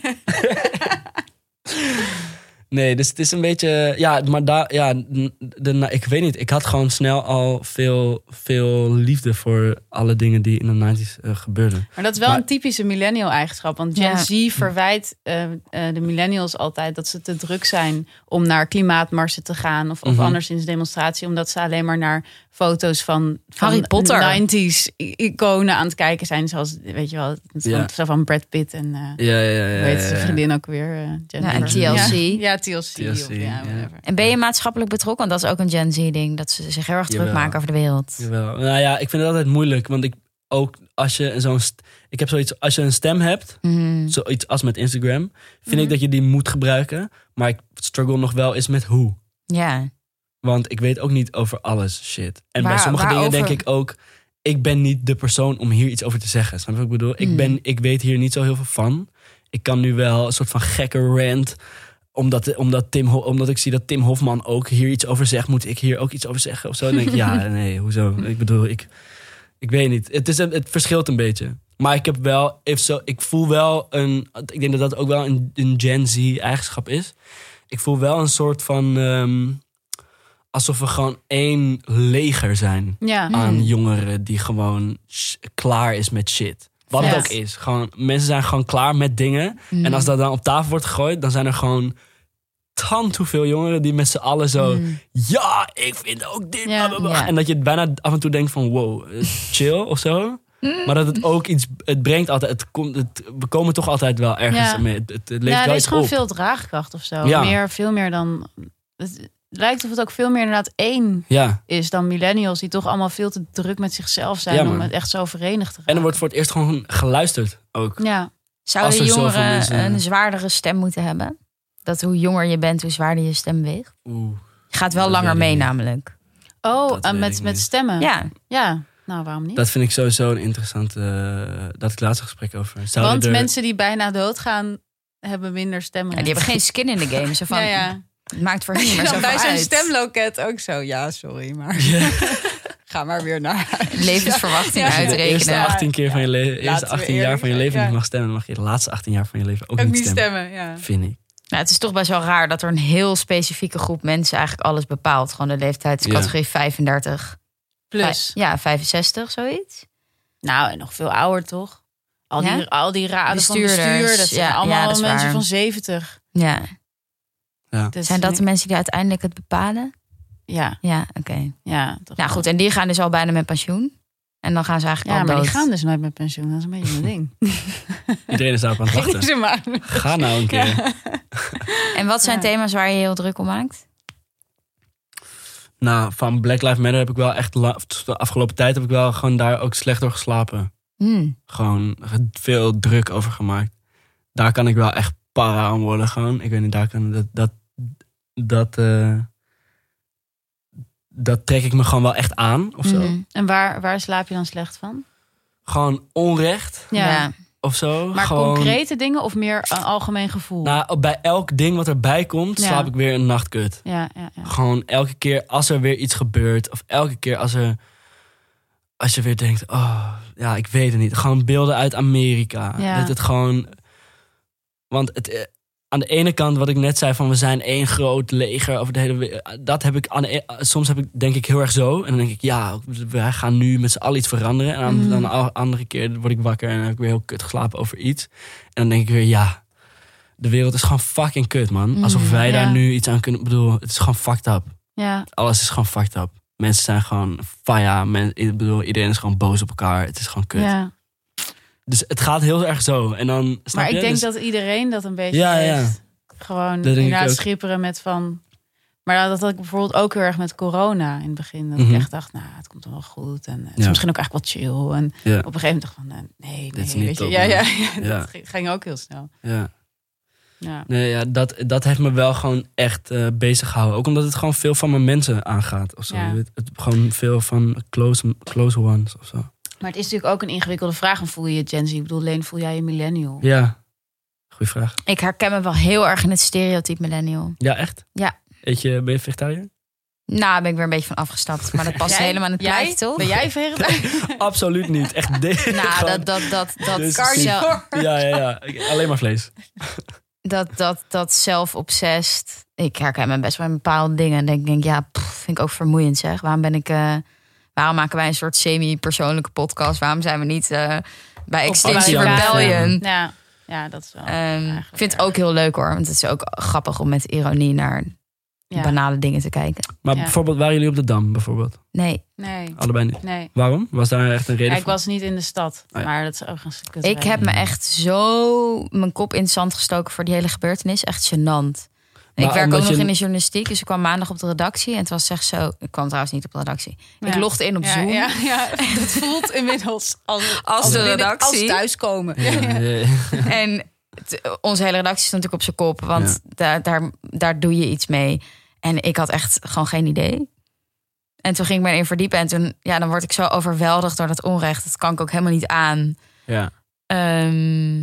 Speaker 2: nee, dus het is een beetje... Ja, maar daar... Ja, de, de- ik weet niet. Ik had gewoon snel al veel, veel liefde voor alle dingen die in de 90s eh, gebeurden.
Speaker 3: Maar dat is wel
Speaker 2: Maar-
Speaker 3: een typische millennial-eigenschap. Want Gen
Speaker 1: Ja.
Speaker 3: Z verwijt eh, eh, de millennials altijd dat ze te druk zijn om naar klimaatmarsen te gaan. Of, of
Speaker 2: Mhm.
Speaker 3: anderszins demonstratie. Omdat ze alleen maar naar foto's van, van
Speaker 1: Harry Potter.
Speaker 3: 90s i- iconen aan het kijken zijn. Zoals, weet je wel, zo
Speaker 2: Ja.
Speaker 3: zo van Brad Pitt en eh
Speaker 2: Ja, ja, ja.
Speaker 3: hoe
Speaker 2: ja,
Speaker 3: heet zijn
Speaker 2: ja.
Speaker 3: vriendin ook weer? eh, Jennifer.
Speaker 1: en TLC.
Speaker 3: Ja, Ja, TLC. of,
Speaker 2: TLC, ja.
Speaker 3: ja, whatever.
Speaker 1: En ben je maatschappelijk betrokken? Want dat is ook een Gen Z-ding. Dat ze zich heel erg druk
Speaker 2: Jawel.
Speaker 1: maken over de wereld.
Speaker 2: Jawel. Nou ja, ik vind het altijd moeilijk. Want ik ook als je zo'n. st- Ik heb zoiets. Als je een stem hebt.
Speaker 1: Mhm.
Speaker 2: Zoiets als met Instagram. Vind ik
Speaker 3: Mhm.
Speaker 2: dat je die moet gebruiken. Maar ik struggle nog wel eens met hoe.
Speaker 1: Ja.
Speaker 2: Want ik weet ook niet over alles shit. En bij
Speaker 1: Waar-
Speaker 2: sommige dingen
Speaker 1: waarover?
Speaker 2: denk ik ook. Ik ben niet de persoon om hier iets over te zeggen. Snap je wat ik bedoel? Ik,
Speaker 1: Mm.
Speaker 2: ben, ik weet hier niet zo heel veel van. Ik kan nu wel een soort van gekke rant. Omdat, omdat, Tim, Ho- omdat ik zie dat Tim Hofman ook hier iets over zegt. Moet ik hier ook iets over zeggen? Of zo Dan denk ik, ja, nee, hoezo? Ik bedoel, ik, ik weet niet. Het, is een, het verschilt een beetje. Maar ik heb wel, if zo, ik voel wel een. Ik denk dat dat ook wel een, een Gen Z-eigenschap is. Ik voel wel een soort van. ehm, alsof we gewoon één leger zijn
Speaker 3: Ja.
Speaker 2: aan jongeren die gewoon sh- klaar is met shit. Wat het
Speaker 3: Ja. Mm.
Speaker 2: ook is. Gewoon, mensen zijn gewoon klaar met dingen.
Speaker 1: Mhm.
Speaker 2: En als dat dan op tafel wordt gegooid, dan zijn er gewoon tant hoeveel jongeren die met z'n allen zo.
Speaker 1: Mhm.
Speaker 2: Ja, ik vind ook dit.
Speaker 3: Mm. Ja,
Speaker 2: bla, bla, bla."
Speaker 1: ja.
Speaker 2: En dat je het bijna af en toe denkt van wow, eh, chill of zo.
Speaker 3: Mm.
Speaker 2: Maar dat het ook iets, het brengt altijd, het komt, het, we komen toch altijd wel ergens
Speaker 3: Ja.
Speaker 2: mee. Het, het, het leeft
Speaker 3: Ja, er
Speaker 2: wel
Speaker 3: is
Speaker 2: iets
Speaker 3: gewoon
Speaker 2: op.
Speaker 3: veel draagkracht of zo.
Speaker 2: Ja.
Speaker 3: Meer, veel meer dan. Het lijkt of het ook veel meer inderdaad één
Speaker 2: Ja,
Speaker 3: is dan millennials, die toch allemaal veel te druk met zichzelf zijn
Speaker 2: Ja,
Speaker 3: om
Speaker 2: man.
Speaker 3: het echt zo verenigd te
Speaker 2: en er
Speaker 3: raken.
Speaker 2: wordt voor het eerst gewoon geluisterd ook.
Speaker 3: Ja,
Speaker 1: Zouden
Speaker 2: Als er zoveel
Speaker 1: jongeren
Speaker 2: mensen-
Speaker 1: een zwaardere stem moeten hebben? Dat hoe jonger je bent, hoe zwaarder je stem weegt.
Speaker 2: Oeh.
Speaker 1: Je gaat wel
Speaker 2: Dat
Speaker 1: langer
Speaker 2: weet ik
Speaker 1: mee
Speaker 2: niet.
Speaker 1: namelijk.
Speaker 3: Oh,
Speaker 2: Dat
Speaker 3: eh,
Speaker 2: weet
Speaker 3: met,
Speaker 2: ik
Speaker 3: met
Speaker 2: niet.
Speaker 3: stemmen.
Speaker 1: Ja,
Speaker 3: Ja, nou waarom niet?
Speaker 2: Dat vind ik sowieso een interessante. eh, dat had ik laatst een gesprek over. Zouden
Speaker 3: Want
Speaker 2: er-
Speaker 3: mensen die bijna doodgaan, hebben minder stemmen.
Speaker 1: Ja, die hebben geen skin in de game. Ze van,
Speaker 3: ja, ja.
Speaker 1: Het maakt voor hen niet meer
Speaker 3: Dan
Speaker 1: zoveel
Speaker 3: bij zo'n
Speaker 1: uit.
Speaker 3: stemloket ook zo. Ja, sorry, maar
Speaker 2: Ja,
Speaker 3: ga maar weer naar huis.
Speaker 1: Levensverwachting
Speaker 3: Ja,
Speaker 2: als je de eerste
Speaker 1: uitrekenen.
Speaker 3: Ja.
Speaker 2: 18 keer van je le- eerste
Speaker 3: Laten we
Speaker 2: 18 jaar van je
Speaker 3: eerlijk
Speaker 2: leven
Speaker 3: zijn,
Speaker 2: niet mag stemmen, dan mag je de laatste 18 jaar van je leven ook,
Speaker 3: Ook
Speaker 2: niet
Speaker 3: niet
Speaker 2: stemmen.
Speaker 3: stemmen, ja.
Speaker 2: Vind ik.
Speaker 1: Nou, het is toch best wel raar dat er een heel specifieke groep mensen eigenlijk alles bepaalt. Gewoon de leeftijdscategorie 35.
Speaker 3: Plus.
Speaker 1: Ja, 65, zoiets.
Speaker 3: Nou, en nog veel ouder toch? Al die,
Speaker 1: Ja?
Speaker 3: al die raden van
Speaker 1: Bestuurders,
Speaker 3: bestuur, dat zijn
Speaker 1: ja,
Speaker 3: allemaal
Speaker 1: ja, dat is
Speaker 3: mensen
Speaker 1: waar.
Speaker 3: van 70.
Speaker 1: Ja.
Speaker 3: Dat
Speaker 1: Zijn dat
Speaker 3: vind
Speaker 1: de
Speaker 3: ik-
Speaker 1: mensen die uiteindelijk het bepalen?
Speaker 3: Ja,
Speaker 1: Ja, oké.
Speaker 3: ja. toch
Speaker 1: Nou
Speaker 3: wel.
Speaker 1: goed, en die gaan dus al bijna met pensioen. En dan gaan ze eigenlijk
Speaker 3: Ja,
Speaker 1: al
Speaker 3: maar
Speaker 1: dood.
Speaker 3: die gaan dus nooit met pensioen. Dat is een beetje mijn ding.
Speaker 2: Iedereen is daarop aan het
Speaker 3: Gingen
Speaker 2: wachten.
Speaker 3: ze maar.
Speaker 2: Ga nou een keer.
Speaker 3: Ja.
Speaker 1: En wat zijn
Speaker 3: Ja.
Speaker 1: thema's waar je heel druk om maakt?
Speaker 2: Nou, van Black Lives Matter heb ik wel echt. la- De afgelopen tijd heb ik wel gewoon daar ook slecht door geslapen.
Speaker 1: Hmm.
Speaker 2: Gewoon ge- veel druk over gemaakt. Daar kan ik wel echt para aan worden. Gewoon. Ik weet niet, daar kan. Dat. Dat. Dat, eh, dat trek ik me gewoon wel echt aan of zo.
Speaker 1: Mhm.
Speaker 3: En waar, waar slaap je dan slecht van?
Speaker 2: Gewoon onrecht
Speaker 1: Ja.
Speaker 2: of zo.
Speaker 3: Maar
Speaker 2: gewoon,
Speaker 3: concrete dingen of meer een algemeen gevoel?
Speaker 2: Nou, bij elk ding wat erbij komt,
Speaker 3: Ja.
Speaker 2: slaap ik weer een nachtkut.
Speaker 3: ja, ja, ja.
Speaker 2: Gewoon elke keer als er weer iets gebeurt. Of elke keer als er. Als je weer denkt, oh, ja, ik weet het niet. Gewoon beelden uit Amerika.
Speaker 3: Ja.
Speaker 2: Dat het gewoon. Want het, eh, aan de ene kant, wat ik net zei, van we zijn één groot leger over de hele wereld. Dat heb ik aan de e- Soms heb ik, denk ik heel erg zo. En dan denk ik, ja, wij gaan nu met z'n allen iets veranderen. En aan,
Speaker 3: Mhm.
Speaker 2: dan de andere keer word ik wakker en dan heb ik weer heel kut geslapen over iets. En dan denk ik weer, ja, de wereld is gewoon fucking kut, man. Alsof
Speaker 1: Mhm,
Speaker 2: wij daar
Speaker 3: ja.
Speaker 2: nu iets aan kunnen. Ik bedoel, het is gewoon fucked up
Speaker 3: ja.
Speaker 2: alles is gewoon fucked up. Mensen zijn gewoon faya. Men, ik bedoel, iedereen is gewoon boos op elkaar. Het is gewoon kut.
Speaker 3: ja.
Speaker 2: Dus het gaat heel erg zo. En dan, snap
Speaker 3: Maar ik
Speaker 2: je?
Speaker 3: denk
Speaker 2: Dus-
Speaker 3: dat iedereen dat een beetje
Speaker 2: Ja, ja.
Speaker 3: heeft. Gewoon
Speaker 2: denk ik
Speaker 3: inderdaad
Speaker 2: ook.
Speaker 3: schipperen met van... Maar dat had ik bijvoorbeeld ook heel erg met corona in het begin. Dat
Speaker 2: Mhm.
Speaker 3: ik echt dacht, nou, het komt dan wel goed. En eh, het is
Speaker 2: Ja.
Speaker 3: misschien ook echt wel chill. En
Speaker 2: Ja.
Speaker 3: op een gegeven moment dacht ik van, eh, nee, nee.
Speaker 2: is niet
Speaker 3: weet je.
Speaker 2: top,
Speaker 3: Ja,
Speaker 2: man.
Speaker 3: ja, ja,
Speaker 2: Ja.
Speaker 3: dat ging- ging ook heel snel.
Speaker 2: Ja.
Speaker 3: Ja.
Speaker 2: Nee, ja, dat, dat heeft me wel gewoon echt eh, bezig gehouden. Ook omdat het gewoon veel van mijn mensen aangaat. Of zo.
Speaker 3: Ja.
Speaker 2: Je weet, het, gewoon veel van close, close ones of zo.
Speaker 3: Maar het is natuurlijk ook een ingewikkelde vraag. En voel je je Gen Z? Ik bedoel, Leen, voel jij je millennial?
Speaker 2: Ja, goeie vraag.
Speaker 1: Ik herken me wel heel erg in het stereotype millennial.
Speaker 2: Ja, echt?
Speaker 1: Ja.
Speaker 2: Eet je, ben je vegetariër?
Speaker 1: Nou, daar ben ik weer een beetje van afgestapt. Maar dat past
Speaker 3: Jij-
Speaker 1: helemaal in het
Speaker 3: jij?
Speaker 1: plaatje, toch?
Speaker 3: Ben jij vegetariër?
Speaker 2: Absoluut niet. Echt dit.
Speaker 1: Nou,
Speaker 2: gewoon-
Speaker 1: dat, dat, dat, dat,
Speaker 2: Dus-
Speaker 1: zelf-
Speaker 2: Ja, ja, ja. Alleen maar vlees.
Speaker 1: dat, dat, dat zelf-obsessed. Ik herken me best wel in bepaalde dingen. En denk, denk ja, pff, vind ik ook vermoeiend zeg. Waarom ben ik. eh, waarom maken wij een soort semi-persoonlijke podcast? Waarom zijn we niet eh, bij Extinction
Speaker 2: Anti-Amerika.
Speaker 1: Rebellion?
Speaker 3: Ja, ja, dat is wel...
Speaker 1: Ehm, ik
Speaker 3: eigenlijk
Speaker 1: vind het
Speaker 3: erg.
Speaker 1: ook heel leuk hoor. Want het is ook grappig om met ironie naar
Speaker 3: Ja.
Speaker 1: banale dingen te kijken.
Speaker 2: Maar
Speaker 3: Ja.
Speaker 2: bijvoorbeeld, waren jullie op de Dam? Bijvoorbeeld?
Speaker 1: Nee,
Speaker 3: Nee,
Speaker 1: Oh.
Speaker 2: Allebei niet.
Speaker 3: nee.
Speaker 2: Waarom? Was daar echt een reden
Speaker 3: Ja,
Speaker 2: voor?
Speaker 3: ik was niet in de stad,
Speaker 2: Oh ja.
Speaker 3: maar dat is ook een kut.
Speaker 1: ik heb me
Speaker 2: Mm.
Speaker 1: echt zo mijn kop in het zand gestoken voor die hele gebeurtenis. Echt gênant. En Ik
Speaker 2: Maar
Speaker 1: werk ook
Speaker 2: omdat
Speaker 1: nog
Speaker 2: je-
Speaker 1: in de journalistiek, dus ik kwam maandag op de redactie. En het was echt zo. Ik kwam trouwens niet op de redactie. Ik logde in op
Speaker 3: ja,
Speaker 1: Zoom.
Speaker 3: Ja, ja, dat voelt inmiddels als,
Speaker 1: Als de
Speaker 3: binnen-
Speaker 1: redactie.
Speaker 3: Als thuiskomen. Ja,
Speaker 2: Ja,
Speaker 3: ja.
Speaker 1: En t- onze hele redactie stond natuurlijk op zijn kop. Want daar, daar, daar doe je iets mee. En ik had echt gewoon geen idee. En toen ging ik me erin verdiepen. En toen, ja, dan word ik zo overweldigd door dat onrecht. Dat kan ik ook helemaal niet aan.
Speaker 2: ja.
Speaker 1: Ehm,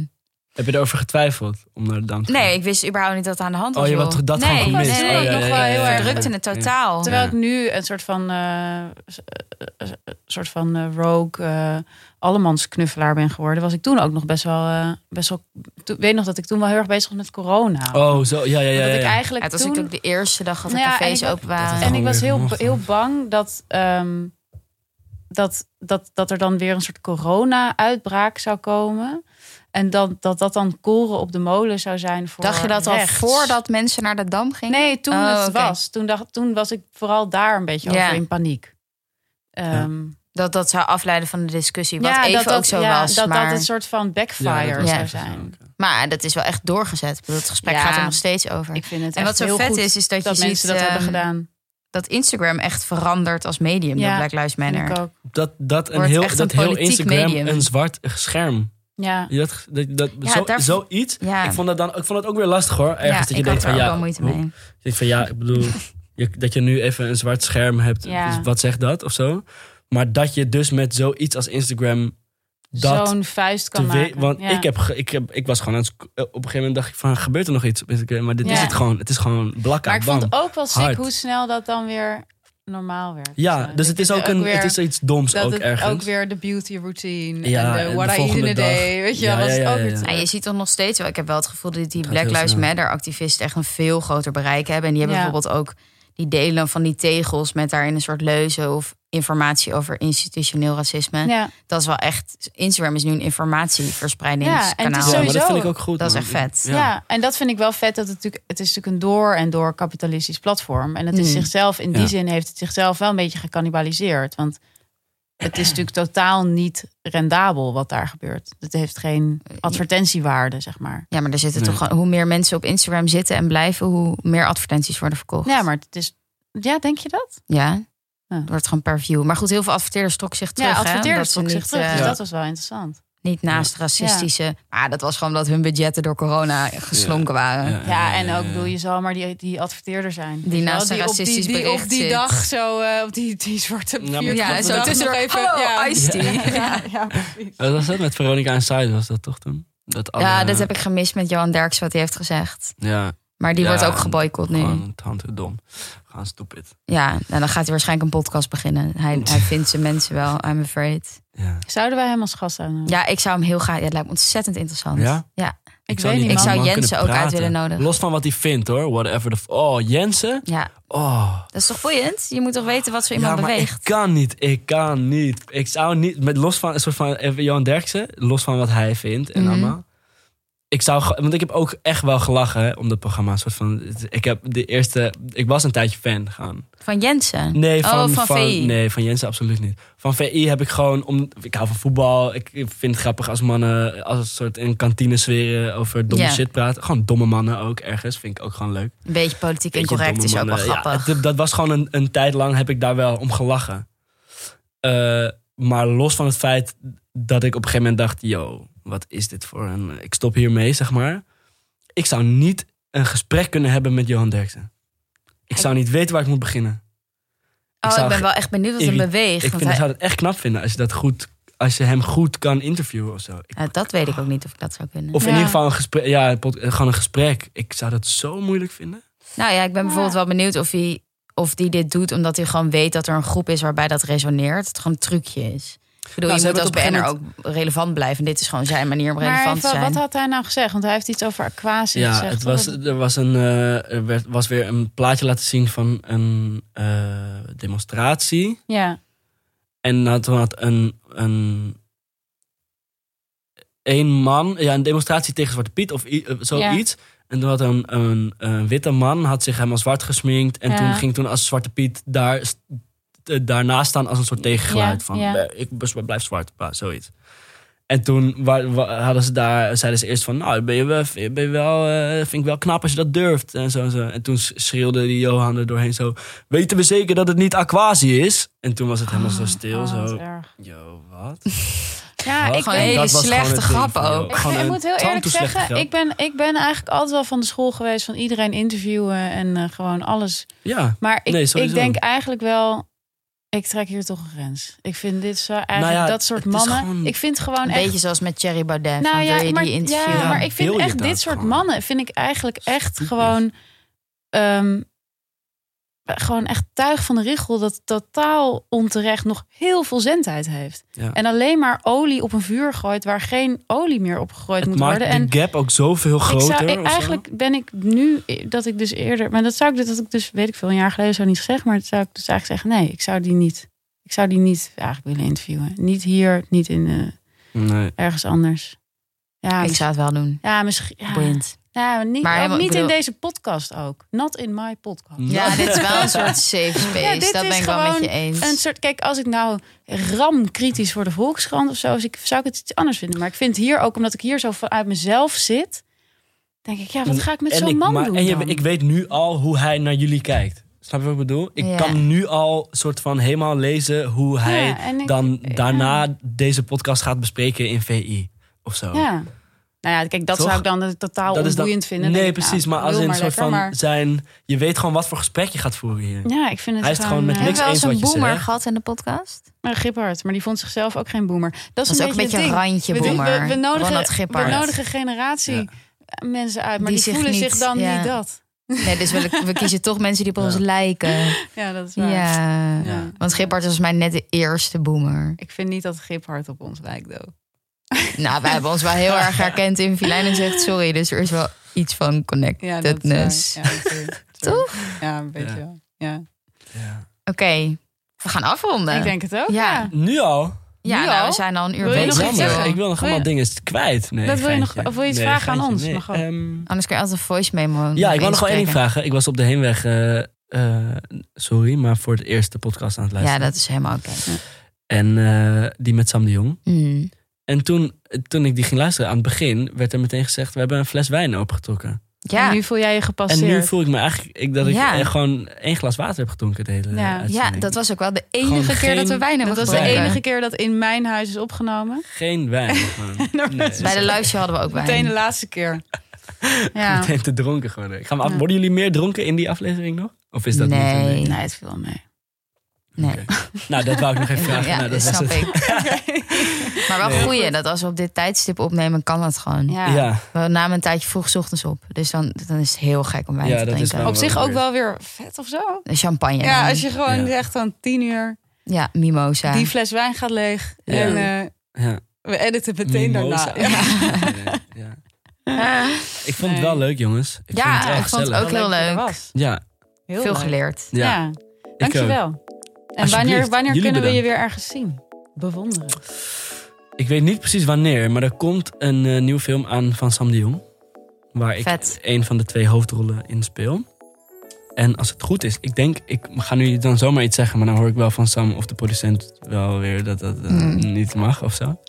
Speaker 2: Heb je erover getwijfeld om naar de Dam te gaan?
Speaker 1: nee, ik wist überhaupt niet dat het aan de hand was.
Speaker 2: Oh, je
Speaker 1: joh.
Speaker 2: had dat
Speaker 1: nee,
Speaker 2: gewoon gemist.
Speaker 1: Nee, nee,
Speaker 2: Oh, ja,
Speaker 1: nog
Speaker 2: ja,
Speaker 1: wel
Speaker 2: ja,
Speaker 1: heel
Speaker 2: ja,
Speaker 1: erg
Speaker 2: ja.
Speaker 1: drukt in het totaal.
Speaker 3: Terwijl
Speaker 2: Ja.
Speaker 3: ik nu een soort van, eh, s- eh, eh, eh, soort van eh, rogue eh allemansknuffelaar ben geworden, was ik toen ook nog best wel. eh, best wel ik weet nog dat ik toen wel heel erg bezig was met corona.
Speaker 2: Oh, zo. Ja, ja, ja.
Speaker 3: dat
Speaker 2: ja,
Speaker 3: ik
Speaker 2: ja.
Speaker 3: eigenlijk
Speaker 1: het was
Speaker 3: toen,
Speaker 1: natuurlijk de eerste dag dat de
Speaker 3: Nou ja, en
Speaker 1: cafés
Speaker 3: ik wa-
Speaker 1: open waren.
Speaker 2: Dat
Speaker 3: En ik was
Speaker 2: weer
Speaker 3: heel,
Speaker 2: mocht,
Speaker 3: heel
Speaker 2: hè?
Speaker 3: bang dat, ehm, dat, dat, dat er dan weer een soort corona-uitbraak zou komen. En dat, dat dat dan koren op de molen zou zijn voor
Speaker 1: Dacht je dat al
Speaker 3: rechts.
Speaker 1: voordat mensen naar de Dam gingen?
Speaker 3: Nee, toen
Speaker 1: Oh,
Speaker 3: het
Speaker 1: oké.
Speaker 3: was. Toen, dacht, toen was ik vooral daar een beetje
Speaker 1: Ja.
Speaker 3: over in paniek. Ehm,
Speaker 1: Dat dat zou afleiden van de discussie. Wat
Speaker 3: ja,
Speaker 1: even
Speaker 3: dat, dat,
Speaker 1: ook zo
Speaker 3: ja,
Speaker 1: was.
Speaker 3: dat
Speaker 1: maar...
Speaker 3: dat een soort van
Speaker 2: Ja,
Speaker 3: backfire
Speaker 2: dat
Speaker 1: Ja.
Speaker 2: was
Speaker 3: zou
Speaker 2: echt zo,
Speaker 3: zijn.
Speaker 2: oké.
Speaker 1: Maar dat is wel echt doorgezet. Ik bedoel, het gesprek
Speaker 3: Ja.
Speaker 1: gaat er nog steeds over.
Speaker 3: Ik vind het
Speaker 1: en
Speaker 3: echt
Speaker 1: wat zo
Speaker 3: heel
Speaker 1: vet
Speaker 3: goed
Speaker 1: is, is dat,
Speaker 3: dat
Speaker 1: je
Speaker 3: mensen
Speaker 1: ziet
Speaker 3: dat hebben
Speaker 1: ehm,
Speaker 3: gedaan.
Speaker 1: dat Instagram echt verandert als medium
Speaker 3: Ja,
Speaker 1: door Black Lives
Speaker 3: Vind
Speaker 1: Matter.
Speaker 3: ik ook.
Speaker 2: Dat, dat, een
Speaker 1: Wordt
Speaker 2: heel,
Speaker 1: echt
Speaker 2: dat
Speaker 1: een
Speaker 2: heel
Speaker 1: politiek
Speaker 2: Instagram
Speaker 1: medium.
Speaker 2: een zwart scherm
Speaker 3: Ja.
Speaker 2: Je dat, dat, dat,
Speaker 1: Ja,
Speaker 2: zo,
Speaker 1: daar-
Speaker 2: Zoiets.
Speaker 1: Ja,
Speaker 2: Ik vond dat dan ik vond dat ook weer lastig hoor. Ergens
Speaker 1: ja
Speaker 2: dat je
Speaker 1: ik
Speaker 2: denkt
Speaker 1: had er
Speaker 2: van
Speaker 1: ook
Speaker 2: ja.
Speaker 1: wel moeite
Speaker 2: hoe-
Speaker 1: mee.
Speaker 2: Ik denk van ja, ik bedoel, je- dat je nu even een zwart scherm hebt.
Speaker 3: Ja.
Speaker 2: dus wat zegt dat of zo? Maar dat je dus met zoiets als Instagram dat
Speaker 3: Zo'n vuist kan
Speaker 2: te we-
Speaker 3: maken.
Speaker 2: Want
Speaker 3: Ja.
Speaker 2: ik, heb, ge- ik, heb, ik was gewoon aan het sc- op een gegeven moment dacht ik van gebeurt er nog iets op Instagram? Maar dit
Speaker 3: Ja.
Speaker 2: is het gewoon. Het is gewoon blakka.
Speaker 3: maar ik
Speaker 2: bam.
Speaker 3: vond ook wel sick
Speaker 2: Hard.
Speaker 3: hoe snel dat dan weer normaal werd.
Speaker 2: ja,
Speaker 3: Zo.
Speaker 2: dus
Speaker 3: Ik
Speaker 2: het is
Speaker 3: vind
Speaker 2: ook een,
Speaker 3: weer
Speaker 2: het is iets doms
Speaker 3: dat
Speaker 2: ook
Speaker 3: het
Speaker 2: ergens.
Speaker 3: ook weer de beauty routine
Speaker 2: Ja,
Speaker 3: en
Speaker 2: en
Speaker 3: de
Speaker 2: de
Speaker 3: what I eat in
Speaker 2: volgende
Speaker 3: a day,
Speaker 2: dag.
Speaker 3: weet je,
Speaker 2: Ja,
Speaker 3: wel, was
Speaker 2: ja,
Speaker 3: het
Speaker 2: ja,
Speaker 3: ook
Speaker 2: ja,
Speaker 3: weer
Speaker 2: ja.
Speaker 3: terug.
Speaker 1: Ja, je ziet toch nog steeds wel. Ik heb wel het gevoel dat die
Speaker 2: Gaat
Speaker 1: Black
Speaker 2: heel
Speaker 1: Lives
Speaker 2: snel.
Speaker 1: Matter activisten echt een veel groter bereik hebben. En die hebben
Speaker 3: Ja.
Speaker 1: bijvoorbeeld ook die delen dan van die tegels met daarin een soort leuzen of informatie over institutioneel racisme.
Speaker 3: Ja.
Speaker 1: Dat is wel echt. Instagram is nu een informatieverspreidingskanaal.
Speaker 3: Ja, en het is
Speaker 2: ja, maar dat
Speaker 3: sowieso.
Speaker 2: vind ik ook goed.
Speaker 1: Dat is
Speaker 2: man.
Speaker 1: echt vet.
Speaker 3: Ja. en dat vind ik wel vet. Dat het, natuurlijk, het is natuurlijk een door en door kapitalistisch platform. En het is
Speaker 1: Mm.
Speaker 3: zichzelf, in die
Speaker 2: Ja.
Speaker 3: zin heeft het zichzelf wel een beetje gecannibaliseerd. Want het is natuurlijk totaal niet rendabel wat daar gebeurt. Het heeft geen
Speaker 1: Eh,
Speaker 3: advertentiewaarde, zeg maar.
Speaker 1: Ja, maar er zitten
Speaker 2: Nee.
Speaker 1: toch gewoon, hoe meer mensen op Instagram zitten en blijven, hoe meer advertenties worden verkocht.
Speaker 3: Ja, maar het is... Ja, denk je dat?
Speaker 1: Ja.
Speaker 3: Ja.
Speaker 1: Het wordt gewoon per view. Maar goed, heel veel adverteerders trokken zich terug.
Speaker 3: ja,
Speaker 1: hè,
Speaker 3: adverteerders
Speaker 1: omdat ze
Speaker 3: trok zich
Speaker 1: niet,
Speaker 3: terug. Dus
Speaker 1: eh,
Speaker 3: dat was wel interessant.
Speaker 1: Niet naast racistische. Maar dat was gewoon omdat hun budgetten door corona geslonken waren.
Speaker 2: Ja.
Speaker 3: Ja, en ook, bedoel, je zal maar die, die adverteerder zijn.
Speaker 1: Die
Speaker 3: Weet je wel,
Speaker 1: naast een
Speaker 3: op die-
Speaker 1: racistisch
Speaker 3: die,
Speaker 1: bericht
Speaker 3: op die
Speaker 1: zit.
Speaker 3: dag zo, eh, op die, die zwarte
Speaker 2: Ja, maar
Speaker 3: vierkante
Speaker 1: Ja,
Speaker 2: klopt
Speaker 1: zo
Speaker 3: dag
Speaker 1: tussendoor
Speaker 3: nog
Speaker 1: even. ja. iced tea.
Speaker 3: Ja, ja, precies.
Speaker 2: Wat was dat met Veronica en Side? Was dat toch toen? Dat alle-
Speaker 1: Ja, dat heb ik gemist met Johan Derks, wat hij heeft gezegd.
Speaker 2: Ja,
Speaker 1: Maar die
Speaker 2: Ja,
Speaker 1: wordt ook geboycott nu.
Speaker 2: gewoon het handje dom. Gaan stupid.
Speaker 1: Ja, en dan gaat hij waarschijnlijk een podcast beginnen. Hij, hij vindt zijn mensen wel, I'm afraid.
Speaker 2: Ja.
Speaker 3: Zouden wij hem als gast aan?
Speaker 1: Ja, ik zou hem heel graag... Ja, het lijkt me ontzettend interessant.
Speaker 2: Ja?
Speaker 3: ik
Speaker 2: zou
Speaker 3: weet
Speaker 2: niet
Speaker 3: niet.
Speaker 1: Ik
Speaker 2: met
Speaker 1: zou
Speaker 2: die man
Speaker 1: Jensen
Speaker 2: kunnen
Speaker 1: ook uit
Speaker 2: praten.
Speaker 1: willen nodigen.
Speaker 2: Los van wat hij vindt hoor. Whatever the f- Oh, Jensen?
Speaker 1: Ja,
Speaker 2: Oh.
Speaker 1: dat is toch boeiend? Je moet toch weten wat zo iemand
Speaker 2: ja, maar
Speaker 1: beweegt?
Speaker 2: ik kan niet. Ik kan niet. Ik zou niet, met los van een soort van even Johan Derksen, los van wat hij vindt en
Speaker 1: Mhm.
Speaker 2: allemaal. Ik zou, ge- want ik heb ook echt wel gelachen hè, om dat programma. Een soort van, ik heb de eerste, ik was een tijdje fan gaan.
Speaker 1: Van Jensen?
Speaker 2: Nee,
Speaker 1: Oh,
Speaker 2: van,
Speaker 1: van VI.
Speaker 2: Nee, van Jensen absoluut niet. Van VI heb ik gewoon, om, ik hou van voetbal. Ik ik vind het grappig als mannen, als een soort in kantinesferen over domme
Speaker 1: Ja.
Speaker 2: shit praten. Gewoon domme mannen ook ergens, vind ik ook gewoon leuk.
Speaker 1: Een beetje politiek
Speaker 2: Beetje
Speaker 1: incorrect is
Speaker 2: domme
Speaker 1: ook wel
Speaker 2: mannen. Ja,
Speaker 1: grappig.
Speaker 2: het- dat was gewoon een, een tijd lang heb ik daar wel om gelachen. Eh, maar los van het feit dat ik op een gegeven moment dacht... yo, wat is dit voor een... Ik stop hiermee, zeg maar. Ik zou niet een gesprek kunnen hebben met Johan Derksen. Ik zou niet weten waar ik moet beginnen.
Speaker 1: Oh, ik,
Speaker 2: zou
Speaker 1: ben
Speaker 2: ge-
Speaker 1: wel echt benieuwd wat hem
Speaker 2: irri-
Speaker 1: beweegt.
Speaker 2: Ik
Speaker 1: want
Speaker 2: vind,
Speaker 1: hij-
Speaker 2: zou het echt knap vinden als je, dat goed, als je hem goed kan interviewen of zo. Ik-
Speaker 1: Ja, dat weet ik ook niet of ik dat zou kunnen.
Speaker 2: of in
Speaker 3: Ja.
Speaker 2: ieder geval een gesprek. Ja, een pod- gewoon een gesprek. Ik zou dat zo moeilijk vinden.
Speaker 1: Nou ja, ik ben bijvoorbeeld
Speaker 3: Ja.
Speaker 1: wel benieuwd of hij, of die dit doet omdat hij gewoon weet dat er een groep is waarbij dat resoneert. Het gewoon een trucje is. Ik bedoel,
Speaker 2: Nou,
Speaker 1: je
Speaker 2: ze
Speaker 1: moet
Speaker 2: hebben
Speaker 1: als
Speaker 2: het op een
Speaker 1: BN'er ook
Speaker 2: gegeven
Speaker 1: relevant blijven. Dit is gewoon zijn manier om
Speaker 3: Maar
Speaker 1: relevant
Speaker 3: even,
Speaker 1: te zijn.
Speaker 3: wat had hij nou gezegd? Want hij heeft iets over aquatie
Speaker 2: Ja,
Speaker 3: gezegd.
Speaker 2: het was,
Speaker 3: toch?
Speaker 2: er, was een, eh, er werd, was weer een plaatje laten zien van een eh, demonstratie.
Speaker 3: Ja,
Speaker 2: En dat had een, een, een man, ja, een demonstratie tegen Zwarte Piet of i- eh, zoiets. En toen had een, een, een witte man had zich helemaal zwart gesminkt. En
Speaker 3: Ja.
Speaker 2: toen ging toen als Zwarte Piet daar, st- eh, daarnaast staan als een soort tegengeluid.
Speaker 3: Ja,
Speaker 2: van
Speaker 3: ja.
Speaker 2: "Eh, ik bes- blijf zwart, bah, zoiets. En toen wa- wa- hadden ze daar, zeiden ze eerst van, nou, ben je wel, ben je wel eh, vind ik wel knap als je dat durft. En, zo, en zo. en toen schreeuwde die Johan er doorheen zo, weten we zeker dat het niet aquatie is? En toen was het helemaal zo stil,
Speaker 3: oh, wat
Speaker 2: zo,
Speaker 3: erg.
Speaker 2: Yo, wat?
Speaker 3: Ja,
Speaker 1: Gewoon
Speaker 3: ik, weet-
Speaker 1: een hele
Speaker 2: Dat was gewoon
Speaker 1: Ah, slechte
Speaker 2: het ding
Speaker 1: grap
Speaker 2: van, yo,
Speaker 1: ook.
Speaker 3: ik,
Speaker 2: gewoon
Speaker 3: ik
Speaker 2: een
Speaker 3: moet heel eerlijk
Speaker 2: tandtoe slechte
Speaker 3: zeggen,
Speaker 2: grap.
Speaker 3: ik ben, ik ben eigenlijk altijd wel van de school geweest van iedereen interviewen en eh, gewoon alles.
Speaker 2: Ja.
Speaker 3: Maar ik,
Speaker 2: Nee,
Speaker 3: ik
Speaker 2: sowieso.
Speaker 3: denk eigenlijk wel, ik trek hier toch een grens. Ik vind dit zo eigenlijk
Speaker 2: Nou ja,
Speaker 3: dat soort
Speaker 2: het is
Speaker 3: mannen.
Speaker 2: gewoon-
Speaker 3: ik vind gewoon
Speaker 1: Een
Speaker 3: echt
Speaker 1: beetje zoals met Thierry Baudet.
Speaker 3: Nou
Speaker 1: van, wil
Speaker 3: ja,
Speaker 1: je
Speaker 3: maar,
Speaker 1: die interview?
Speaker 3: ja, maar
Speaker 2: Ja,
Speaker 3: ik vind
Speaker 2: wil je
Speaker 3: echt
Speaker 2: dat
Speaker 3: dit soort
Speaker 2: gewoon?
Speaker 3: mannen vind ik eigenlijk echt
Speaker 2: Stupid.
Speaker 3: gewoon, ehm, gewoon echt tuig van de richel dat totaal onterecht nog heel veel zendheid heeft
Speaker 2: Ja.
Speaker 3: en alleen maar olie op een vuur gooit waar geen olie meer op gegooid
Speaker 2: Het
Speaker 3: moet
Speaker 2: maakt
Speaker 3: worden. En
Speaker 2: de gap ook zoveel
Speaker 3: ik
Speaker 2: groter.
Speaker 3: zou, ik-
Speaker 2: of zo.
Speaker 3: eigenlijk ben ik nu dat ik dus eerder, maar dat zou ik dat ik dus weet ik veel een jaar geleden zou niet gezegd, maar dat zou ik dus eigenlijk zeggen nee, ik zou die niet, ik zou die niet eigenlijk willen interviewen, niet hier, niet in eh,
Speaker 2: Nee.
Speaker 3: ergens anders. Ja,
Speaker 1: ik zou het wel doen.
Speaker 3: ja, misschien. Ja,
Speaker 1: Boeiend.
Speaker 3: ja, maar niet,
Speaker 1: Maar
Speaker 3: ook
Speaker 1: helemaal-
Speaker 3: niet
Speaker 1: ik bedoel-
Speaker 3: in deze podcast ook. Not in my podcast.
Speaker 2: Ja.
Speaker 1: Ja, dit is wel een soort safe space.
Speaker 3: Ja, dit
Speaker 1: dus dat
Speaker 3: is
Speaker 1: ben ik wel met
Speaker 3: gewoon
Speaker 1: je eens.
Speaker 3: Een soort, kijk, als ik nou ram kritisch voor de Volkskrant of zo, is ik, zou ik het iets anders vinden. Maar ik vind hier ook, omdat ik hier zo vanuit mezelf zit, denk ik, ja,
Speaker 1: Mm,
Speaker 3: wat ga ik met
Speaker 2: En
Speaker 3: zo'n
Speaker 2: ik-
Speaker 3: man
Speaker 2: maar-
Speaker 3: doen?
Speaker 2: En je,
Speaker 3: dan?
Speaker 2: ik weet nu al hoe hij naar jullie kijkt. Snap je wat ik bedoel? Ik
Speaker 1: Ja.
Speaker 2: kan nu al soort van helemaal lezen hoe hij
Speaker 3: en ik-
Speaker 2: dan
Speaker 3: ja.
Speaker 2: daarna deze podcast gaat bespreken in VI. of zo.
Speaker 3: Ja. Nou ja, kijk, dat
Speaker 2: Oh. Toch?
Speaker 3: zou ik dan eh, totaal
Speaker 2: Dat is dan-
Speaker 3: onboeiend vinden.
Speaker 2: nee,
Speaker 3: Denk ik, nou,
Speaker 2: precies. maar als
Speaker 3: lul
Speaker 2: in een soort
Speaker 3: lekker,
Speaker 2: van
Speaker 3: maar-
Speaker 2: zijn... Je weet gewoon wat voor gesprek je gaat voeren hier.
Speaker 3: Ja, ik vind het
Speaker 2: Hij is het gewoon met
Speaker 3: eh,
Speaker 1: Hebben we
Speaker 2: niks
Speaker 1: wel eens
Speaker 2: eens
Speaker 1: een
Speaker 2: wat je
Speaker 1: boomer
Speaker 2: zegt.
Speaker 1: gehad in de podcast?
Speaker 3: Maar Gippard, maar die vond zichzelf ook geen boomer. Dat is,
Speaker 1: Dat is ook een beetje een
Speaker 3: het ding.
Speaker 1: randje
Speaker 3: We-
Speaker 1: boomer.
Speaker 3: We, we,
Speaker 1: Ronald
Speaker 3: nodigen, we
Speaker 1: Gippard.
Speaker 3: nodigen generatie mensen uit, maar
Speaker 1: Die
Speaker 3: die,
Speaker 1: zich
Speaker 3: voelen
Speaker 1: niet-
Speaker 3: zich dan
Speaker 1: ja.
Speaker 3: niet dat.
Speaker 1: Nee, dus we, we kiezen toch mensen die op
Speaker 2: Ja.
Speaker 1: ons lijken.
Speaker 3: Ja, dat is waar.
Speaker 1: Ja.
Speaker 2: Ja.
Speaker 1: Want Gippard was mij net de eerste boomer.
Speaker 3: Ik vind niet dat Giphard op ons lijkt, though.
Speaker 1: Nou, wij hebben ons wel heel erg herkend in Filijn en zegt sorry. Dus er is wel iets van
Speaker 3: Ja, dat is
Speaker 1: connectedness.
Speaker 3: waar. Ja, true, true. Ja, een beetje
Speaker 2: Ja.
Speaker 3: wel. Ja.
Speaker 2: Ja.
Speaker 1: Oké, we gaan afronden.
Speaker 3: Ik denk het ook.
Speaker 1: Ja.
Speaker 3: Ja.
Speaker 2: Nu al?
Speaker 1: ja,
Speaker 3: nu
Speaker 1: nou,
Speaker 3: al?
Speaker 1: we zijn al een uur
Speaker 3: Wil je
Speaker 1: bezig.
Speaker 3: nog iets
Speaker 2: Jammer,
Speaker 3: zeggen?
Speaker 2: Ik wil nog
Speaker 3: Wil je-
Speaker 2: allemaal dingen kwijt. Nee,
Speaker 3: Dat wil je nog-
Speaker 2: geintje.
Speaker 3: of wil je iets
Speaker 2: Nee,
Speaker 3: vragen aan
Speaker 2: geintje,
Speaker 3: ons?
Speaker 2: nee.
Speaker 3: Mag ook.
Speaker 2: Ehm,
Speaker 1: Anders kun je altijd een voice memo
Speaker 2: ja, ik wil nog wel
Speaker 1: inspreken.
Speaker 2: één ding vragen. Ik was op de heenweg, eh, eh, sorry, maar voor het eerst de podcast aan het
Speaker 1: Ja,
Speaker 2: luisteren.
Speaker 1: dat is helemaal oké.
Speaker 2: En eh, die met Sam de Jong.
Speaker 1: Mm.
Speaker 2: En toen, toen ik die ging luisteren aan het begin, werd er meteen gezegd: we hebben een fles wijn opengetrokken.
Speaker 1: Ja,
Speaker 3: En nu voel jij je
Speaker 2: En
Speaker 3: gepasseerd.
Speaker 2: nu voel ik me eigenlijk ik, dat ik
Speaker 1: Ja.
Speaker 2: eh, gewoon één glas water heb gedronken de hele
Speaker 3: Ja.
Speaker 1: ja,
Speaker 2: uitzending.
Speaker 1: dat was ook wel de
Speaker 2: Gewoon
Speaker 1: enige keer dat we
Speaker 2: geen-
Speaker 1: wijn hebben
Speaker 3: dat was de
Speaker 2: Wij-
Speaker 1: gedronken.
Speaker 3: enige keer dat in mijn huis is opgenomen.
Speaker 2: Geen wijn. gewoon.
Speaker 3: Nou, dat is-
Speaker 1: Bij de luisje hadden we ook
Speaker 3: Meteen de
Speaker 1: wijn.
Speaker 3: laatste keer. Ja.
Speaker 2: Meteen te dronken gewoon. Ik ga me af,
Speaker 3: Ja.
Speaker 2: Worden jullie meer dronken in die aflevering nog? Of is dat niet?
Speaker 1: Nee.
Speaker 3: Nee, het viel wel mee.
Speaker 1: Nee.
Speaker 2: Oké. Nou, dat wou ik nog even vragen.
Speaker 1: Ja,
Speaker 2: nou,
Speaker 1: dat
Speaker 2: was
Speaker 1: snap
Speaker 2: het.
Speaker 1: ik. Maar wel
Speaker 2: Nee.
Speaker 1: goeie, dat als we op dit tijdstip opnemen, kan dat gewoon.
Speaker 3: Ja.
Speaker 2: Ja,
Speaker 1: We namen een tijdje vroeg 's ochtends op. Dus dan, dan is het heel gek om wijn
Speaker 2: Ja,
Speaker 1: te
Speaker 2: dat is
Speaker 1: drinken.
Speaker 2: wel-
Speaker 3: Op zich ook wel weer vet of zo.
Speaker 1: Champagne.
Speaker 3: Ja,
Speaker 1: dan.
Speaker 3: als je gewoon
Speaker 2: Ja.
Speaker 3: echt aan tien uur
Speaker 1: Ja, mimosa.
Speaker 3: die fles wijn gaat leeg.
Speaker 2: Ja.
Speaker 3: En eh,
Speaker 2: ja.
Speaker 3: we editen meteen
Speaker 2: Mimosa.
Speaker 3: daarna. Ja.
Speaker 2: Ja. Ja. Ik vond het wel leuk, jongens. Ik
Speaker 1: Ja,
Speaker 2: vond het wel
Speaker 1: ik vond het
Speaker 2: gezellig.
Speaker 1: ook heel
Speaker 3: dat je er
Speaker 1: leuk.
Speaker 3: was.
Speaker 2: Ja,
Speaker 3: Heel
Speaker 1: Veel
Speaker 3: leuk.
Speaker 1: geleerd.
Speaker 2: ja.
Speaker 3: Ja,
Speaker 2: ik ook.
Speaker 3: dankjewel. En wanneer,
Speaker 2: Alsjeblieft.
Speaker 3: wanneer
Speaker 2: Jullie
Speaker 3: kunnen we je
Speaker 2: bedankt.
Speaker 3: weer ergens zien? Bewonderen.
Speaker 2: Ik weet niet precies wanneer, maar er komt een eh, nieuwe film aan van Sam de Jong. Waar ik
Speaker 1: Vet.
Speaker 2: een van de twee hoofdrollen in speel. En als het goed is, ik denk, ik ga nu dan zomaar iets zeggen, maar dan hoor ik wel van Sam of de producent wel weer dat dat eh,
Speaker 1: Mm.
Speaker 2: niet mag of zo.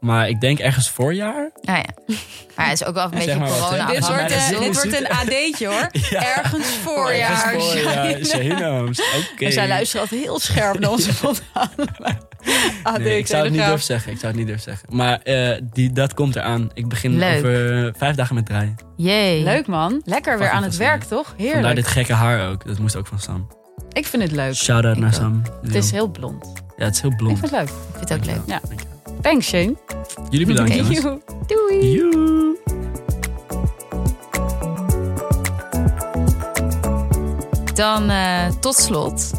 Speaker 2: Maar ik denk ergens voorjaar.
Speaker 1: Nou ja. Maar het is ook wel een beetje
Speaker 2: Zeg maar wat, hè?
Speaker 1: corona
Speaker 2: Ja,
Speaker 3: dit,
Speaker 2: maar
Speaker 3: wordt,
Speaker 2: dat is
Speaker 3: eh,
Speaker 2: heel
Speaker 3: dit
Speaker 2: goed.
Speaker 3: wordt een AD'tje hoor. Ergens voorjaar.
Speaker 2: Ergens voorjaar.
Speaker 3: Shaheen.
Speaker 2: Shahino's. Oké.
Speaker 3: En zij luisteren altijd heel scherp naar onze podcast. AD,
Speaker 2: Nee, ik zou het niet
Speaker 3: Telegraaf.
Speaker 2: durven zeggen. Ik zou het niet durven zeggen. Maar eh, die, dat komt eraan. Ik begin
Speaker 1: Leuk.
Speaker 2: over eh, vijf dagen met draaien.
Speaker 1: Jee.
Speaker 3: Leuk man. Lekker weer
Speaker 2: Fucking
Speaker 3: aan het werk
Speaker 2: fascinerend.
Speaker 3: toch?
Speaker 2: Vandaar
Speaker 3: Heerlijk.
Speaker 2: dit gekke haar ook. Dat moest ook van Sam.
Speaker 3: Ik vind het leuk.
Speaker 2: Shout-out
Speaker 3: Ik
Speaker 2: naar
Speaker 3: ook.
Speaker 2: Sam.
Speaker 3: Het is heel blond.
Speaker 2: Ja, het is heel
Speaker 3: Ik
Speaker 2: blond.
Speaker 3: vind het leuk.
Speaker 1: Ik vind het ook leuk.
Speaker 3: Ja. Thanks Shane.
Speaker 2: Jullie bedankt,
Speaker 3: Oké,
Speaker 2: jongens.
Speaker 3: joe.
Speaker 1: Doei.
Speaker 2: Joe.
Speaker 1: Dan eh, tot slot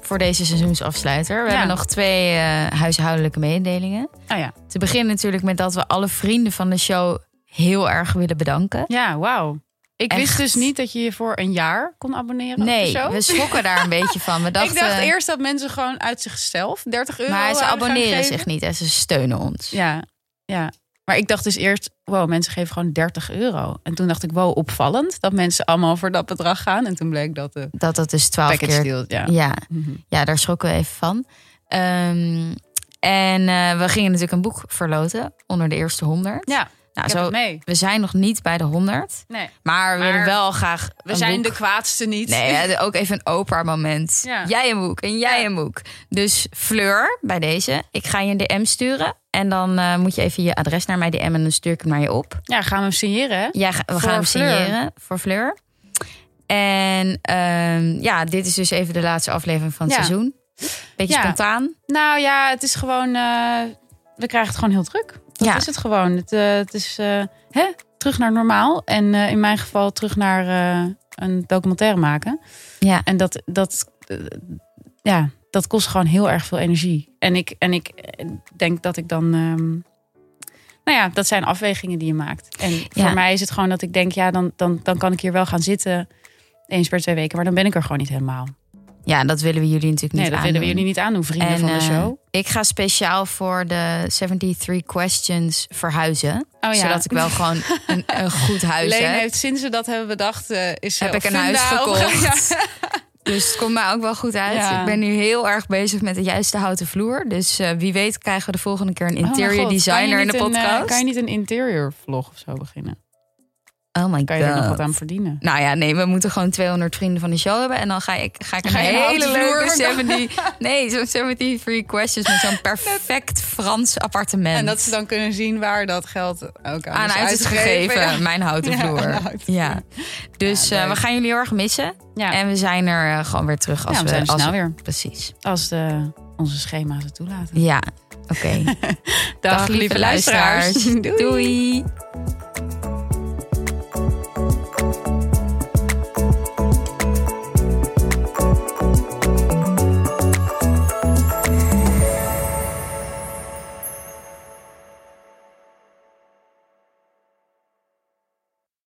Speaker 1: voor deze seizoensafsluiter. We
Speaker 3: Ja.
Speaker 1: hebben nog twee eh, huishoudelijke mededelingen.
Speaker 3: Ah ja.
Speaker 1: Te beginnen natuurlijk met dat we alle vrienden van de show heel erg willen bedanken.
Speaker 3: Ja, wauw. Ik
Speaker 1: Echt.
Speaker 3: wist dus niet dat je je voor een jaar kon abonneren
Speaker 1: Nee,
Speaker 3: op de show.
Speaker 1: we schrokken daar een beetje van. We dachten,
Speaker 3: ik dacht eerst eh, dat mensen gewoon uit zichzelf 30 euro
Speaker 1: maar ze
Speaker 3: aan gaan
Speaker 1: abonneren
Speaker 3: geven.
Speaker 1: zich niet en ze steunen ons.
Speaker 3: Ja, ja. Maar ik dacht dus eerst, wow, mensen geven gewoon 30 euro. En toen dacht ik, wow, opvallend dat mensen allemaal voor dat bedrag gaan. En toen bleek dat de
Speaker 1: Dat dat dus twaalf
Speaker 3: package
Speaker 1: keer
Speaker 3: deal, ja.
Speaker 1: Ja,
Speaker 3: Mhm.
Speaker 1: ja daar schrokken we even van. Ehm, en eh, we gingen natuurlijk een boek verloten onder de eerste 100.
Speaker 3: Ja,
Speaker 1: nou,
Speaker 3: ik heb
Speaker 1: zo,
Speaker 3: het mee.
Speaker 1: we zijn nog niet bij de 100,
Speaker 3: Nee,
Speaker 1: maar we willen
Speaker 3: Maar
Speaker 1: wel graag.
Speaker 3: we
Speaker 1: een
Speaker 3: zijn
Speaker 1: boek-
Speaker 3: de kwaadste niet.
Speaker 1: Nee, hè, ook even een Oprah-moment.
Speaker 3: Ja.
Speaker 1: Jij een boek en jij
Speaker 3: Ja.
Speaker 1: een boek. Dus Fleur, bij deze, ik ga je een DM sturen. En dan eh, moet je even je adres naar mij DM en dan stuur ik het naar je op.
Speaker 3: Ja, gaan we hem signeren, hè?
Speaker 1: Jij ga- we
Speaker 3: Voor
Speaker 1: gaan hem
Speaker 3: Fleur.
Speaker 1: signeren voor Fleur. En ehm, ja, dit is dus even de laatste aflevering van het
Speaker 3: Ja.
Speaker 1: seizoen. Beetje
Speaker 3: Ja.
Speaker 1: spontaan.
Speaker 3: Nou ja, het is gewoon... eh, we krijgen het gewoon heel druk. Dat
Speaker 1: Ja.
Speaker 3: is het gewoon. Het, eh, het is eh, hè? terug naar normaal. En eh, in mijn geval terug naar eh, een documentaire maken.
Speaker 1: Ja.
Speaker 3: En dat, dat, eh, ja, dat kost gewoon heel erg veel energie. En ik, en ik eh, denk dat ik dan. ehm, nou ja, dat zijn afwegingen die je maakt. En voor mij is het gewoon dat ik denk, ja, dan, dan, dan kan ik hier wel gaan zitten. Eens per twee weken, maar dan ben ik er gewoon niet helemaal.
Speaker 1: ja, dat willen we jullie natuurlijk niet
Speaker 3: Nee, dat willen we
Speaker 1: aandoen.
Speaker 3: jullie niet aandoen, vrienden
Speaker 1: En,
Speaker 3: van de
Speaker 1: eh,
Speaker 3: show.
Speaker 1: Ik ga speciaal voor de 73 questions verhuizen.
Speaker 3: Oh
Speaker 1: Zodat ik wel gewoon een, een goed huis
Speaker 3: Leen
Speaker 1: heb.
Speaker 3: heeft sinds ze dat hebben bedacht, eh, is ze
Speaker 1: Heb
Speaker 3: op
Speaker 1: ik een huis
Speaker 3: Funda opge-
Speaker 1: gekocht.
Speaker 3: Ja.
Speaker 1: Dus het komt mij ook wel goed uit.
Speaker 3: Ja.
Speaker 1: Ik ben nu heel erg bezig met de juiste houten vloer. Dus eh, wie weet krijgen we de volgende keer een
Speaker 3: Oh mijn
Speaker 1: interior
Speaker 3: god, kan je
Speaker 1: designer in
Speaker 3: niet
Speaker 1: de
Speaker 3: een, eh,
Speaker 1: podcast.
Speaker 3: kan je niet een interior vlog of zo beginnen?
Speaker 1: Oh my
Speaker 3: Kan je er nog
Speaker 1: god.
Speaker 3: wat aan verdienen?
Speaker 1: Nou ja, nee, we moeten gewoon 200 vrienden van de show hebben. En dan ga ik, ga ik een
Speaker 3: Ga je een
Speaker 1: hele
Speaker 3: houten vloer
Speaker 1: leuke
Speaker 3: maken?
Speaker 1: 70... Nee, zo'n 73 questions met zo'n perfect Frans appartement.
Speaker 3: En dat ze dan kunnen zien waar dat geld ook aan,
Speaker 1: aan
Speaker 3: is
Speaker 1: uit is
Speaker 3: uitgegeven.
Speaker 1: gegeven, mijn houten
Speaker 3: Ja,
Speaker 1: vloer.
Speaker 3: aan de
Speaker 1: Ja,
Speaker 3: houten
Speaker 1: Dus
Speaker 3: Ja,
Speaker 1: eh, we
Speaker 3: leuk.
Speaker 1: gaan jullie heel erg missen.
Speaker 3: Ja.
Speaker 1: En we zijn er eh, gewoon weer terug als
Speaker 3: Ja, we zijn er
Speaker 1: als
Speaker 3: snel weer.
Speaker 1: Precies.
Speaker 3: Als de, onze schema's het toelaten.
Speaker 1: Ja, oké.
Speaker 3: Dag, lieve luisteraars.
Speaker 1: Doei.